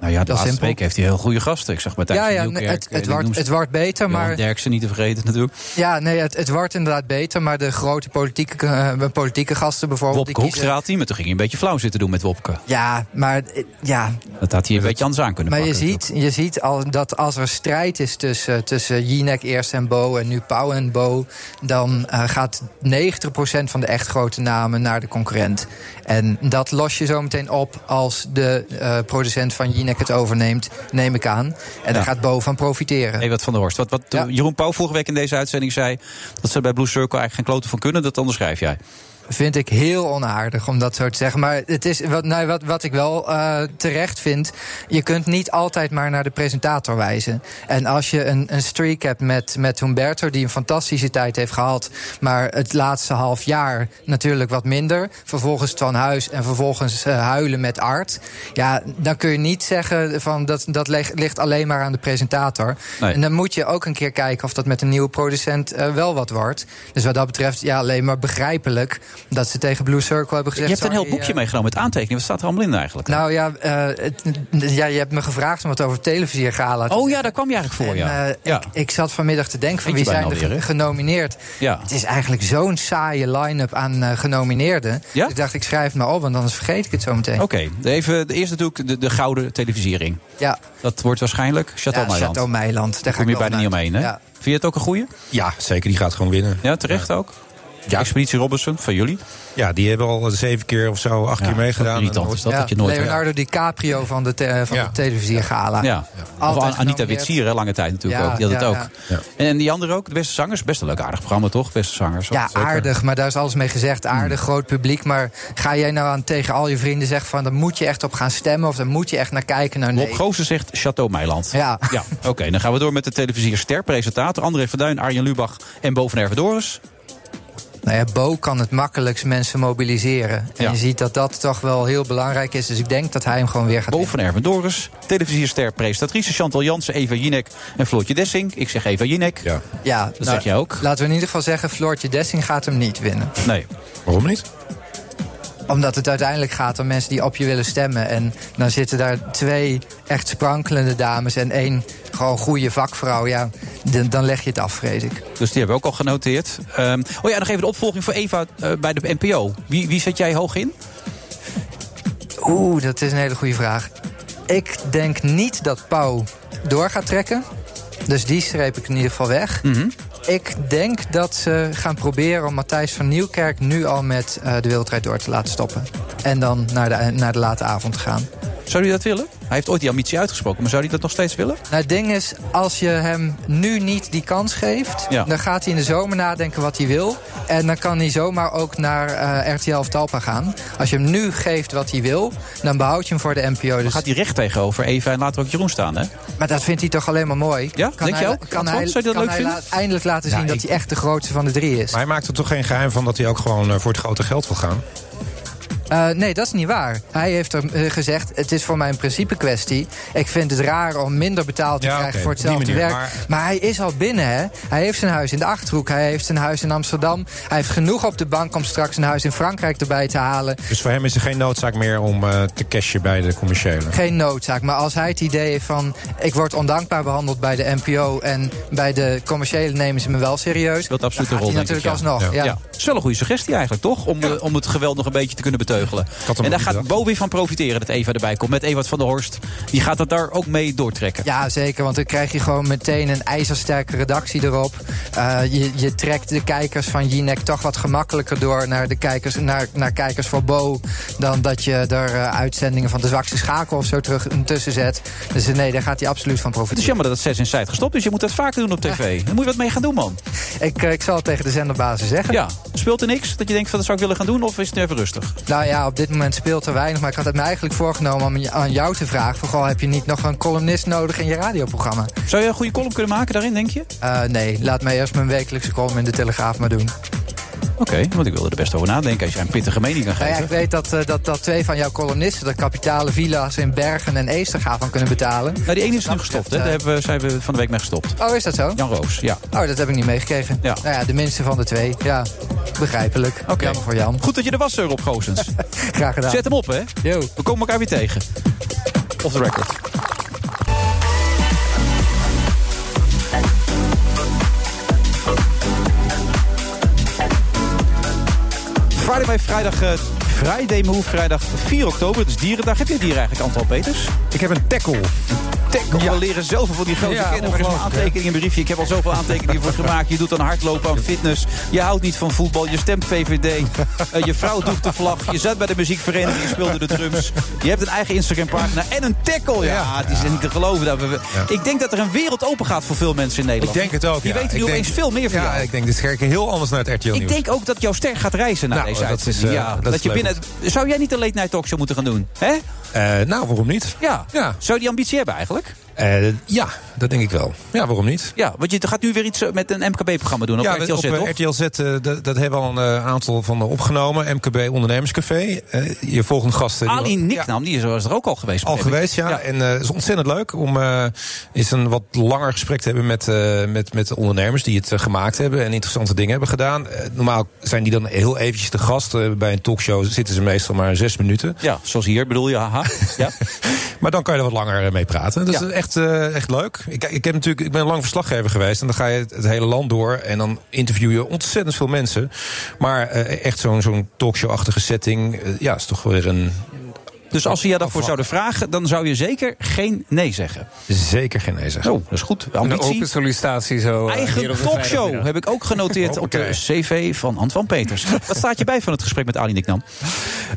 Speaker 6: Nou ja, de
Speaker 15: Dat is
Speaker 6: laatste
Speaker 15: simpel.
Speaker 6: week heeft hij heel goede gasten. Ik zag Martijn
Speaker 15: Ja,
Speaker 6: van
Speaker 15: ja,
Speaker 6: Nieuwkerk.
Speaker 15: nee, het-
Speaker 6: eh,
Speaker 15: het
Speaker 6: die
Speaker 15: wordt-
Speaker 6: noemt-
Speaker 15: het wordt beter,
Speaker 6: Johan
Speaker 15: maar- Oh,
Speaker 6: Derksen niet te vergeten natuurlijk.
Speaker 15: Ja, nee, het, het wordt inderdaad beter, maar de grote politieke, eh, politieke gasten bijvoorbeeld.
Speaker 6: Wopke
Speaker 15: die kiezen-
Speaker 6: Hoekstra had hij, maar toen ging hij een beetje flauw zitten doen met Wopke.
Speaker 15: Ja, maar eh, ja,
Speaker 6: Dat had hij een beetje anders aan kunnen
Speaker 15: maar je
Speaker 6: pakken.
Speaker 15: ziet, je ziet al dat als er strijd is tussen, tussen Jinek eerst en Bo en nu Pauw en Bo, dan eh, gaat 90% van de echt grote namen naar de concurrent. En dat los je zo meteen op als de eh, producent van Jinek het overneemt, neem ik aan. En daar gaat Bo van profiteren.
Speaker 6: Ewert van der Horst. Wat, wat eh, Jeroen Pauw vorige week in deze uitzending zei... dat ze bij Blue Circle eigenlijk geen kloten van kunnen, dat onderschrijf jij.
Speaker 15: Vind ik heel onaardig om dat zo te zeggen. Maar het is wat, nou, wat, wat ik wel eh, terecht vind. Je kunt niet altijd maar naar de presentator wijzen. En als je een, een streak hebt met, met Humberto, die een fantastische tijd heeft gehad. maar het laatste half jaar natuurlijk wat minder. Vervolgens Twan Huis en vervolgens eh, huilen met Art. Ja, dan kun je niet zeggen van dat, dat leg- ligt alleen maar aan de presentator.
Speaker 6: Nee.
Speaker 15: En dan moet je ook een keer kijken of dat met een nieuwe producent eh, wel wat wordt. Dus wat dat betreft, ja, alleen maar begrijpelijk dat ze tegen Blue Circle hebben
Speaker 6: Je
Speaker 15: gezegd.
Speaker 6: hebt een heel
Speaker 15: sorry,
Speaker 6: boekje
Speaker 15: eh,
Speaker 6: meegenomen met aantekeningen. Wat staat er allemaal in eigenlijk?
Speaker 15: nou ja, eh, het- ja, je hebt me gevraagd om het over televisie gala te
Speaker 6: Oh ja, daar kwam je eigenlijk voor,
Speaker 15: en,
Speaker 6: ja.
Speaker 15: eh,
Speaker 6: Ja.
Speaker 15: ik, ik zat vanmiddag te denken van
Speaker 6: Vind
Speaker 15: wie
Speaker 6: je
Speaker 15: zijn
Speaker 6: bijna
Speaker 15: er
Speaker 6: alweer,
Speaker 15: ge-
Speaker 6: hè?
Speaker 15: genomineerd.
Speaker 6: Ja.
Speaker 15: Het is eigenlijk zo'n saaie line-up aan eh, genomineerden. Dus ik dacht, ik schrijf het maar op, want anders vergeet ik het zo meteen.
Speaker 6: Oké, even eerst natuurlijk de, de gouden televisiering.
Speaker 15: Ja.
Speaker 6: Dat wordt waarschijnlijk Chateau
Speaker 15: Ja,
Speaker 6: Meiland.
Speaker 15: Chateau Meiland, daar ga
Speaker 6: kom je
Speaker 15: ik wel
Speaker 6: bijna niet omheen, hè? Vind je het ook een goeie?
Speaker 7: Ja, zeker. Die gaat gewoon winnen.
Speaker 6: Ja, terecht ook?
Speaker 7: Ja.
Speaker 6: Expeditie Robinson, van jullie?
Speaker 7: Ja, die hebben al zeven keer of zo, acht keer meegedaan.
Speaker 6: irritant is dat, dat je nooit... eh,
Speaker 15: Leonardo DiCaprio van de, te- van
Speaker 6: Ja.
Speaker 15: de televisiegala.
Speaker 6: Ja. Of
Speaker 15: Altijd
Speaker 6: An- Anita
Speaker 15: genomineerd.
Speaker 6: Witsier, hè, lange tijd natuurlijk
Speaker 15: Ja,
Speaker 6: ook. Die had het
Speaker 15: ja,
Speaker 6: ook.
Speaker 15: ja.
Speaker 6: En, en die andere ook, de beste zangers. Best een leuk aardig programma, toch? Hmm. Beste zangers.
Speaker 15: Ja, aardig, maar daar is alles mee gezegd. Aardig, groot publiek. Maar ga jij nou aan tegen al je vrienden zeggen van... daar moet je echt op gaan stemmen of daar moet je echt naar kijken? Nou, nee.
Speaker 6: Rob Goosen zegt Chateau Meiland.
Speaker 15: Ja.
Speaker 6: ja. Oké, dan gaan we door met de televisierster, presentator. André van Duin, Arjen Lubach en Boven Ervedoris.
Speaker 15: Nou ja, Bo kan het makkelijkst mensen mobiliseren. En
Speaker 6: Ja.
Speaker 15: je ziet dat dat toch wel heel belangrijk is. Dus ik denk dat hij hem gewoon weer gaat
Speaker 6: Bo van Erven Doris, televisierster, presentatrice Chantal Jansen, Eva Jinek en Floortje Dessing. Ik zeg Eva Jinek. Ja,
Speaker 15: Ja, nou-
Speaker 6: dat zeg jij ook.
Speaker 15: Laten we in ieder geval zeggen, Floortje Dessing gaat hem niet winnen.
Speaker 6: Nee. Waarom niet?
Speaker 15: Omdat het uiteindelijk gaat om mensen die op je willen stemmen. En dan zitten daar twee echt sprankelende dames en één gewoon goede vakvrouw. Ja, dan, dan leg je het af, vrees ik.
Speaker 6: Dus die hebben we ook al genoteerd. Ehm, oh ja, nog even de opvolging voor Eva eh, bij de NPO. Wie, wie zet jij hoog in?
Speaker 15: Oeh, dat is een hele goede vraag. Ik denk niet dat Pauw door gaat trekken. Dus die streep ik in ieder geval weg.
Speaker 6: Mhm.
Speaker 15: Ik denk dat ze gaan proberen om Matthijs van Nieuwkerk nu al met eh, de wereldrijd door te laten stoppen. En dan naar de, naar de late avond te gaan.
Speaker 6: Zou hij dat willen? Hij heeft ooit die ambitie uitgesproken, maar zou hij dat nog steeds willen?
Speaker 15: Nou, het ding is, als je hem nu niet die kans geeft,
Speaker 6: Ja.
Speaker 15: dan gaat hij in de zomer nadenken wat hij wil. En dan kan hij zomaar ook naar eh, RTL of Talpa gaan. Als je hem nu geeft wat hij wil, dan behoud je hem voor de NPO. Dus...
Speaker 6: Gaat hij recht tegenover Eva en later ook Jeroen staan, hè?
Speaker 15: Maar dat vindt hij toch alleen maar mooi. Ja,
Speaker 6: Denk je ook?
Speaker 15: Kan
Speaker 6: Antoine,
Speaker 15: hij,
Speaker 6: zou je dat
Speaker 15: kan
Speaker 6: leuk
Speaker 15: hij
Speaker 6: vinden?
Speaker 15: laat- eindelijk laten zien dat hij echt de grootste van de drie is?
Speaker 7: Maar hij maakt er toch geen geheim van dat hij ook gewoon eh, voor het grote geld wil gaan?
Speaker 15: Eh, nee, dat is niet waar. Hij heeft er eh, gezegd: het is voor mij een principe kwestie. Ik vind het raar om minder betaald te
Speaker 7: Ja,
Speaker 15: krijgen
Speaker 7: oké,
Speaker 15: voor
Speaker 7: op die
Speaker 15: hetzelfde
Speaker 7: manier,
Speaker 15: werk. Maar...
Speaker 7: maar-
Speaker 15: hij is al binnen, hè? Hij heeft zijn huis in de achterhoek, hij heeft zijn huis in Amsterdam. Hij heeft genoeg op de bank om straks een huis in Frankrijk erbij te halen.
Speaker 7: Dus voor hem is er geen noodzaak meer om eh, te cashen bij de commerciële.
Speaker 15: Geen noodzaak, maar als hij het idee heeft van... ik word ondankbaar behandeld bij de NPO... en bij de commerciële nemen ze me wel serieus...
Speaker 6: Speelt absoluut
Speaker 15: dan
Speaker 6: een
Speaker 15: gaat
Speaker 6: rol,
Speaker 15: hij
Speaker 6: denk ik.
Speaker 15: natuurlijk alsnog. Ja.
Speaker 6: Het is wel een goede suggestie eigenlijk, toch? Om, eh, om het geweld nog een beetje te kunnen beteugelen. En daar gaat Bo weer van profiteren dat Eva erbij komt. Met Ewart van der Horst. Die gaat dat daar ook mee doortrekken.
Speaker 15: Ja, zeker. Want dan krijg je gewoon meteen een ijzersterke redactie erop. Eh, je, je trekt de kijkers van Jinek toch wat gemakkelijker door naar, de kijkers, naar, naar kijkers voor Bo. Dan dat je er eh, uitzendingen van de zwakste schakel of zo terug tussen zet. Dus eh, nee, daar gaat hij absoluut van
Speaker 6: Het is
Speaker 15: profiteren.
Speaker 6: jammer dat het 6 in site gestopt is. Je moet dat vaker doen op tv. Daar moet je wat mee gaan doen, man.
Speaker 15: Ik, eh, ik zal het tegen de zenderbazen zeggen.
Speaker 6: Ja. Speelt er niks dat je denkt van dat zou ik willen gaan doen? Of is het nu even rustig?
Speaker 15: Nou ja, op dit moment speelt er weinig. Maar ik had het me eigenlijk voorgenomen om je- aan jou te vragen. Van, goh, heb je niet nog een columnist nodig in je radioprogramma?
Speaker 6: Zou je een goede column kunnen maken daarin, denk je?
Speaker 15: Eh, nee, laat mij eerst mijn wekelijkse column in de Telegraaf maar doen.
Speaker 6: Oké, want ik wilde er best over nadenken als jij een pittige mening kan
Speaker 15: Nou ja,
Speaker 6: geven.
Speaker 15: ik weet dat, eh, dat, dat twee van jouw columnisten de kapitale villa's in Bergen en Eesterhaven kunnen betalen.
Speaker 6: Nou, die ene is nu gestopt, hè? Daar hebben we, zijn we van de week mee gestopt.
Speaker 15: Oh, is dat zo?
Speaker 6: Jan Roos, ja.
Speaker 15: Oh, dat heb ik niet meegekregen. Nou ja, de minste van de twee. Ja, begrijpelijk. Jammer voor Jan.
Speaker 6: Goed dat je er was, eh, Rob Goossens.
Speaker 15: Graag gedaan.
Speaker 6: Zet hem op, hè? We komen elkaar weer tegen. Off the record. Friday bij vrijdag. eh, Friday Move, vrijdag 4 oktober. Het is Dierendag. Heb je dieren eigenlijk, Anton Peters?
Speaker 7: Ik heb een tackle.
Speaker 6: Tackle.
Speaker 7: Ja.
Speaker 6: We leren zoveel van die grote
Speaker 7: Ja,
Speaker 6: kinderen. Maar er is een
Speaker 7: ongelooflijk, hè?
Speaker 6: aantekening, een briefje. Ik heb al zoveel aantekeningen voor gemaakt. Je doet aan hardlopen, aan fitness. Je houdt niet van voetbal. Je stemt VVD. Eh, je vrouw doet de vlag. Je zat bij de muziekvereniging. Je speelde de drums. Je hebt een eigen Instagram-pagina. En een tackle. Ja, het is niet te geloven. Dat we, Ik denk dat er een wereld open gaat voor veel mensen in Nederland.
Speaker 7: Ik denk het ook.
Speaker 6: Die
Speaker 7: ja.
Speaker 6: weten nu
Speaker 7: Ik
Speaker 6: opeens
Speaker 7: denk-
Speaker 6: veel meer van
Speaker 7: Ja,
Speaker 6: jou.
Speaker 7: ik denk dit kijken heel anders naar het RTL
Speaker 6: Ik
Speaker 7: nieuws.
Speaker 6: denk ook dat jouw ster gaat reizen naar
Speaker 7: Nou,
Speaker 6: deze
Speaker 7: dat is,
Speaker 6: uitzending.
Speaker 7: eh,
Speaker 6: ja,
Speaker 7: dat
Speaker 6: dat
Speaker 7: is
Speaker 6: je
Speaker 7: leuk.
Speaker 6: binnen, zou jij niet een late night talkshow moeten gaan doen? Hè?
Speaker 7: Eh, nou, waarom niet?
Speaker 6: Ja. Zou je die ambitie hebben eigenlijk?
Speaker 7: Eh, ja, dat denk ik wel. Ja, waarom niet?
Speaker 6: Ja, want je gaat nu weer iets eh, met een MKB-programma doen op
Speaker 7: ja,
Speaker 6: RTL Z,
Speaker 7: op, eh,
Speaker 6: toch?
Speaker 7: RTL Z, eh, dat, dat hebben we al een eh, aantal van opgenomen. MKB Ondernemerscafé. Eh, je volgende gasten. die-
Speaker 6: Ali Niknam, die is was er ook al geweest.
Speaker 7: Al
Speaker 6: begreep ik.
Speaker 7: geweest, ja. En eh, het is ontzettend leuk om eh, eens een wat langer gesprek te hebben met, eh, met, met de ondernemers die het eh, gemaakt hebben en interessante dingen hebben gedaan. Eh, normaal zijn die dan heel eventjes de gast. Eh, bij een talkshow zitten ze meestal maar zes minuten.
Speaker 6: Ja, zoals hier bedoel je, haha. Ja.
Speaker 7: maar dan kan je er wat langer eh, mee praten. Dat
Speaker 6: Ja.
Speaker 7: is echt, eh, echt leuk. Ik, ik, heb natuurlijk, ik ben lang verslaggever geweest en dan ga je het, het hele land door en dan interview je ontzettend veel mensen. Maar eh, echt zo'n zo'n talkshow-achtige setting, eh, ja, is toch weer een...
Speaker 6: Dus als ze je daarvoor zouden vragen, dan zou je zeker geen nee zeggen.
Speaker 7: Zeker geen nee zeggen.
Speaker 6: Oh, dat is goed.
Speaker 17: Een
Speaker 6: Ambitie.
Speaker 17: open sollicitatie zo. eh, hier
Speaker 6: Eigen
Speaker 17: op een
Speaker 6: talkshow
Speaker 17: vrijdagmiddag.
Speaker 6: heb ik ook genoteerd op de cv van Antoine Peters. Wat staat je bij van het gesprek met Ali Niknam?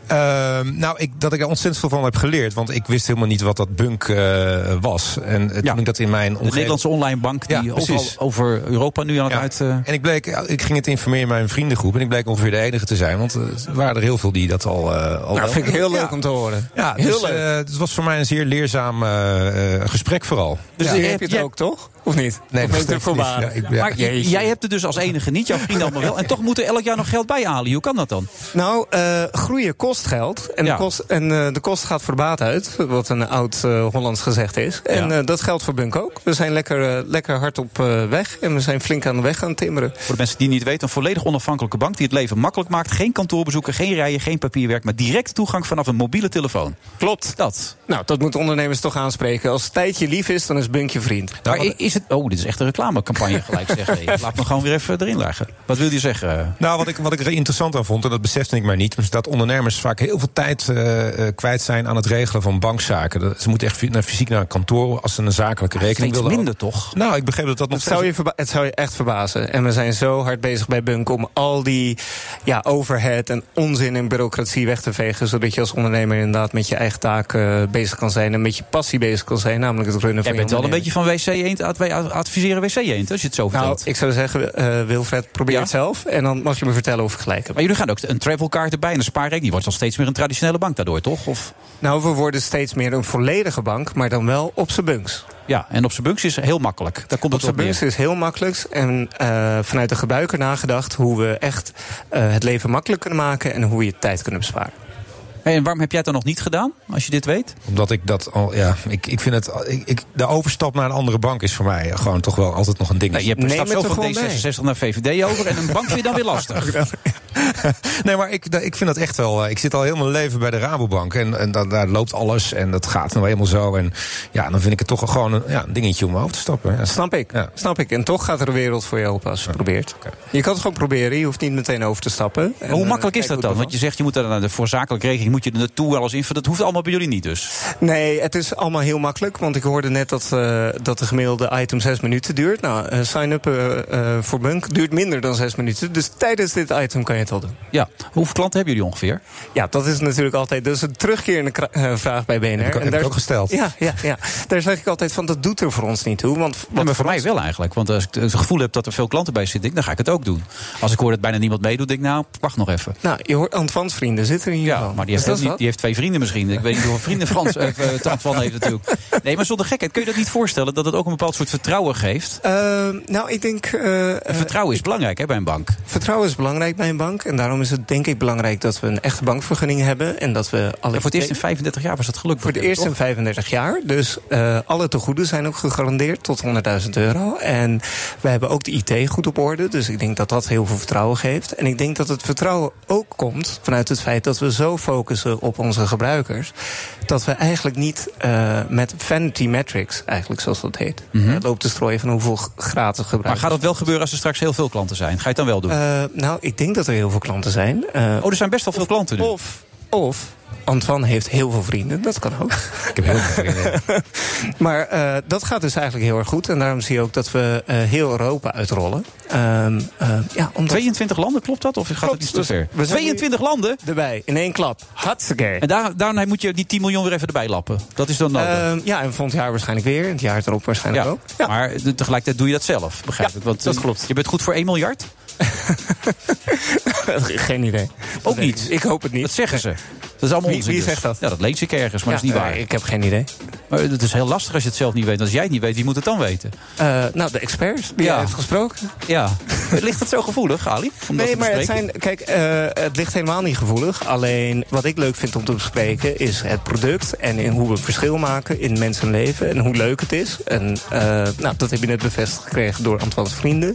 Speaker 7: Ehm, nou, ik, dat ik er ontzettend veel van heb geleerd. Want ik wist helemaal niet wat dat bunk eh, was. En eh, toen ik dat in mijn
Speaker 6: De Nederlandse online bank die
Speaker 7: Ja,
Speaker 6: overal
Speaker 7: precies.
Speaker 6: over Europa nu aan het uit... eh,
Speaker 7: En ik, bleek, ik ging het informeren in mijn vriendengroep. En ik bleek ongeveer de enige te zijn. Want eh, er waren er heel veel die dat al. eh al
Speaker 17: Nou,
Speaker 7: wel-
Speaker 17: vind ik heel leuk
Speaker 7: Ja.
Speaker 17: om te horen.
Speaker 7: Ja,
Speaker 17: heel
Speaker 7: dus, eh,
Speaker 17: leuk.
Speaker 7: het was voor mij een zeer leerzaam eh, eh, gesprek vooral.
Speaker 17: Dus
Speaker 7: Ja.
Speaker 17: hier heb je het ook, toch? Of niet?
Speaker 6: Nee,
Speaker 17: of ben ik te voorbarig?
Speaker 6: Maar j- jij hebt het dus als enige niet, jouw vrienden allemaal wel. En toch moet er elk jaar nog geld bij halen. Hoe kan dat dan?
Speaker 17: Nou, eh, groeien kost geld. En, de, kost, en eh, de kost gaat voor de baat uit. Wat een oud eh, Hollands gezegd is. En eh, dat geldt voor Bunk ook. We zijn lekker, eh, lekker hard op eh, weg. En we zijn flink aan de weg gaan timmeren.
Speaker 6: Voor de mensen die het niet weten, een volledig onafhankelijke bank die het leven makkelijk maakt. Geen kantoorbezoeken, geen rijen, geen papierwerk, maar direct toegang vanaf een mobiele telefoon.
Speaker 17: Klopt.
Speaker 6: Dat.
Speaker 17: Nou, dat moeten ondernemers toch aanspreken. Als het tijdje lief is, dan is Bunk je vriend.
Speaker 6: Maar i- is het. Oh, dit is echt een reclamecampagne gelijk zeg. Hey, Laat me gewoon weer even erin leggen. Wat wil je
Speaker 17: eh,
Speaker 6: zeggen?
Speaker 7: Nou, wat ik, wat ik er interessant aan vond, en dat besefte ik maar niet, is dat ondernemers vaak heel veel tijd eh, eh, kwijt zijn aan het regelen van bankzaken. Dat- Ze moeten echt fy- naar, fysiek naar een kantoor als ze een zakelijke rekening
Speaker 17: Ah, steeds
Speaker 7: willen.
Speaker 17: minder,
Speaker 6: toch?
Speaker 7: Nou, ik begreep dat dat nog
Speaker 17: Het zou, je verba- het zou je echt verbazen. En we zijn zo hard bezig bij Bunk om al die ja, overhead en onzin en bureaucratie weg te vegen. Zodat je als ondernemer inderdaad met je eigen taak eh, bezig kan zijn. En met je passie bezig kan zijn, namelijk het runnen van
Speaker 6: Jij
Speaker 17: je
Speaker 6: bent wel een
Speaker 17: onderneming.
Speaker 6: beetje van WC Eend. ad- Wij adviseren WC Eend, als je het zo vertelt.
Speaker 17: Nou, ik zou zeggen, eh, Wilfred, probeer het zelf. En dan mag je me vertellen of ik gelijk heb.
Speaker 6: Maar jullie gaan ook een travelkaart erbij en een spaarrekening. Die wordt dan steeds meer een traditionele bank daardoor, toch? Of...
Speaker 17: Nou, we worden steeds meer een volledige bank, maar dan wel op z'n bunks.
Speaker 6: Ja, en op zijn bunks is heel makkelijk. Daar komt
Speaker 17: Op
Speaker 6: het
Speaker 17: z'n
Speaker 6: op neer.
Speaker 17: bunks is heel makkelijk. En eh, vanuit de gebruiker nagedacht hoe we echt eh, het leven makkelijk kunnen maken en hoe we je tijd kunnen besparen.
Speaker 6: Hey, en waarom heb jij het dan nog niet gedaan, als je dit weet?
Speaker 7: Omdat ik dat al, ja, ik, ik vind het, ik, ik, de overstap naar een andere bank is voor mij gewoon toch wel altijd nog een ding.
Speaker 6: Nee, Nou, je hebt straks over D66 naar VVD over en een bank vind je dan weer lastig.
Speaker 7: Nee, maar ik, ik vind dat echt wel. eh, Ik zit al heel mijn leven bij de Rabobank. En, en daar, daar loopt alles. En dat gaat nou helemaal zo. En ja, dan vind ik het toch gewoon een, ja, een dingetje om mijn hoofd te stappen. Ja.
Speaker 17: Snap ik, snap ik. En toch gaat er een wereld voor je open als je het probeert. Je kan het gewoon proberen, je hoeft niet meteen over te stappen. eh,
Speaker 6: Maar eh, hoe makkelijk is dat dan? Want je zegt, je moet daar naar de voorzakelijke rekening moet je er naartoe, alles in. Dat hoeft allemaal bij jullie niet dus.
Speaker 17: Nee, het is allemaal heel makkelijk. Want ik hoorde net dat, eh, dat de gemiddelde item zes minuten duurt. Nou, eh, sign-up eh, eh, voor Bunk duurt minder dan zes minuten. Dus tijdens dit item kan je het al doen.
Speaker 6: Ja, hoeveel klanten hebben jullie ongeveer?
Speaker 17: Ja, dat is natuurlijk altijd. Dat is een terugkerende kra- eh, vraag bij BNR.
Speaker 7: ik- heb
Speaker 17: En daar-
Speaker 7: ik ook gesteld.
Speaker 17: Ja, ja, ja, daar zeg ik altijd van: dat doet er voor ons niet toe. Want wat
Speaker 6: Ja, maar voor mij wel eigenlijk. Want als ik het gevoel heb dat er veel klanten bij zitten, dan ga ik het ook doen. Als ik hoor dat bijna niemand meedoet, denk ik, nou, wacht nog even.
Speaker 17: Nou, je hoort Antoine's vrienden zitten hier. Ja,
Speaker 6: Maar die heeft, ook niet, die heeft twee vrienden misschien. Ik weet niet hoeveel vrienden Frans eh, eh, Tant van heeft natuurlijk. Nee, maar zonder gekheid, kun je dat niet voorstellen dat het ook een bepaald soort vertrouwen geeft?
Speaker 17: nou, ik denk. eh, eh,
Speaker 6: En vertrouwen is belangrijk hè, bij een bank.
Speaker 17: Vertrouwen is belangrijk bij een bank. En daarom is het denk ik belangrijk dat we een echte bankvergunning hebben. En dat we alle
Speaker 6: Ja, voor het eerst in 35 jaar was dat gelukt.
Speaker 17: Voor het eerst in 35 jaar. Dus eh, alle tegoeden zijn ook gegarandeerd tot 100.000 euro. En we hebben ook de IT goed op orde. Dus ik denk dat dat heel veel vertrouwen geeft. En ik denk dat het vertrouwen ook komt vanuit het feit dat we zo focussen op onze gebruikers. Dat we eigenlijk niet eh, met vanity metrics, eigenlijk zoals dat heet,
Speaker 6: Mhm.
Speaker 17: eh, lopen te strooien van hoeveel g- gratis gebruikers.
Speaker 6: Maar gaat dat wel gebeuren als er straks heel veel klanten zijn? Ga je het dan wel doen?
Speaker 17: Eh, nou, ik denk dat er heel veel klanten zijn. oh,
Speaker 6: er zijn best wel veel klanten nu.
Speaker 17: Of, of Antoine heeft heel veel vrienden. Dat kan ook.
Speaker 7: Ik heb heel veel vrienden.
Speaker 17: maar eh, dat gaat dus eigenlijk heel erg goed. En daarom zie je ook dat we eh, heel Europa uitrollen. Ehm, eh, ja, omdat...
Speaker 6: 22 landen, klopt dat? Of gaat het iets te ver? 22 landen?
Speaker 17: Erbij, in één klap. Hartstikke.
Speaker 6: En daar, daarna moet je die 10 miljoen weer even erbij lappen. Dat is dan nodig.
Speaker 17: Ehm, ja, en volgend jaar waarschijnlijk weer. En het jaar erop waarschijnlijk
Speaker 6: ja.
Speaker 17: ook.
Speaker 6: Maar de- tegelijkertijd doe je dat zelf, begrijp ik. Want, dat klopt. Je bent goed voor 1 miljard?
Speaker 17: Geen idee.
Speaker 6: Ook niet.
Speaker 17: Ik hoop het niet.
Speaker 6: Dat zeggen ze. Dat is allemaal
Speaker 17: Wie-
Speaker 6: onzin
Speaker 17: wie
Speaker 6: dus.
Speaker 17: zegt dat?
Speaker 6: Ja, dat lees ik ergens, maar
Speaker 17: Ja,
Speaker 6: dat is niet
Speaker 17: nee,
Speaker 6: waar.
Speaker 17: ik heb geen idee.
Speaker 6: Maar het is heel lastig als je het zelf niet weet. Als jij het niet weet, wie moet het dan weten?
Speaker 17: Eh, nou, de experts die jij hebt gesproken.
Speaker 6: Ja. Ligt dat zo gevoelig, Ali? om dat
Speaker 17: nee,
Speaker 6: te
Speaker 17: maar het,
Speaker 6: bespreken?
Speaker 17: zijn, kijk, eh, het ligt helemaal niet gevoelig. Alleen wat ik leuk vind om te bespreken is het product en in hoe we verschil maken in mensenleven en hoe leuk het is. En eh, nou, dat heb je net bevestigd gekregen door Antoine's vrienden.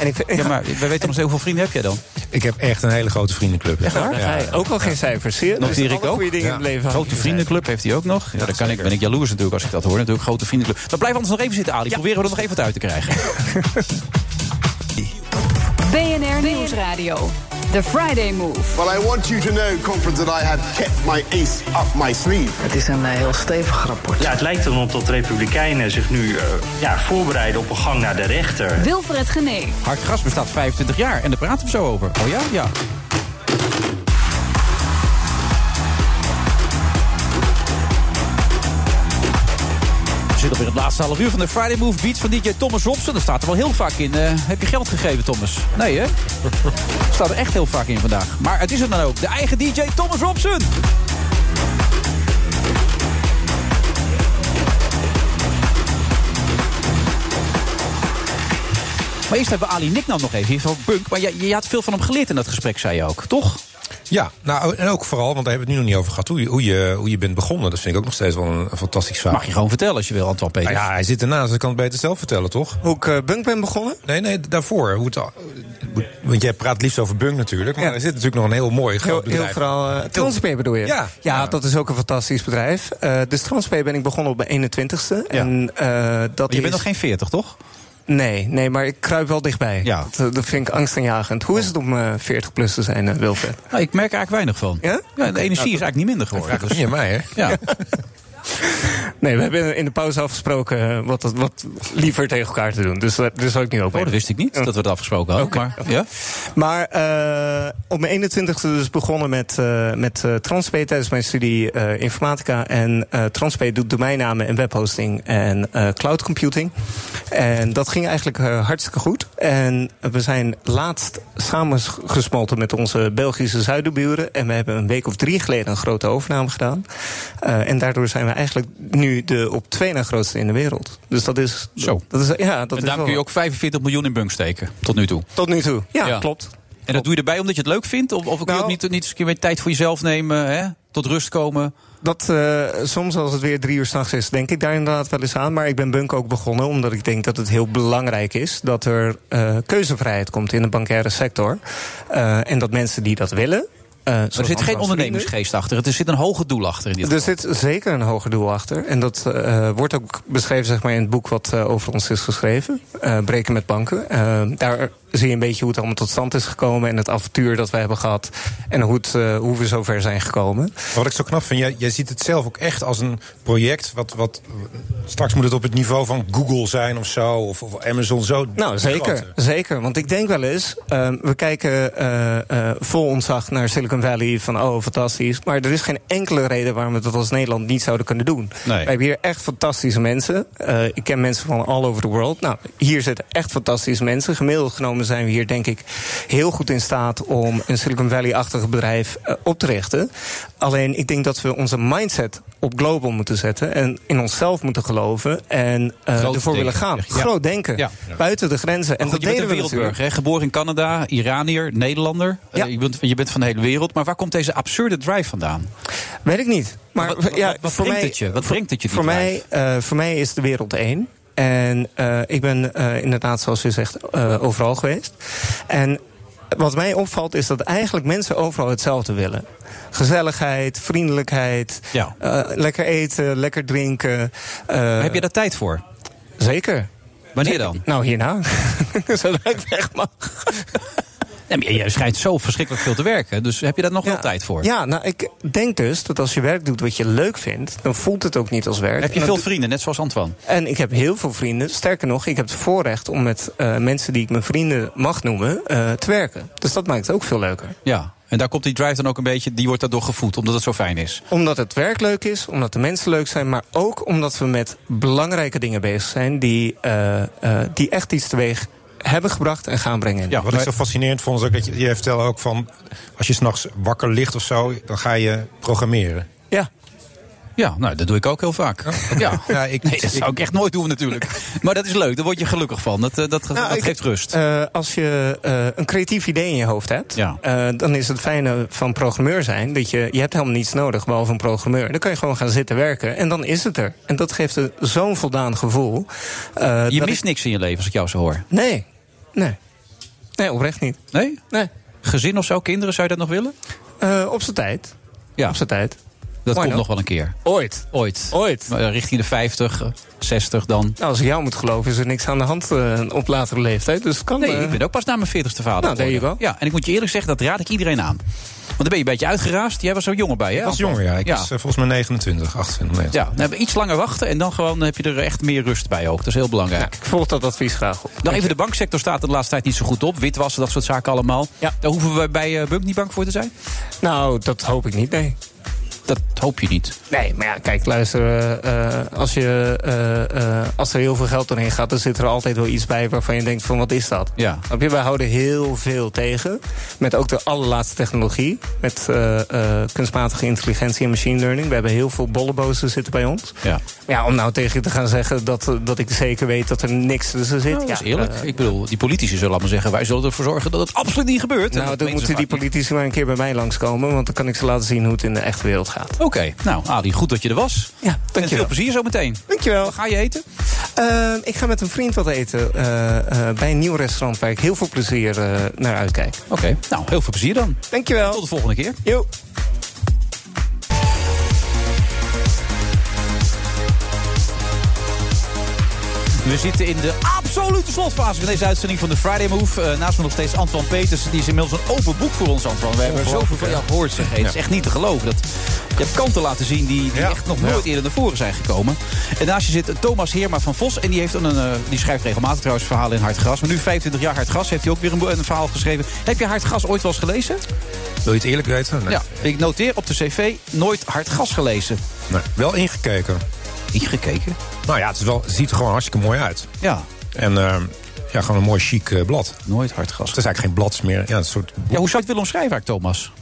Speaker 17: En ik, vind-
Speaker 6: Ja, maar we weten nog eens hoeveel vrienden heb jij dan?
Speaker 7: Ik heb echt een hele grote vriendenclub.
Speaker 17: Echt waar?
Speaker 7: Ja.
Speaker 17: Hij Ook al geen cijfers, zie je?
Speaker 6: Nog
Speaker 17: Dus
Speaker 6: die
Speaker 17: alle
Speaker 6: Rick ook.
Speaker 17: goede dingen
Speaker 6: Ja.
Speaker 17: in het leven
Speaker 6: Grote
Speaker 17: hangen.
Speaker 6: vriendenclub heeft hij ook nog. Ja, daar kan ik, ben ik jaloers natuurlijk als ik dat hoor. Natuurlijk grote vriendenclub. Dan blijven we anders nog even zitten, Ali. Proberen we er nog even wat uit te krijgen.
Speaker 1: BNR Nieuwsradio. The Friday Move.
Speaker 18: Well, I want you to know, conference, that I have kept my ace up my sleeve.
Speaker 3: Het is een eh, heel stevig rapport.
Speaker 19: Ja, het lijkt er op dat de Republikeinen zich nu eh, ja, voorbereiden op een gang naar de rechter.
Speaker 1: Wilfred Gené.
Speaker 6: Hard gras bestaat 25 jaar en daar praten we zo over. Oh ja? Ja. We zitten alweer in het laatste half uur van de Friday Move Beats van DJ Thomas Robson. Dat staat er wel heel vaak in. Eh, heb je geld gegeven, Thomas? Nee, hè? staat er echt heel vaak in vandaag. Maar het is het dan ook. De eigen DJ Thomas Robson. Maar eerst hebben we Ali Nicknam nog even. Hier van Bunk. Maar je, je had veel van hem geleerd in dat gesprek, zei je ook, toch?
Speaker 7: Ja, nou, en ook vooral, want daar hebben we het nu nog niet over gehad, hoe je, hoe je, hoe je bent begonnen. Dat vind ik ook nog steeds wel een, een fantastisch verhaal.
Speaker 6: Mag je gewoon vertellen als je wil, Antoine Peter.
Speaker 7: Nou ja, hij zit ernaast, dus ik kan het beter zelf vertellen, toch?
Speaker 17: Hoe ik eh, Bunk ben begonnen?
Speaker 7: Nee, nee, daarvoor. Hoe het, al- want jij praat het liefst over Bunk natuurlijk, maar er zit natuurlijk nog een heel mooi groot
Speaker 17: Heel, heel
Speaker 7: bedrijf.
Speaker 17: vooral eh Transpair bedoel je?
Speaker 7: Ja.
Speaker 17: ja, dat is ook een fantastisch bedrijf. Eh dus Transpair ben ik begonnen op mijn 21ste. En, eh dat
Speaker 6: je bent
Speaker 17: is-
Speaker 6: nog geen 40, toch?
Speaker 17: Nee, nee, maar ik kruip wel dichtbij.
Speaker 6: Ja.
Speaker 17: Dat, dat vind ik angstaanjagend. Hoe is het om eh 40 plus te zijn, eh, Wilfred?
Speaker 6: Nou, ik merk er eigenlijk weinig van.
Speaker 17: Ja? Nou,
Speaker 6: de energie is eigenlijk niet minder geworden. dus-
Speaker 7: Vraag het niet aan mij, hè?
Speaker 6: Ja.
Speaker 17: Nee, we hebben in de pauze afgesproken eh, wat, wat- wat liever tegen elkaar te doen. Dus daar dus zal ik nu ook
Speaker 6: Oh, dat wist ik niet, dat we het afgesproken hadden. Maar, ja?
Speaker 17: Maar eh, op mijn 21ste dus begonnen met, eh met eh, Transpe tijdens mijn studie eh, informatica. En eh Transpe doet domeinnamen en webhosting en eh, cloud computing. En dat ging eigenlijk eh, hartstikke goed. En we zijn laatst samengesmolten met onze Belgische zuidenburen. En we hebben een week of drie geleden een grote overname gedaan. Eh, en daardoor zijn we eigenlijk nu de op twee na grootste in de wereld. Dus dat is...
Speaker 6: Zo.
Speaker 17: Dat is, ja, dat is
Speaker 6: en daarom
Speaker 17: wel-
Speaker 6: kun je ook 45 miljoen in bunk steken, tot nu toe.
Speaker 17: Tot nu toe, ja, klopt. Nou-
Speaker 6: En dat doe je erbij omdat je het leuk vindt? Of, of kun je ook niet, niet eens een keer weer tijd voor jezelf nemen, hè? tot rust komen?
Speaker 17: Dat eh, soms als het weer drie uur s'nachts is, denk ik daar inderdaad wel eens aan. Maar ik ben Bunk ook begonnen omdat ik denk dat het heel belangrijk is dat er eh, keuzevrijheid komt in de bankaire sector. Eh, en dat mensen die dat willen. eh, zoals
Speaker 6: er zit
Speaker 17: Antoine's
Speaker 6: geen
Speaker 17: vrienden-
Speaker 6: ondernemingsgeest achter, er zit een hoger doel achter in dit
Speaker 17: er zit zeker een hoger doel achter. En dat eh, wordt ook beschreven zeg maar, in het boek wat eh, over ons is geschreven. eh, Breken met banken. Eh, daar zie je een beetje hoe het allemaal tot stand is gekomen. En het avontuur dat we hebben gehad. En hoe, het, eh, hoe we zover zijn gekomen.
Speaker 7: Wat ik zo knap vind, jij, jij ziet het zelf ook echt als een project. Wat, wat, straks moet het op het niveau van Google zijn of zo, of, of Amazon zo.
Speaker 17: Nou, zeker.
Speaker 7: Grote.
Speaker 17: Zeker. Want ik denk wel eens, ehm, we kijken eh eh, vol ontzag naar Silicon Valley van oh, fantastisch. Maar er is geen enkele reden waarom we dat als Nederland niet zouden kunnen doen.
Speaker 6: Nee.
Speaker 17: We hebben hier echt fantastische mensen. Eh, ik ken mensen van all over the world. Nou, hier zitten echt fantastische mensen. Gemiddeld genomen zijn we hier denk ik heel goed in staat om een Silicon Valley-achtig bedrijf eh, op te richten. Alleen ik denk dat we onze mindset op global moeten zetten en in onszelf moeten geloven en eh,
Speaker 6: Groot
Speaker 17: ervoor willen
Speaker 6: denken,
Speaker 17: gaan.
Speaker 6: zeg je. Ja.
Speaker 17: Groot denken.
Speaker 6: Ja.
Speaker 17: Buiten de grenzen. En
Speaker 6: Maar goed,
Speaker 17: dat
Speaker 6: je bent
Speaker 17: deden
Speaker 6: een
Speaker 17: we
Speaker 6: wereldburger,
Speaker 17: natuurlijk.
Speaker 6: hè? geboren in Canada, Iranier, Nederlander. Eh, je, bent, je bent van de hele wereld. Maar waar komt deze absurde drive vandaan?
Speaker 17: Weet ik niet. Maar
Speaker 6: wat, wat-
Speaker 17: ja,
Speaker 6: wat,
Speaker 17: voor
Speaker 6: brengt
Speaker 17: mij-
Speaker 6: het je? Wat brengt het je die
Speaker 17: Voor
Speaker 6: drive?
Speaker 17: mij, eh, voor mij is de wereld één. En eh, ik ben eh, inderdaad, zoals u zegt, eh, overal geweest. En wat mij opvalt is dat eigenlijk mensen overal hetzelfde willen. Gezelligheid, vriendelijkheid,
Speaker 6: Ja.
Speaker 17: eh, lekker eten, lekker drinken. eh.
Speaker 6: Heb je daar tijd voor?
Speaker 17: Zeker.
Speaker 6: Wanneer dan?
Speaker 17: Nou, hierna. Zodra ik weg mag.
Speaker 6: Nee, maar je- je schijnt zo verschrikkelijk veel te werken. Dus heb je daar nog wel tijd voor?
Speaker 17: Ja, nou, ik denk dus dat als je werk doet wat je leuk vindt, dan voelt het ook niet als werk.
Speaker 6: Heb je
Speaker 17: En
Speaker 6: veel
Speaker 17: dat-
Speaker 6: vrienden, net zoals Antoine?
Speaker 17: En ik heb heel veel vrienden. Sterker nog, ik heb het voorrecht om met eh, mensen die ik mijn vrienden mag noemen, eh, te werken. Dus dat maakt het ook veel leuker.
Speaker 6: Ja. En daar komt die drive dan ook een beetje, die wordt daardoor gevoed, omdat het zo fijn is.
Speaker 17: Omdat het werk leuk is, omdat de mensen leuk zijn, maar ook omdat we met belangrijke dingen bezig zijn die, eh, eh, die echt iets teweeg hebben gebracht en gaan brengen.
Speaker 7: Ja, wat ik zo fascinerend vond, is ook dat je, je vertelde ook van. als je s'nachts wakker ligt of zo, dan ga je programmeren.
Speaker 17: Ja.
Speaker 6: Ja, nou, dat doe ik ook heel vaak. Ja,
Speaker 7: ik,
Speaker 6: nee, dat zou ik echt nooit doen natuurlijk. Maar dat is leuk, daar word je gelukkig van. Dat, eh, dat, ge- dat
Speaker 17: ik-
Speaker 6: geeft rust.
Speaker 17: Eh, als je eh, een creatief idee in je hoofd hebt,
Speaker 6: Ja.
Speaker 17: eh, dan is het fijne van programmeur zijn dat je, je hebt helemaal niets nodig behalve een programmeur. Dan kan je gewoon gaan zitten werken en dan is het er. En dat geeft een- zo'n voldaan gevoel. eh,
Speaker 6: Je
Speaker 17: dat
Speaker 6: mist
Speaker 17: ik-
Speaker 6: niks in je leven, als ik jou zo hoor.
Speaker 17: Nee, nee. Nee, oprecht niet.
Speaker 6: Nee?
Speaker 17: Nee.
Speaker 6: Gezin of zo, kinderen, zou je dat nog willen?
Speaker 17: Eh, op zijn tijd.
Speaker 6: Ja.
Speaker 17: Op zijn tijd.
Speaker 6: Dat
Speaker 17: Why not?
Speaker 6: komt nog wel een keer.
Speaker 17: Ooit.
Speaker 6: Ooit.
Speaker 17: Ooit.
Speaker 6: Maar, eh, Richting de 50, eh, 60 dan.
Speaker 17: Nou, als ik jou moet geloven, is er niks aan de hand eh, op latere leeftijd. Dus het kan.
Speaker 6: Nee,
Speaker 17: eh,
Speaker 6: ik ben ook pas na mijn 40ste vader.
Speaker 17: Nou, there you
Speaker 6: geworden. Ja, en ik moet je eerlijk zeggen, dat raad ik iedereen aan. Want dan ben je een beetje uitgeraasd. Jij was zo jonger bij, hè?
Speaker 7: Ik was
Speaker 6: Anton?
Speaker 7: jonger, ja. Ik was eh, volgens mij 29, 28.
Speaker 6: Ja, dan hebben we iets langer wachten en dan gewoon heb je er echt meer rust bij ook. Dat is heel belangrijk.
Speaker 17: ik volg dat advies graag op.
Speaker 6: Dan even de banksector staat er de laatste tijd niet zo goed op. Witwassen, dat soort zaken allemaal. Daar hoeven we bij eh, Bunk niet bang voor te zijn.
Speaker 17: Nou, dat hoop ik niet, nee.
Speaker 6: dat hoop je niet.
Speaker 17: Nee, maar ja, kijk, luister. eh, eh, als, je, eh, eh, als er heel veel geld doorheen gaat, dan zit er altijd wel iets bij waarvan je denkt: van wat is dat?
Speaker 6: Ja.
Speaker 17: Snap je? Wij houden heel veel tegen. Met ook de allerlaatste technologie. Met eh, eh, kunstmatige intelligentie en machine learning. We hebben heel veel bollebozen zitten bij ons.
Speaker 6: Ja.
Speaker 17: Maar ja, om nou tegen je te gaan zeggen dat, eh, dat ik zeker weet dat er niks tussen zit.
Speaker 6: Nou, dat is
Speaker 17: ja,
Speaker 6: eerlijk.
Speaker 17: eh,
Speaker 6: ik bedoel, die politici zullen allemaal zeggen... wij zullen ervoor zorgen dat het absoluut niet gebeurt. En
Speaker 17: nou,
Speaker 6: dat
Speaker 17: dan
Speaker 6: menen
Speaker 17: moeten
Speaker 6: ze
Speaker 17: die
Speaker 6: vaak niet.
Speaker 17: politici maar een keer bij mij langskomen. Want dan kan ik ze laten zien hoe het in de echte wereld gaat.
Speaker 6: Oké, nou Adi, goed dat je er was.
Speaker 17: Ja,
Speaker 6: En
Speaker 17: dankjewel.
Speaker 6: veel plezier zo meteen.
Speaker 17: Dankjewel.
Speaker 6: Ga je eten?
Speaker 17: Ehm, ik ga met een vriend wat eten eh, eh, bij een nieuw restaurant waar ik heel veel plezier eh, naar uitkijk.
Speaker 6: Oké, nou heel veel plezier dan.
Speaker 17: Dankjewel.
Speaker 6: Tot de volgende keer.
Speaker 17: Jo.
Speaker 6: We zitten in de absolute slotfase van deze uitzending van de Friday Move. Eh, naast me nog steeds Antoine Peters. Die is inmiddels een open boek voor ons, Antoine. We hebben er zoveel van jou gehoord. Zeg. Het is
Speaker 7: Ja.
Speaker 6: echt niet te geloven. Dat, je hebt kanten laten zien die, die echt nog nooit eerder naar voren zijn gekomen. En naast je zit Thomas Heerma van Vos. En die, heeft een, eh, die schrijft regelmatig trouwens verhalen in Hard Gras. Maar nu 25 jaar Hard Gras heeft hij ook weer een, bo- een verhaal geschreven. Heb je Hard Gras ooit wel eens gelezen?
Speaker 7: Wil je het eerlijk weten? Nee.
Speaker 6: Ja, ik noteer op de cv nooit Hard Gras gelezen.
Speaker 7: Nee. Wel ingekeken.
Speaker 6: Ingekeken?
Speaker 7: Nou ja, het, is wel, het ziet er gewoon hartstikke mooi uit.
Speaker 6: Ja.
Speaker 7: En eh, ja, gewoon een mooi chic eh, blad.
Speaker 6: Nooit hard gras.
Speaker 7: Het is eigenlijk geen blad meer. Ja, een soort
Speaker 6: Ja, hoe zou je het willen omschrijven eigenlijk, Thomas?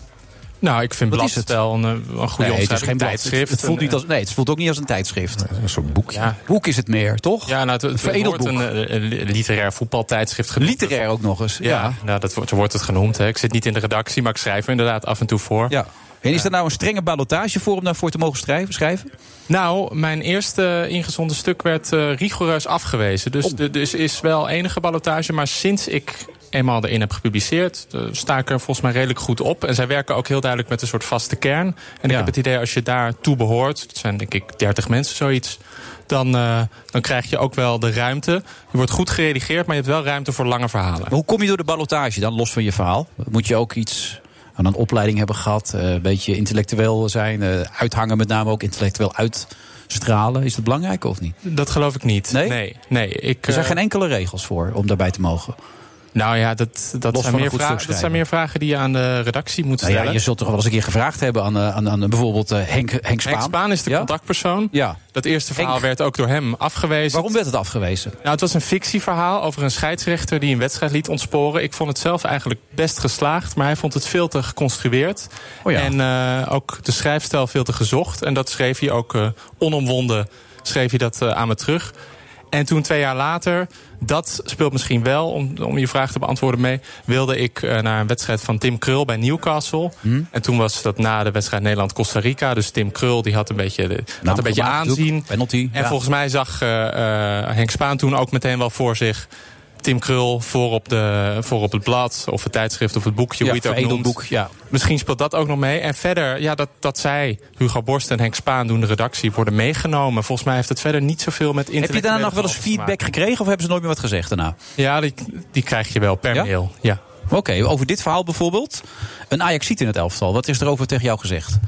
Speaker 20: Nou, ik vind
Speaker 6: Wat is
Speaker 20: Blad wel een, eh, een goede
Speaker 6: nee,
Speaker 20: omschrijving.
Speaker 6: het is geen blad.
Speaker 20: tijdschrift.
Speaker 6: Het, het
Speaker 20: En,
Speaker 6: voelt
Speaker 20: eh,
Speaker 6: niet als, nee, het voelt ook niet als een tijdschrift.
Speaker 7: een soort boekje.
Speaker 6: Boek is het meer, toch?
Speaker 20: Ja, nou, het, het
Speaker 6: veredeld
Speaker 20: wordt een, eh, een li- literair voetbaltijdschrift genoemd.
Speaker 6: Literair ook nog eens.
Speaker 20: Ja, Nou, dat wordt, zo wordt het genoemd. Hè. Ik zit niet in de redactie, maar ik schrijf er inderdaad af en toe voor.
Speaker 6: Ja. En is er nou een strenge ballotage voor om daarvoor te mogen schrijven? schrijven?
Speaker 20: Nou, mijn eerste ingezonden stuk werd eh, rigoureus afgewezen.
Speaker 6: Oh.
Speaker 20: Dus er dus is wel enige ballotage. Maar sinds ik eenmaal erin heb gepubliceerd, eh, sta ik er volgens mij redelijk goed op. En zij werken ook heel duidelijk met een soort vaste kern. En ik heb het idee, als je daartoe behoort, het zijn denk ik 30 mensen zoiets. Dan, eh, dan krijg je ook wel de ruimte. Je wordt goed geredigeerd, maar je hebt wel ruimte voor lange verhalen.
Speaker 6: Maar hoe kom je door de ballotage dan, los van je verhaal? Moet je ook iets aan een opleiding hebben gehad? eh, Een beetje intellectueel zijn? eh, Uithangen met name ook, intellectueel uitstralen? Is dat belangrijk of niet?
Speaker 20: Dat geloof ik niet. Nee? Nee. ik,
Speaker 6: er zijn
Speaker 20: eh,
Speaker 6: geen enkele regels voor om daarbij te mogen.
Speaker 20: Nou ja, dat, dat, zijn
Speaker 6: Los van een
Speaker 20: meer,
Speaker 6: goed
Speaker 20: vragen,
Speaker 6: stuk
Speaker 20: dat zijn meer vragen die je aan de redactie moet
Speaker 6: Nou
Speaker 20: stellen.
Speaker 6: ja, je zult toch wel eens een keer gevraagd hebben aan, eh, aan, aan bijvoorbeeld eh, Henk, Henk Spaan.
Speaker 20: Henk Spaan is de contactpersoon.
Speaker 6: Ja.
Speaker 20: Dat eerste verhaal werd ook door hem afgewezen.
Speaker 6: Waarom werd het afgewezen?
Speaker 20: Nou, het was een fictieverhaal over een scheidsrechter die een wedstrijd liet ontsporen. Ik vond het zelf eigenlijk best geslaagd, maar hij vond het veel te geconstrueerd.
Speaker 6: Oh
Speaker 20: En eh, ook de schrijfstijl veel te gezocht. En dat schreef hij ook eh, onomwonden schreef hij dat, eh, aan me terug. En toen twee jaar later, dat speelt misschien wel, om, om je vraag te beantwoorden mee... wilde ik eh, naar een wedstrijd van Tim Krul bij Newcastle.
Speaker 6: Hmm?
Speaker 20: En toen was dat na de wedstrijd Nederland-Costa Rica. Dus Tim Krul die had een beetje, de- had een beetje
Speaker 6: gemaakt,
Speaker 20: aanzien.
Speaker 6: doek, Nou, penalty,
Speaker 20: en
Speaker 6: ja.
Speaker 20: volgens mij zag eh, eh, Henk Spaan toen ook meteen wel voor zich... Tim Krul voor op, de, voor op het blad, of het tijdschrift, of het boekje,
Speaker 6: Ja,
Speaker 20: hoe je het ook
Speaker 6: veredeld
Speaker 20: noemt.
Speaker 6: boek, ja.
Speaker 20: Misschien speelt dat ook nog mee. En verder, ja, dat, dat zij, Hugo Borst en Henk Spaan doen de redactie, worden meegenomen. Volgens mij heeft het verder niet zoveel met
Speaker 6: Heb je daarna nog wel eens feedback gekregen of hebben ze nooit meer wat gezegd daarna?
Speaker 20: Ja, die, die krijg je wel per mail. Ja.
Speaker 6: Oké, over dit verhaal bijvoorbeeld. Een Ajaxiet in het elftal. Wat is er over tegen jou gezegd?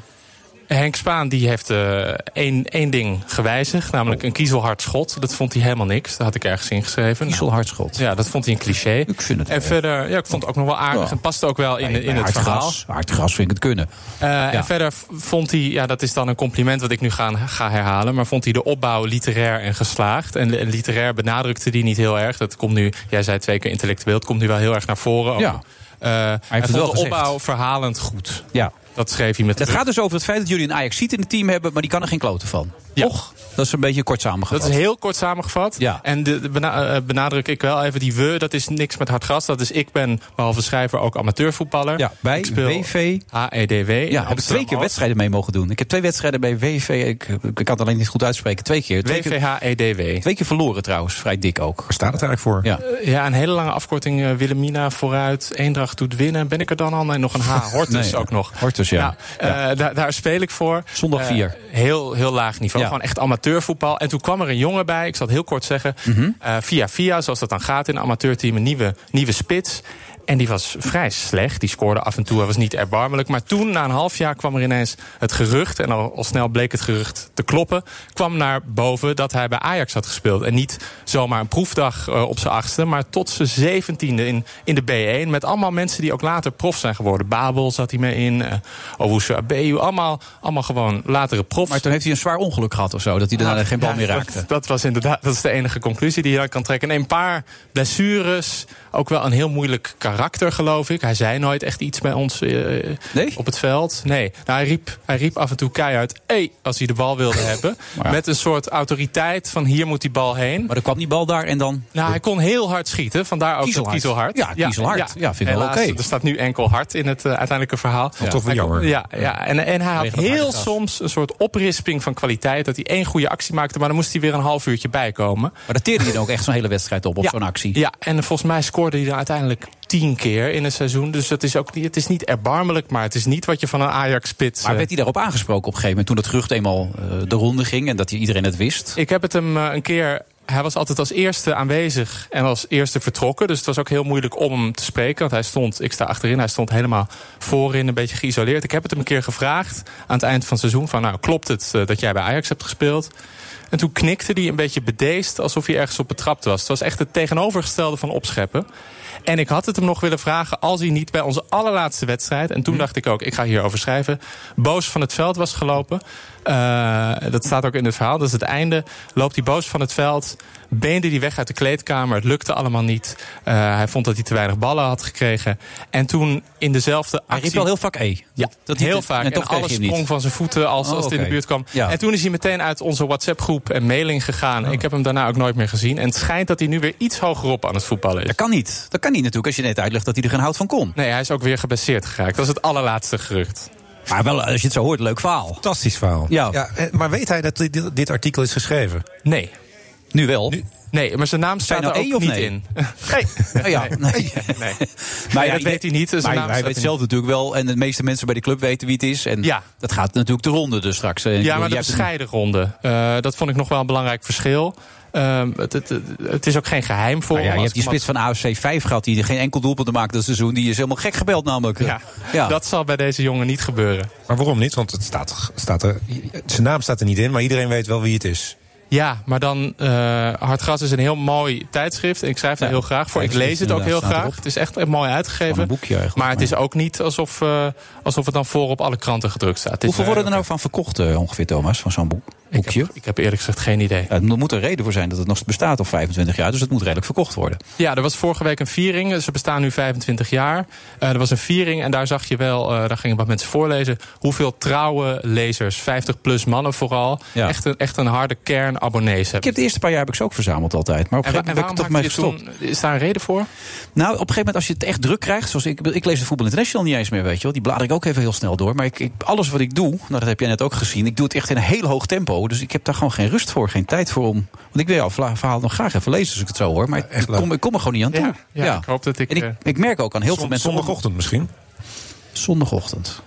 Speaker 20: Henk Spaan die heeft eh, één, één ding gewijzigd,
Speaker 6: Oh.
Speaker 20: namelijk een kiezelhard schot. Dat vond hij helemaal niks. Dat had ik ergens ingeschreven.
Speaker 6: Kiezelhard schot.
Speaker 20: Ja, dat vond hij een cliché. Ik
Speaker 6: vind het
Speaker 20: en verder, ja, ik vond het ook nog wel aardig
Speaker 6: Ja.
Speaker 20: en paste ook wel in,
Speaker 6: Bij- bij
Speaker 20: in het
Speaker 6: hard
Speaker 20: verhaal.
Speaker 6: Gras, hard gras vind ik het kunnen.
Speaker 20: Eh, En verder v- vond hij, ja, dat is dan een compliment wat ik nu ga, ga herhalen, maar vond hij de opbouw literair en geslaagd. En, en literair benadrukte hij niet heel erg. Dat komt nu, jij zei twee keer intellectueel, het komt nu wel heel erg naar voren. ook.
Speaker 6: Ja.
Speaker 20: Eh, hij
Speaker 6: Oh. het
Speaker 20: vond
Speaker 6: wel
Speaker 20: de
Speaker 6: gezegd.
Speaker 20: opbouw verhalend goed.
Speaker 6: Ja.
Speaker 20: Dat schreef hij met
Speaker 6: Het
Speaker 20: terug.
Speaker 6: gaat dus over het feit dat jullie een Ajaxiet in het team hebben, maar die kan er geen kloten van. Toch? Dat is een beetje kort samengevat.
Speaker 20: Dat is heel kort samengevat. En de, de bena- eh, benadruk ik wel even die we, dat is niks met hard gras. Dat is ik ben, behalve schrijver, ook amateurvoetballer. Ja,
Speaker 6: bij
Speaker 20: ik speel
Speaker 6: WV.
Speaker 20: AEDW. in
Speaker 6: Ja, heb ik twee
Speaker 20: Amsterdam-Oost.
Speaker 6: keer wedstrijden mee mogen doen. Ik heb twee wedstrijden bij WV. Ik, ik kan het alleen niet goed uitspreken. Twee keer. Twee keer-
Speaker 20: E WVHEDW.
Speaker 6: Twee keer verloren trouwens. Vrij dik ook. Waar
Speaker 7: staat het eigenlijk voor?
Speaker 6: Ja.
Speaker 20: Eh, Ja, een hele lange afkorting. eh, Willemina vooruit, Eendracht doet winnen. Ben ik er dan al? En nog een H. Hortus
Speaker 6: Nee,
Speaker 20: ook nog.
Speaker 6: Hortus, dus ja.
Speaker 20: Nou, eh, daar, daar speel ik voor.
Speaker 6: Zondag
Speaker 20: Eh,
Speaker 6: vier.
Speaker 20: heel, heel laag niveau.
Speaker 6: Ja.
Speaker 20: Gewoon echt amateurvoetbal. En toen kwam er een jongen bij.
Speaker 6: Mhm.
Speaker 20: Ik zal het heel kort zeggen. Eh, via via, zoals dat dan gaat in een amateurteam. Een nieuwe, nieuwe spits. En die was vrij slecht. Die scoorde af en toe, hij was niet erbarmelijk. Maar toen, na een half jaar, kwam er ineens het gerucht... en al, al snel bleek het gerucht te kloppen... kwam naar boven dat hij bij Ajax had gespeeld. En niet zomaar een proefdag eh, op zijn achtste... maar tot zijn zeventiende in, in de B1... met allemaal mensen die ook later prof zijn geworden. Babel zat hij mee in, eh Owusu Abeyu... Allemaal, allemaal gewoon latere profs.
Speaker 6: Maar toen heeft hij een zwaar ongeluk gehad of zo... dat hij daarna
Speaker 20: Ja,
Speaker 6: geen bal
Speaker 20: ja,
Speaker 6: meer
Speaker 20: dat-
Speaker 6: raakte.
Speaker 20: Dus Dat, was inderdaad dat is de enige conclusie die je uit kan trekken. En een paar blessures. Ook wel een heel moeilijk karakter, geloof ik. Hij zei nooit echt iets bij ons eh, op het veld. Nee. Nou, hij, riep, hij riep af en toe keihard: hey, als hij de bal wilde hebben. Met een soort autoriteit van hier moet die bal heen. Maar
Speaker 6: Oh dan kwam die bal daar en dan.
Speaker 20: Nou, hij kon heel hard schieten. Vandaar ook
Speaker 6: Kiezelhard.
Speaker 20: dat kiezelhard.
Speaker 6: Ja, kiezelhard. Ja, vind ik wel
Speaker 20: Helaas,
Speaker 6: oké.
Speaker 20: Er staat nu enkel hard in het eh, uiteindelijke verhaal.
Speaker 6: Ja. Toch wel
Speaker 20: Hij kon-
Speaker 6: jammer.
Speaker 20: Ja, ja. En, en hij had
Speaker 6: Vanwege dat harde
Speaker 20: heel
Speaker 6: gras.
Speaker 20: soms een soort oprisping van kwaliteit. Dat hij één goede actie maakte, maar dan moest hij weer een half uurtje bijkomen.
Speaker 6: Maar dat teerde hij dan ook echt zo'n hele wedstrijd op, op zo'n actie.
Speaker 20: Ja, en volgens mij scoorde hij er uiteindelijk tien keer in een seizoen. Dus dat is ook niet, het is niet erbarmelijk, maar het is niet wat je van een Ajax-spits...
Speaker 6: Maar
Speaker 20: eh,
Speaker 6: werd hij daarop aangesproken op een gegeven moment... toen dat gerucht eenmaal eh, de ronde ging en dat iedereen het wist?
Speaker 20: Ik heb het hem eh, een keer. Hij was altijd als eerste aanwezig en als eerste vertrokken. Dus het was ook heel moeilijk om hem te spreken. Want hij stond, ik sta achterin, hij stond helemaal voorin, een beetje geïsoleerd. Ik heb het hem een keer gevraagd aan het eind van het seizoen: van, Nou, klopt het eh, dat jij bij Ajax hebt gespeeld? En toen knikte hij een beetje bedeesd, alsof hij ergens op betrapt was. Het was echt het tegenovergestelde van opscheppen. En ik had het hem nog willen vragen als hij niet bij onze allerlaatste wedstrijd.
Speaker 6: Hm.
Speaker 20: En toen dacht ik ook, ik ga hierover schrijven. Boos van het veld was gelopen. Eh, dat staat ook in het verhaal. Dat is het einde. Loopt hij boos van het veld. Beende hij weg uit de kleedkamer. Het lukte allemaal niet. Eh, hij vond dat hij te weinig ballen had gekregen. En toen in dezelfde actie...
Speaker 6: riep wel heel vaak E.
Speaker 20: Ja,
Speaker 6: dat
Speaker 20: heel
Speaker 6: liep het.
Speaker 20: vaak.
Speaker 6: En
Speaker 20: En,
Speaker 6: toch kreeg je
Speaker 20: alles
Speaker 6: hem niet.
Speaker 20: sprong van zijn voeten als,
Speaker 6: Oh,
Speaker 20: als het in de
Speaker 6: oké.
Speaker 20: buurt kwam.
Speaker 6: Ja. Oh.
Speaker 20: En toen is hij meteen uit onze WhatsApp-groep en mailing gegaan. Ik heb hem daarna ook nooit meer gezien. En het schijnt dat hij nu weer iets hogerop aan het voetballen is. Dat
Speaker 6: kan niet. Dat kan niet natuurlijk als je net uitlegt dat hij er geen hout van kon.
Speaker 20: Nee, hij is ook weer gebaseerd geraakt. Dat is het allerlaatste gerucht.
Speaker 6: Maar wel, als je het zo hoort, leuk verhaal.
Speaker 14: Fantastisch verhaal.
Speaker 6: Ja.
Speaker 14: eh, maar weet hij dat dit, dit artikel is geschreven?
Speaker 20: Nee.
Speaker 6: Nu wel.
Speaker 20: Nee, maar zijn naam staat
Speaker 6: nou
Speaker 20: er ook
Speaker 6: E of
Speaker 20: niet
Speaker 6: nee?
Speaker 20: in.
Speaker 6: Oh ja, nee.
Speaker 20: Maar dat weet hij niet, dus
Speaker 6: maar
Speaker 20: zijn naam
Speaker 6: hij
Speaker 20: staat
Speaker 6: weet
Speaker 20: er
Speaker 6: zelf natuurlijk wel. En de meeste mensen bij de club weten wie het is. En dat gaat natuurlijk de ronde dus straks. En ik bedoel,
Speaker 20: Ja, maar de
Speaker 6: jij hebt Nou het
Speaker 20: bescheiden ronde. eh, dat vond ik nog wel een belangrijk verschil. Ehm, het, het, het- het is ook geen geheim voor
Speaker 6: Nou ja,
Speaker 20: hem
Speaker 6: je
Speaker 20: als
Speaker 6: hebt die
Speaker 20: command-
Speaker 6: spits van AFC 5 gehad die geen enkel doelpunt maakte dat seizoen. Die is helemaal gek gebeld namelijk.
Speaker 20: Ja, dat zal bij deze jongen niet gebeuren.
Speaker 14: Maar waarom niet? Want het staat, staat er, zijn naam staat er niet in, maar iedereen weet wel wie het is.
Speaker 20: Ja, maar dan eh Hartgras is een heel mooi tijdschrift. Ik schrijf er heel graag voor. Ik
Speaker 14: tijdschrift
Speaker 20: lees het ook heel
Speaker 14: inderdaad, staat
Speaker 20: graag. Het is echt eh, mooi uitgegeven. maar het is ook niet alsof, eh, alsof het dan voor op alle kranten gedrukt staat. Het is eh,
Speaker 6: Hoeveel
Speaker 20: een-
Speaker 6: worden er nou van verkocht eh, ongeveer, Thomas, van zo'n boek? boekje? Ik heb,
Speaker 20: eerlijk gezegd geen idee.
Speaker 6: Er moet een reden voor zijn dat het nog bestaat al 25 jaar, dus het moet redelijk verkocht worden.
Speaker 20: Ja, er was vorige week een viering. Eh, Ze bestaan nu 25 jaar. Eh, er was een viering en daar zag je wel, eh, daar gingen wat mensen voorlezen. Hoeveel trouwe lezers, 50 plus mannen vooral.
Speaker 6: Ja.
Speaker 20: Echt, een, echt een harde kern abonnees
Speaker 6: Ik
Speaker 20: hebben.
Speaker 6: heb de eerste paar jaar heb ik ze ook verzameld altijd. Maar op een
Speaker 20: En wa-
Speaker 6: gegeven moment
Speaker 20: en
Speaker 6: ben ik er toch mee
Speaker 20: waarom
Speaker 6: gestopt.
Speaker 20: maakte je toen- is daar een reden voor?
Speaker 6: Nou, op een gegeven moment als je het echt druk krijgt. Zoals ik, ik lees de Voetbal International niet eens meer, weet je wel. Die blader ik ook even heel snel door. Maar ik, ik- alles wat ik doe, nou, dat heb jij net ook gezien. Ik doe het echt in een heel hoog tempo. Dus ik heb daar gewoon geen rust voor, geen tijd voor om. Want ik wil jouw vla- verhaal nog graag even lezen als ik het zo hoor. Maar ik, kom, ik kom er gewoon niet aan toe.
Speaker 20: ja, ik hoop dat ik,
Speaker 6: En
Speaker 20: eh,
Speaker 6: ik, ik merk ook aan heel
Speaker 14: Zon-
Speaker 6: veel mensen...
Speaker 14: Zondagochtend misschien?
Speaker 6: Zondagochtend.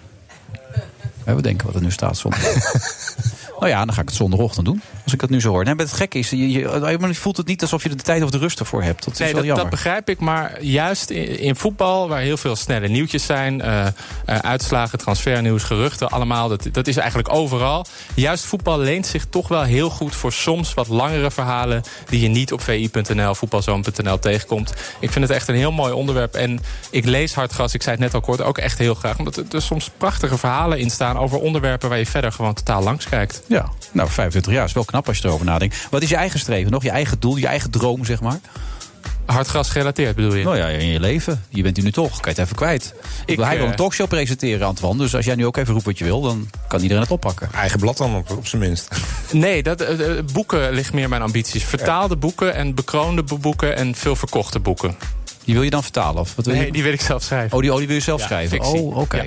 Speaker 6: Ja, we denken wat er nu staat zondagochtend. nou ja, dan ga ik het zondagochtend doen. Als ik dat nu zo hoor. Nee, maar het gekke is, je, je, je voelt het niet alsof je er de tijd of de rust ervoor hebt. Dat is
Speaker 20: Nee,
Speaker 6: wel
Speaker 20: dat,
Speaker 6: jammer.
Speaker 20: dat begrijp ik. Maar juist in, in voetbal, waar heel veel snelle nieuwtjes zijn... eh, eh, uitslagen, transfernieuws, geruchten, allemaal. Dat, dat is eigenlijk overal. Juist voetbal leent zich toch wel heel goed voor soms wat langere verhalen... die je niet op vi.nl, voetbalzoon.nl tegenkomt. Ik vind het echt een heel mooi onderwerp. En ik lees Hartgras, ik zei het net al kort, ook echt heel graag. Omdat er, er soms prachtige verhalen in staan... over onderwerpen waar je verder gewoon totaal langs kijkt.
Speaker 6: Ja, nou 25 jaar is wel knap als je erover nadenkt. Wat is je eigen streven nog? Je eigen doel, je eigen droom, zeg maar?
Speaker 20: Hartgras gerelateerd bedoel je?
Speaker 6: Nou ja, in je leven. Je bent u nu toch, kan je het even kwijt. Ik, wil hij wil
Speaker 14: eh,
Speaker 6: een talkshow presenteren, Antoine. Dus als jij nu ook even roept wat je wil, dan kan iedereen het oppakken.
Speaker 14: Eigen blad dan, op, op zijn minst.
Speaker 20: Nee, dat, eh, eh, boeken ligt meer mijn ambities. Vertaalde boeken en bekroonde bo- boeken en veel verkochte boeken.
Speaker 6: Die wil je dan vertalen? Of wat wil
Speaker 20: nee,
Speaker 6: je-
Speaker 20: die wil ik zelf schrijven.
Speaker 6: Oh, die, oh, die wil je zelf
Speaker 20: Ja,
Speaker 6: schrijven?
Speaker 20: fictie.
Speaker 6: Oh, oké.
Speaker 20: Ja.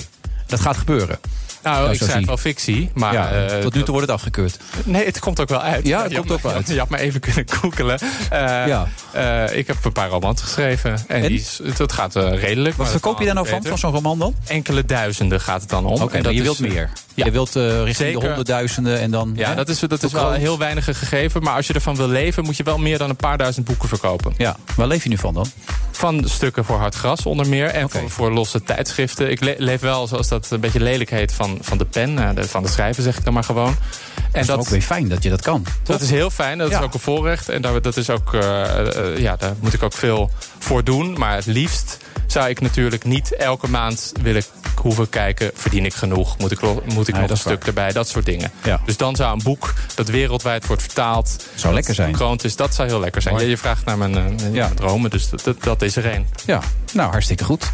Speaker 6: Dat gaat gebeuren?
Speaker 20: Nou,
Speaker 6: Nou,
Speaker 20: ik
Speaker 6: zo
Speaker 20: schrijf
Speaker 6: zie-
Speaker 20: wel fictie, maar...
Speaker 6: ja,
Speaker 20: eh,
Speaker 6: tot nu toe wordt het afgekeurd.
Speaker 20: Nee, het komt ook wel uit.
Speaker 6: Ja, het
Speaker 20: Je
Speaker 6: komt
Speaker 20: had
Speaker 6: ook wel
Speaker 20: maar-
Speaker 6: uit.
Speaker 20: Je had maar even kunnen googelen. Eh,
Speaker 6: Ja.
Speaker 20: Eh, ik heb een paar romans geschreven. En, die is- dat gaat eh, redelijk.
Speaker 6: Wat verkoop je daar nou van, van zo'n roman dan?
Speaker 20: Enkele duizenden gaat het dan om.
Speaker 6: Oké,
Speaker 20: En
Speaker 6: maar
Speaker 20: dat
Speaker 6: je
Speaker 20: is-
Speaker 6: wilt meer.
Speaker 20: Ja.
Speaker 6: Je wilt eh, richting de
Speaker 20: Zeker.
Speaker 6: honderdduizenden en dan...
Speaker 20: Ja,
Speaker 6: hè?
Speaker 20: dat is, dat
Speaker 6: Hoe
Speaker 20: is wel
Speaker 6: groot?
Speaker 20: heel weinig gegeven. Maar als je ervan wil leven, moet je wel meer dan een paar duizend boeken verkopen.
Speaker 6: Ja, waar leef je nu van dan?
Speaker 20: Van stukken voor hard gras onder meer. En voor, voor losse tijdschriften. Ik le- leef wel, zoals dat een beetje lelijk heet, van, van de pen. eh, de- van de schrijver zeg ik dan maar gewoon.
Speaker 6: Dat is
Speaker 20: En
Speaker 6: toch ook weer fijn dat je dat kan.
Speaker 20: dat is heel fijn, dat
Speaker 6: Ja.
Speaker 20: is ook een voorrecht. En daar, dat is ook, eh, eh, ja, daar moet ik ook veel voor doen. Maar het liefst zou ik natuurlijk niet elke maand willen k- hoeven kijken... verdien ik genoeg, moet ik, lo- moet ik
Speaker 6: Nee,
Speaker 20: nog
Speaker 6: dat
Speaker 20: een
Speaker 6: is
Speaker 20: stuk erbij, dat soort dingen.
Speaker 6: Ja.
Speaker 20: Dus dan zou een boek dat wereldwijd wordt vertaald...
Speaker 6: Zou lekker zijn.
Speaker 20: Kroont is, dat zou heel lekker zijn.
Speaker 6: Mooi.
Speaker 20: Ja, je vraagt naar mijn, eh, mijn dromen, dus dat, dat, dat is er één.
Speaker 6: Ja, nou hartstikke goed.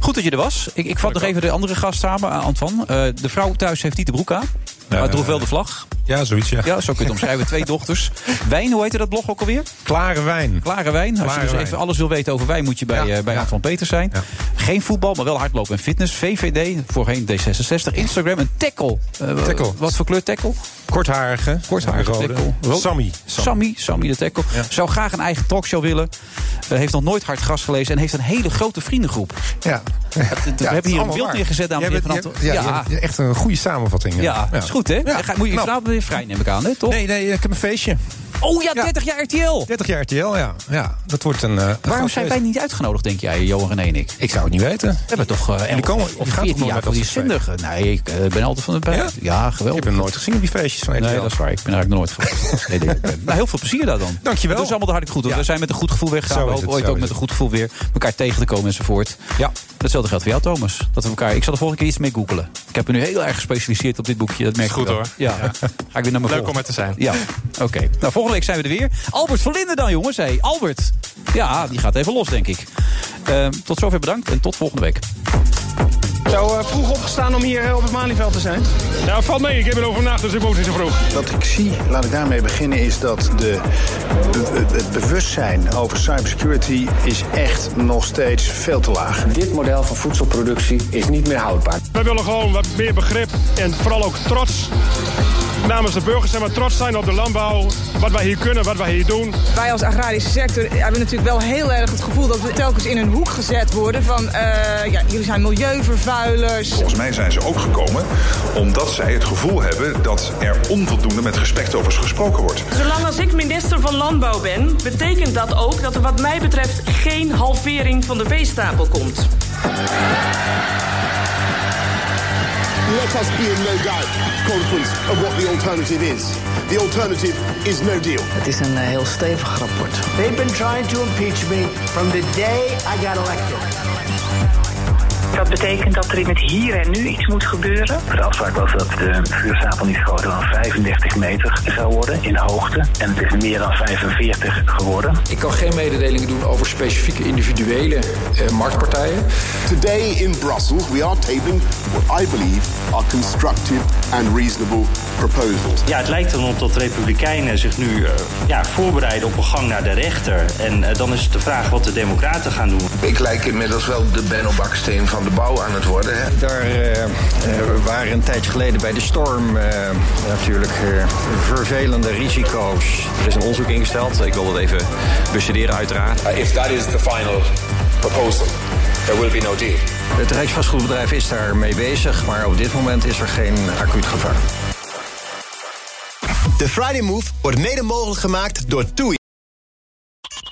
Speaker 6: Goed dat je er was. Ik, ik vat nog even de andere gast samen, eh, Antoine. Eh, de vrouw thuis heeft niet de broek aan, maar
Speaker 7: Eh,
Speaker 6: droeg wel de vlag.
Speaker 7: Ja, zoiets, ja.
Speaker 6: Ja, zo kun je het omschrijven. Twee dochters. Wijn, hoe heette dat blog ook alweer?
Speaker 7: Klare wijn.
Speaker 6: Klare wijn. Als je
Speaker 7: Klare
Speaker 6: dus
Speaker 7: wijn.
Speaker 6: even alles wil weten over wijn, moet je bij, eh, bij Antoine Peters zijn. Geen voetbal, maar wel hardlopen en fitness. VVD, voorheen D66. Instagram, een tackle. Eh,
Speaker 7: Tackle.
Speaker 6: Wat voor kleur tackle?
Speaker 7: Kortharige.
Speaker 6: Kortharige
Speaker 7: Rode.
Speaker 6: tackle. Rood.
Speaker 7: Sammy.
Speaker 6: Sammy, Sammy de tackle. Zou graag een eigen talkshow willen. Eh, heeft nog nooit hard gras gelezen en heeft een hele grote vriendengroep.
Speaker 14: Ja.
Speaker 6: We hebben hier een beeld neergezet, dames en heren. van Anton.
Speaker 14: Ja,
Speaker 6: ja,
Speaker 14: je hebt echt een goede samenvatting.
Speaker 6: ja, dat is goed, hè? Dan ga- moet je vanavond weer vrij, neem ik aan, hè? Toch?
Speaker 14: Nee, nee, ik heb Nou. een feestje.
Speaker 6: Oh ja, 30 jaar RTL.
Speaker 14: 30 jaar RTL, ja. ja dat wordt een. eh, een
Speaker 6: Waarom
Speaker 14: groot
Speaker 6: zijn wij
Speaker 14: feest.
Speaker 6: niet uitgenodigd, denk jij, Johan René en ik?
Speaker 14: Ik zou het niet weten. We
Speaker 6: hebben toch eh
Speaker 14: Jullie komen-
Speaker 6: komen,
Speaker 14: jullie
Speaker 6: of
Speaker 14: gaan toch
Speaker 6: 14
Speaker 14: nooit
Speaker 6: jaar
Speaker 14: naar
Speaker 6: voor die
Speaker 14: dat soort
Speaker 6: zindige. Nee, ik eh, ben altijd van de bij. Ja? geweldig.
Speaker 14: Ik heb hem nooit gezien op die feestjes van RTL.
Speaker 6: Nee, dat is waar. Ik ben eigenlijk nooit geweest. Nee, nee, ik ben- nou, heel veel plezier daar dan.
Speaker 14: Dankjewel.
Speaker 6: Het is allemaal hartelijk goed. want
Speaker 14: Ja.
Speaker 6: We zijn met een goed gevoel
Speaker 14: Zo
Speaker 6: weggegaan. We
Speaker 14: is
Speaker 6: hopen
Speaker 14: het,
Speaker 6: ooit
Speaker 14: zo
Speaker 6: ook
Speaker 14: is
Speaker 6: met een
Speaker 14: het.
Speaker 6: goed gevoel weer elkaar tegen te komen enzovoort.
Speaker 14: Ja.
Speaker 6: Datzelfde geldt voor jou, Thomas. Dat we elkaar, ik zal de volgende keer iets mee googelen. Ik heb me nu heel erg gespecialiseerd op dit boekje. Dat merk
Speaker 20: Is
Speaker 6: je
Speaker 20: goed,
Speaker 6: wel.
Speaker 20: hoor.
Speaker 6: Ja. Ga ik weer naar mijn
Speaker 20: Leuk om er te zijn.
Speaker 6: Ja, oké. Nou, volgende week zijn we er weer. Albert van Linden dan, jongens. Hey, Albert. Ja, die gaat even los, denk ik. Ehm, tot zover bedankt en tot volgende week.
Speaker 4: Zo eh, vroeg opgestaan om hier eh, op het Malieveld te zijn? Nou, valt mee. Ik heb erover nagedacht, dus ik moet niet zo vroeg.
Speaker 21: Wat ik zie, laat ik daarmee beginnen, is dat de, be- het bewustzijn over cybersecurity is echt nog steeds veel te laag. Dit model van voedselproductie is niet meer houdbaar.
Speaker 4: Wij willen gewoon wat meer begrip en vooral ook trots. Namens de burgers zijn we trots zijn op de landbouw. Wat wij hier kunnen, wat wij hier doen.
Speaker 22: Wij als agrarische sector hebben natuurlijk wel heel erg het gevoel dat we telkens in een hoek gezet worden van eh, ja, jullie zijn milieuvervuilers.
Speaker 23: Volgens mij zijn ze ook gekomen omdat zij het gevoel hebben dat er onvoldoende met respect over ze gesproken wordt.
Speaker 24: Zolang als ik minister van Landbouw ben, betekent dat ook dat er wat mij betreft geen halvering van de veestapel komt.
Speaker 18: Let us be in no doubt, conference, of what the alternative is. The alternative is no deal.
Speaker 3: Het is een eh, heel stevig rapport.
Speaker 25: They've been trying to impeach me from the day I got elected.
Speaker 26: Dat betekent dat er in het hier en nu iets moet gebeuren.
Speaker 27: De afspraak was dat de vuurstapel niet groter dan 35 meter zou worden in hoogte. En het is meer dan 45 geworden.
Speaker 28: Ik kan geen mededelingen doen over specifieke individuele eh, marktpartijen.
Speaker 18: Today in Brussels, we are tabling what I believe are constructive and reasonable proposals.
Speaker 19: Ja, het lijkt erop dat de Republikeinen zich nu eh, ja, voorbereiden op een gang naar de rechter. En eh, dan is het de vraag wat de Democraten gaan doen.
Speaker 29: Ik lijk inmiddels wel de Benno Baksteen van de bouw aan het worden. Hè.
Speaker 30: Daar eh, eh, waren een tijdje geleden bij de storm eh, natuurlijk eh, vervelende risico's.
Speaker 5: Er is een onderzoek ingesteld. Ik wil dat even bestuderen, uiteraard. if that is the final proposal, there will be no deal.
Speaker 30: Het Rijksvastgoedbedrijf is daarmee bezig, maar op dit moment is er geen acuut gevaar.
Speaker 9: De Friday Move wordt mede mogelijk gemaakt door TUI.